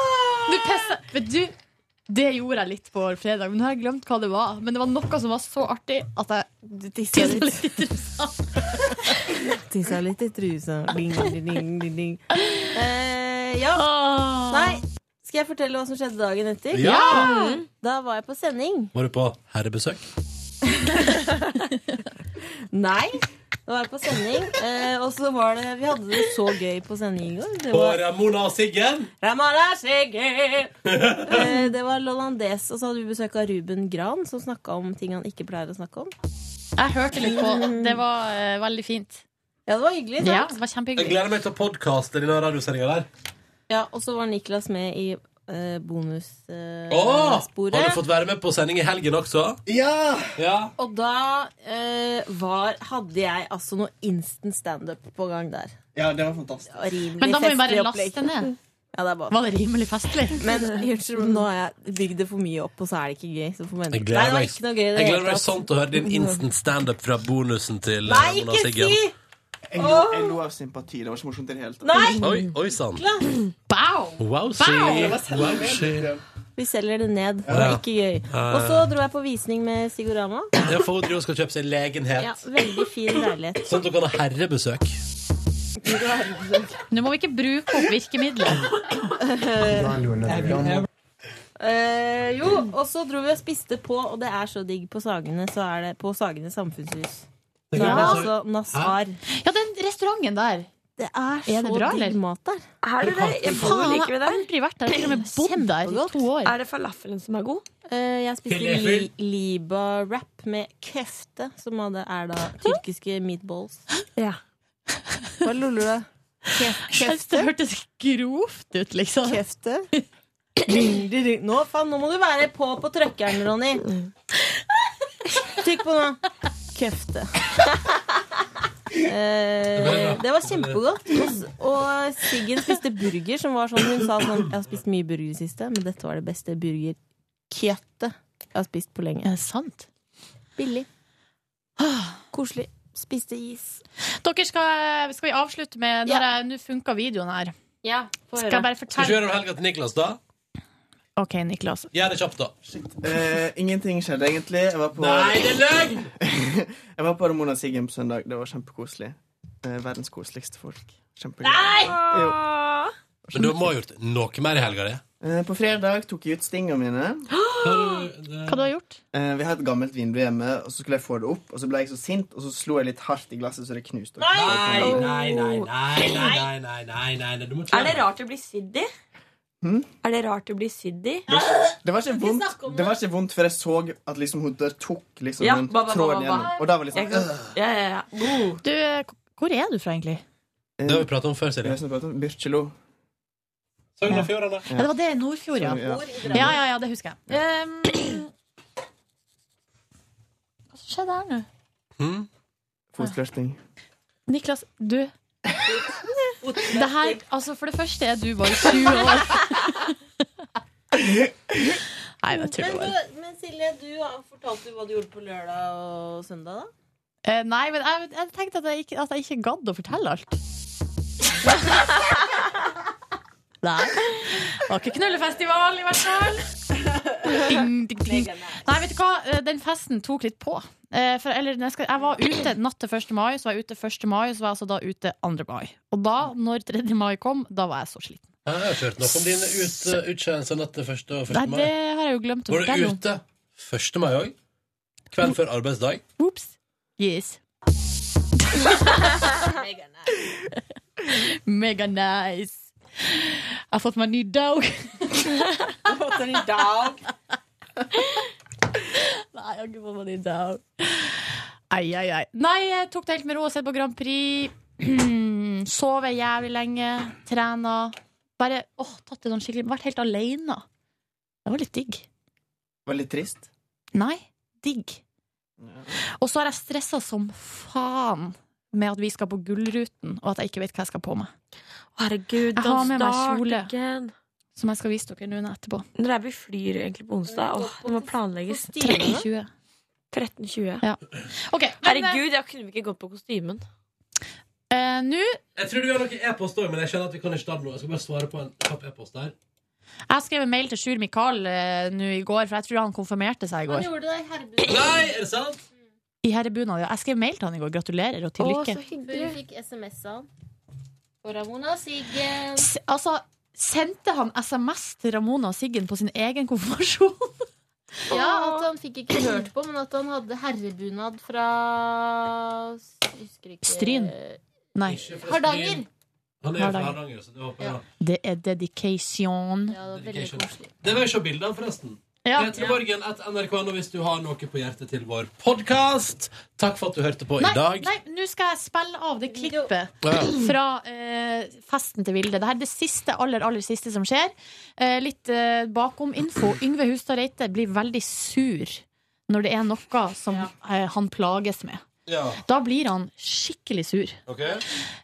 Speaker 3: Nå pissa- Vet du, det gjorde jeg litt på fredag, men nå har jeg glemt hva det var. Men det var noe som var så artig at jeg tissa litt i trusa.
Speaker 13: Tissa litt i trusa. Ding, ding, ding, ding, ding. Eh, ja. Nei, skal jeg fortelle hva som skjedde dagen etter?
Speaker 2: Ja!
Speaker 13: Mhm. Da var jeg på sending.
Speaker 2: Var du på herrebesøk?
Speaker 13: Nei. Da var jeg på sending, eh, og så var det Vi hadde det så gøy på sending i går. Det
Speaker 2: På
Speaker 13: var
Speaker 2: Ramona og Siggen?
Speaker 13: Ramona Sigge! Eh, Det var Lollandes, og så hadde vi besøk av Ruben Gran, som snakka om ting han ikke pleier å snakke om.
Speaker 3: Jeg hørte litt på. Det var eh, veldig fint.
Speaker 13: Ja, det var hyggelig.
Speaker 3: Ja,
Speaker 13: sant?
Speaker 3: det var
Speaker 2: Jeg
Speaker 3: kjempehyggelig.
Speaker 2: gleder meg til podkasten i den radiosendinga der.
Speaker 13: Ja, og så var Niklas med i eh, bonussporet.
Speaker 2: Åh! Har du fått være med på sending i helgen også?
Speaker 13: Ja!
Speaker 2: Ja.
Speaker 13: Og da eh, var, hadde jeg altså noe instant standup på gang der.
Speaker 12: Ja, det var fantastisk.
Speaker 13: Og rimelig
Speaker 3: Men da må vi
Speaker 13: festlig
Speaker 3: bare
Speaker 13: opplegg.
Speaker 3: laste ned.
Speaker 13: Ja, det er bare...
Speaker 3: Var det rimelig festlig?
Speaker 13: Men unnskyld, men nå har jeg bygd det for mye opp, og så er det ikke gøy. Så får man...
Speaker 2: Jeg
Speaker 13: Nei,
Speaker 2: gleder
Speaker 13: det var
Speaker 2: meg,
Speaker 13: ikke noe gøy. i det
Speaker 2: jeg gleder
Speaker 13: hele
Speaker 2: meg
Speaker 13: tatt.
Speaker 2: sånn til å høre din instant standup fra bonusen til eh,
Speaker 13: Nei,
Speaker 2: Mona
Speaker 13: ikke
Speaker 2: Siggen.
Speaker 13: si!
Speaker 12: Jeg lo, jeg lo av sympati. Det var ikke morsomt i det hele tatt.
Speaker 13: Nei!
Speaker 2: Oi, oi sann.
Speaker 3: Bow!
Speaker 2: Wow,
Speaker 13: Det var
Speaker 2: she.
Speaker 13: selv-
Speaker 2: Wow, she.
Speaker 13: Vi selger det ned. Det
Speaker 2: Ja.
Speaker 13: er ikke gøy.
Speaker 2: Ja.
Speaker 13: Og så dro jeg på visning med Sigorama.
Speaker 2: Ja, for hun driver og skal kjøpe seg
Speaker 13: Ja,
Speaker 2: legenhet.
Speaker 13: veldig fin leilighet.
Speaker 2: Sånn at hun kan ha herrebesøk.
Speaker 3: Nå må vi ikke bruke opp virkemidlet.
Speaker 13: Eh, jo, og så dro vi og spiste på, og det er så digg på Sagene, så er det på Sagene samfunnshus. Så er det
Speaker 3: Ja.
Speaker 13: altså Nasar.
Speaker 3: Ja, den restauranten der.
Speaker 13: Det er
Speaker 3: Er det
Speaker 13: så
Speaker 3: bra, eller?
Speaker 13: digg mat der.
Speaker 10: Er det det? Jeg bor
Speaker 3: Faen, jeg
Speaker 10: like ved
Speaker 3: har
Speaker 10: der.
Speaker 3: aldri vært der. Jeg har til og med bodd der i to år.
Speaker 10: Er det falafelen som er god?
Speaker 13: Eh, jeg spiste li
Speaker 10: Falafel.
Speaker 13: Liba-wrap med køfte, som hadde, er da tyrkiske meatballs.
Speaker 10: Ja.
Speaker 13: Hva loller du av? [LAUGHS]
Speaker 3: Det hørtes grovt ut, liksom.
Speaker 13: Kjefte? [CLEARS THROAT] Nå, faen, nå må du være på på trøkkeren, Ronny. Trykk på nå. Kjefte. [LAUGHS] Eh, det var kjempegodt. Og s- Og Siggen spiste burger, som var sånn hun sa sånn Jeg har spist mye burger i det siste, men dette var det beste burgerkjøttet jeg har spist på lenge.
Speaker 3: Er det sant?
Speaker 13: Billig. Koselig. Spiste is.
Speaker 3: Dere skal, skal vi avslutte med Nå har jeg- Nå funka videoen her.
Speaker 13: Ja, få
Speaker 3: Skal jeg bare
Speaker 2: Skal vi
Speaker 3: fortelle
Speaker 2: ikke høre om helga til Niklas, da?
Speaker 3: OK, Niklas.
Speaker 2: Gjør det kjapt, da.
Speaker 12: Eh, ingenting skjedde egentlig. Jeg var på
Speaker 2: Nei, det er løgn!
Speaker 12: [LAUGHS] jeg var på Ramona Siggen på søndag. Det var kjempekoselig. Eh, verdens koseligste folk. Kjempegøy. Jo.
Speaker 2: Men du må ha gjort noe mer i helga, det.
Speaker 12: Eh, på fredag tok jeg ut stinga mine.
Speaker 3: Hva du har gjort?
Speaker 12: Eh, vi har et gammelt vindu hjemme, og så skulle jeg få det opp. Og så ble jeg så sint, og så slo jeg litt hardt i glasset, så det knuste.
Speaker 2: Nei, nei, nei, nei, nei, nei, nei, nei, nei. Du må ikke
Speaker 10: Er det rart å bli sydd i?
Speaker 12: Hm?
Speaker 10: Er det rart å bli sydd i?
Speaker 12: Det var ikke vondt, det. var ikke vondt før jeg så at liksom hun der tok liksom
Speaker 10: Ja,
Speaker 12: den
Speaker 10: ba, ba, ba,
Speaker 12: tråden
Speaker 10: ba, ba.
Speaker 12: gjennom. Og da var det
Speaker 10: Jeg kan-
Speaker 12: liksom øh.
Speaker 10: Ja, ja, ja.
Speaker 3: Du, hvor er du fra, egentlig?
Speaker 12: Eh, Det sånn
Speaker 2: har vi prata om før, Silje.
Speaker 12: Byrkjelo.
Speaker 3: Ja, det var det. Nordfjord, ja.
Speaker 12: Ja.
Speaker 3: Ja, ja, ja, det husker jeg. Um, [CLEARS THROAT] hva som skjedde her nå?
Speaker 12: Fotflørting.
Speaker 3: Niklas, du Det her, altså For det første er du bare 20 år. Nei, det tuller jeg bare.
Speaker 13: Men, men Silje, du har- fortalte jo hva du gjorde på lørdag og søndag, da.
Speaker 3: Eh, Nei, men jeg, jeg tenkte at jeg, ikke, at jeg ikke gadd å fortelle alt. [LAUGHS] Nei. Det var ikke knullefestival, i hvert fall. Ding, ding, ding. Nei, vet du hva? Eh, Den festen tok litt på. Eh, For, eller, jeg, skal, jeg var ute natt til 1. mai, så var jeg ute 1. mai, så var jeg altså da ute 2. mai. Og da, når 3. mai kom, da var jeg så sliten.
Speaker 2: Jeg har ikke hørt noe om din ut, utkjennelse natt til 1. og 1.
Speaker 3: Nei,
Speaker 2: mai.
Speaker 3: det har jeg jo glemt å
Speaker 2: Var du
Speaker 3: fortelle om.
Speaker 2: ute 1. mai òg? Kvelden før arbeidsdag?
Speaker 3: Ops. Yes. Mega nice. Jeg har fått meg ny dog.
Speaker 13: Fått en dag.
Speaker 3: Nei, jeg har ikke fått meg ny dog. Ai, ai, ai. Nei, jeg tok det helt med ro og sett på Grand Prix. [CLEARS THROAT] Sove jævlig lenge. Trena. Bare åh, tatt det sånn skikkelig. Vært helt aleine. Det var litt digg.
Speaker 12: Var litt trist.
Speaker 3: Nei, digg. Og så har jeg stressa som faen med at vi skal på Gullruten, og at jeg ikke vet hva jeg skal på meg.
Speaker 10: Herregud,
Speaker 3: Jeg har med meg
Speaker 10: start
Speaker 3: kjole.
Speaker 10: Igjen.
Speaker 3: Som jeg skal vise dere nå etterpå.
Speaker 10: Når er vi flyr egentlig på onsdag? Åh, det må planlegges.
Speaker 3: 13.20.
Speaker 10: 13.20.
Speaker 3: Ja.
Speaker 10: Herregud, jeg kunne ikke gått på kostymen.
Speaker 3: Eh, Nå
Speaker 2: Jeg tror vi har noen e-post òg, men jeg skjønner at vi kan ikke ta det nå. Jeg skal bare svare på en kjapp e-post her.
Speaker 3: Jeg skrev en mail til Sjur Mikael eh, nå i går, for jeg tror han konfirmerte seg i
Speaker 13: Han
Speaker 3: går.
Speaker 13: gjorde det i herrebunad.
Speaker 2: Nei, er det sant?
Speaker 3: I herrebunad, ja. Jeg skrev mail til han i går. Gratulerer og til lykke.
Speaker 13: Før vi fikk SMS av han. Og Ramona Siggen.
Speaker 3: S- Altså, sendte han SMS til Ramona og Siggen på sin egen konfirmasjon? [LAUGHS]
Speaker 13: Ja, at han fikk ikke hørt på, men at han hadde herrebunad fra jeg husker ikke.
Speaker 3: Stryn? Nei.
Speaker 13: Hardanger.
Speaker 2: Han er jo fra
Speaker 3: Hardanger.
Speaker 2: Hardanger, så det håper jeg.
Speaker 3: Det er dedication.
Speaker 13: Ja, det var veldig koselig.
Speaker 2: Det vil jeg se bilde av, forresten.
Speaker 3: Ja.
Speaker 2: Peterborgen at nrk.no hvis du har noe på hjertet til vår podkast. Takk for at du hørte på
Speaker 3: Nei,
Speaker 2: i dag.
Speaker 3: nei, nå skal jeg spille av det klippet
Speaker 2: Ja.
Speaker 3: fra eh, festen til Vilde. Dette er det siste, aller, aller siste som skjer. Eh, litt eh, bakom-info. Yngve Hustad Reite blir veldig sur når det er noe som eh, han plages med.
Speaker 2: Ja.
Speaker 3: Da blir han skikkelig sur.
Speaker 2: Ok?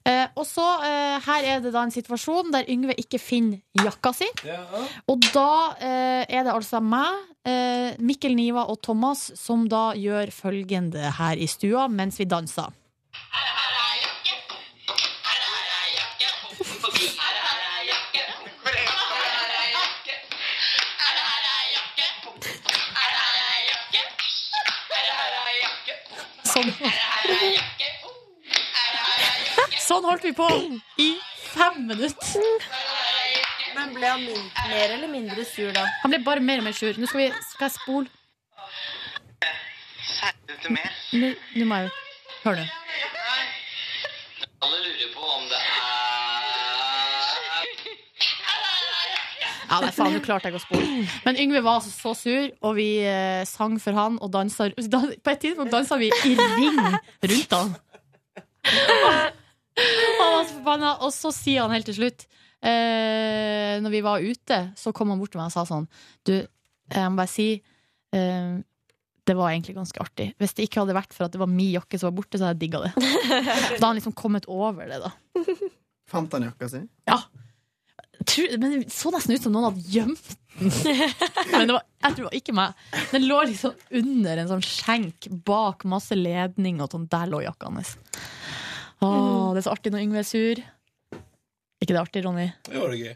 Speaker 3: Eh, og så, eh, her er det da en situasjon der Yngve ikke finner jakka si. Og da eh, er det altså meg, eh, Mikkel Niva og Thomas som da gjør følgende her i stua mens vi danser. Sånn. Sånn holdt vi på i fem minutter.
Speaker 13: Men ble han min- mer eller mindre sur da?
Speaker 3: Han ble bare mer og mer sur. Nå skal, vi, skal jeg spole. Nå, nå må jeg Hør nå.
Speaker 17: Alle lurer på om det er
Speaker 3: Ja, nei, faen, nå klarte jeg ikke å spole. Men Yngve var altså så sur, og vi eh, sang for han og dansa [LAUGHS] dan, På et tidspunkt dansa vi i ring rundt han. Han var så forbanna, og så sier han helt til slutt eh, Når vi var ute, så kom han bort til meg og sa sånn Du, jeg må bare si eh, Det var egentlig ganske artig. Hvis det ikke hadde vært for at det var min jakke som var borte, så hadde jeg digga [LAUGHS] det. Så da har han liksom kommet over det, da.
Speaker 12: Fant han jakka si?
Speaker 3: Tror- Men det så nesten ut som noen hadde gjemt den. [LAUGHS] Men det var, jeg tror det var ikke meg. Den lå liksom under en sånn skjenk bak masse ledning, og sånn. der lå jakka hans. Å, det er så artig når Yngve er sur. Ikke det artig, Ronny?
Speaker 2: Det var det gøy.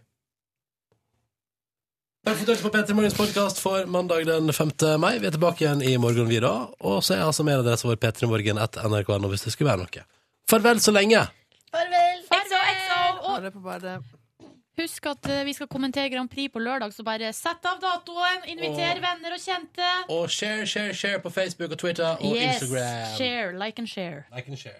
Speaker 2: Takk for at du hørte på Peter Morgens podkast for mandag den 5. mai. Vi er tilbake igjen i morgen, vi da. Og så er altså mailadressen vår p3morgen.nrk.no hvis det skulle være noe. Farvel så lenge!
Speaker 3: Farvel!
Speaker 12: Ha det på badet.
Speaker 3: Husk at eh, vi skal kommentere Grand Prix på lørdag, så bare sett av datoen.
Speaker 2: Åh.
Speaker 3: Inviter venner og kjente.
Speaker 2: Og share, share, share på Facebook og Twitter og
Speaker 3: Yes.
Speaker 2: Instagram.
Speaker 3: Share. Like and share.
Speaker 2: Like and share.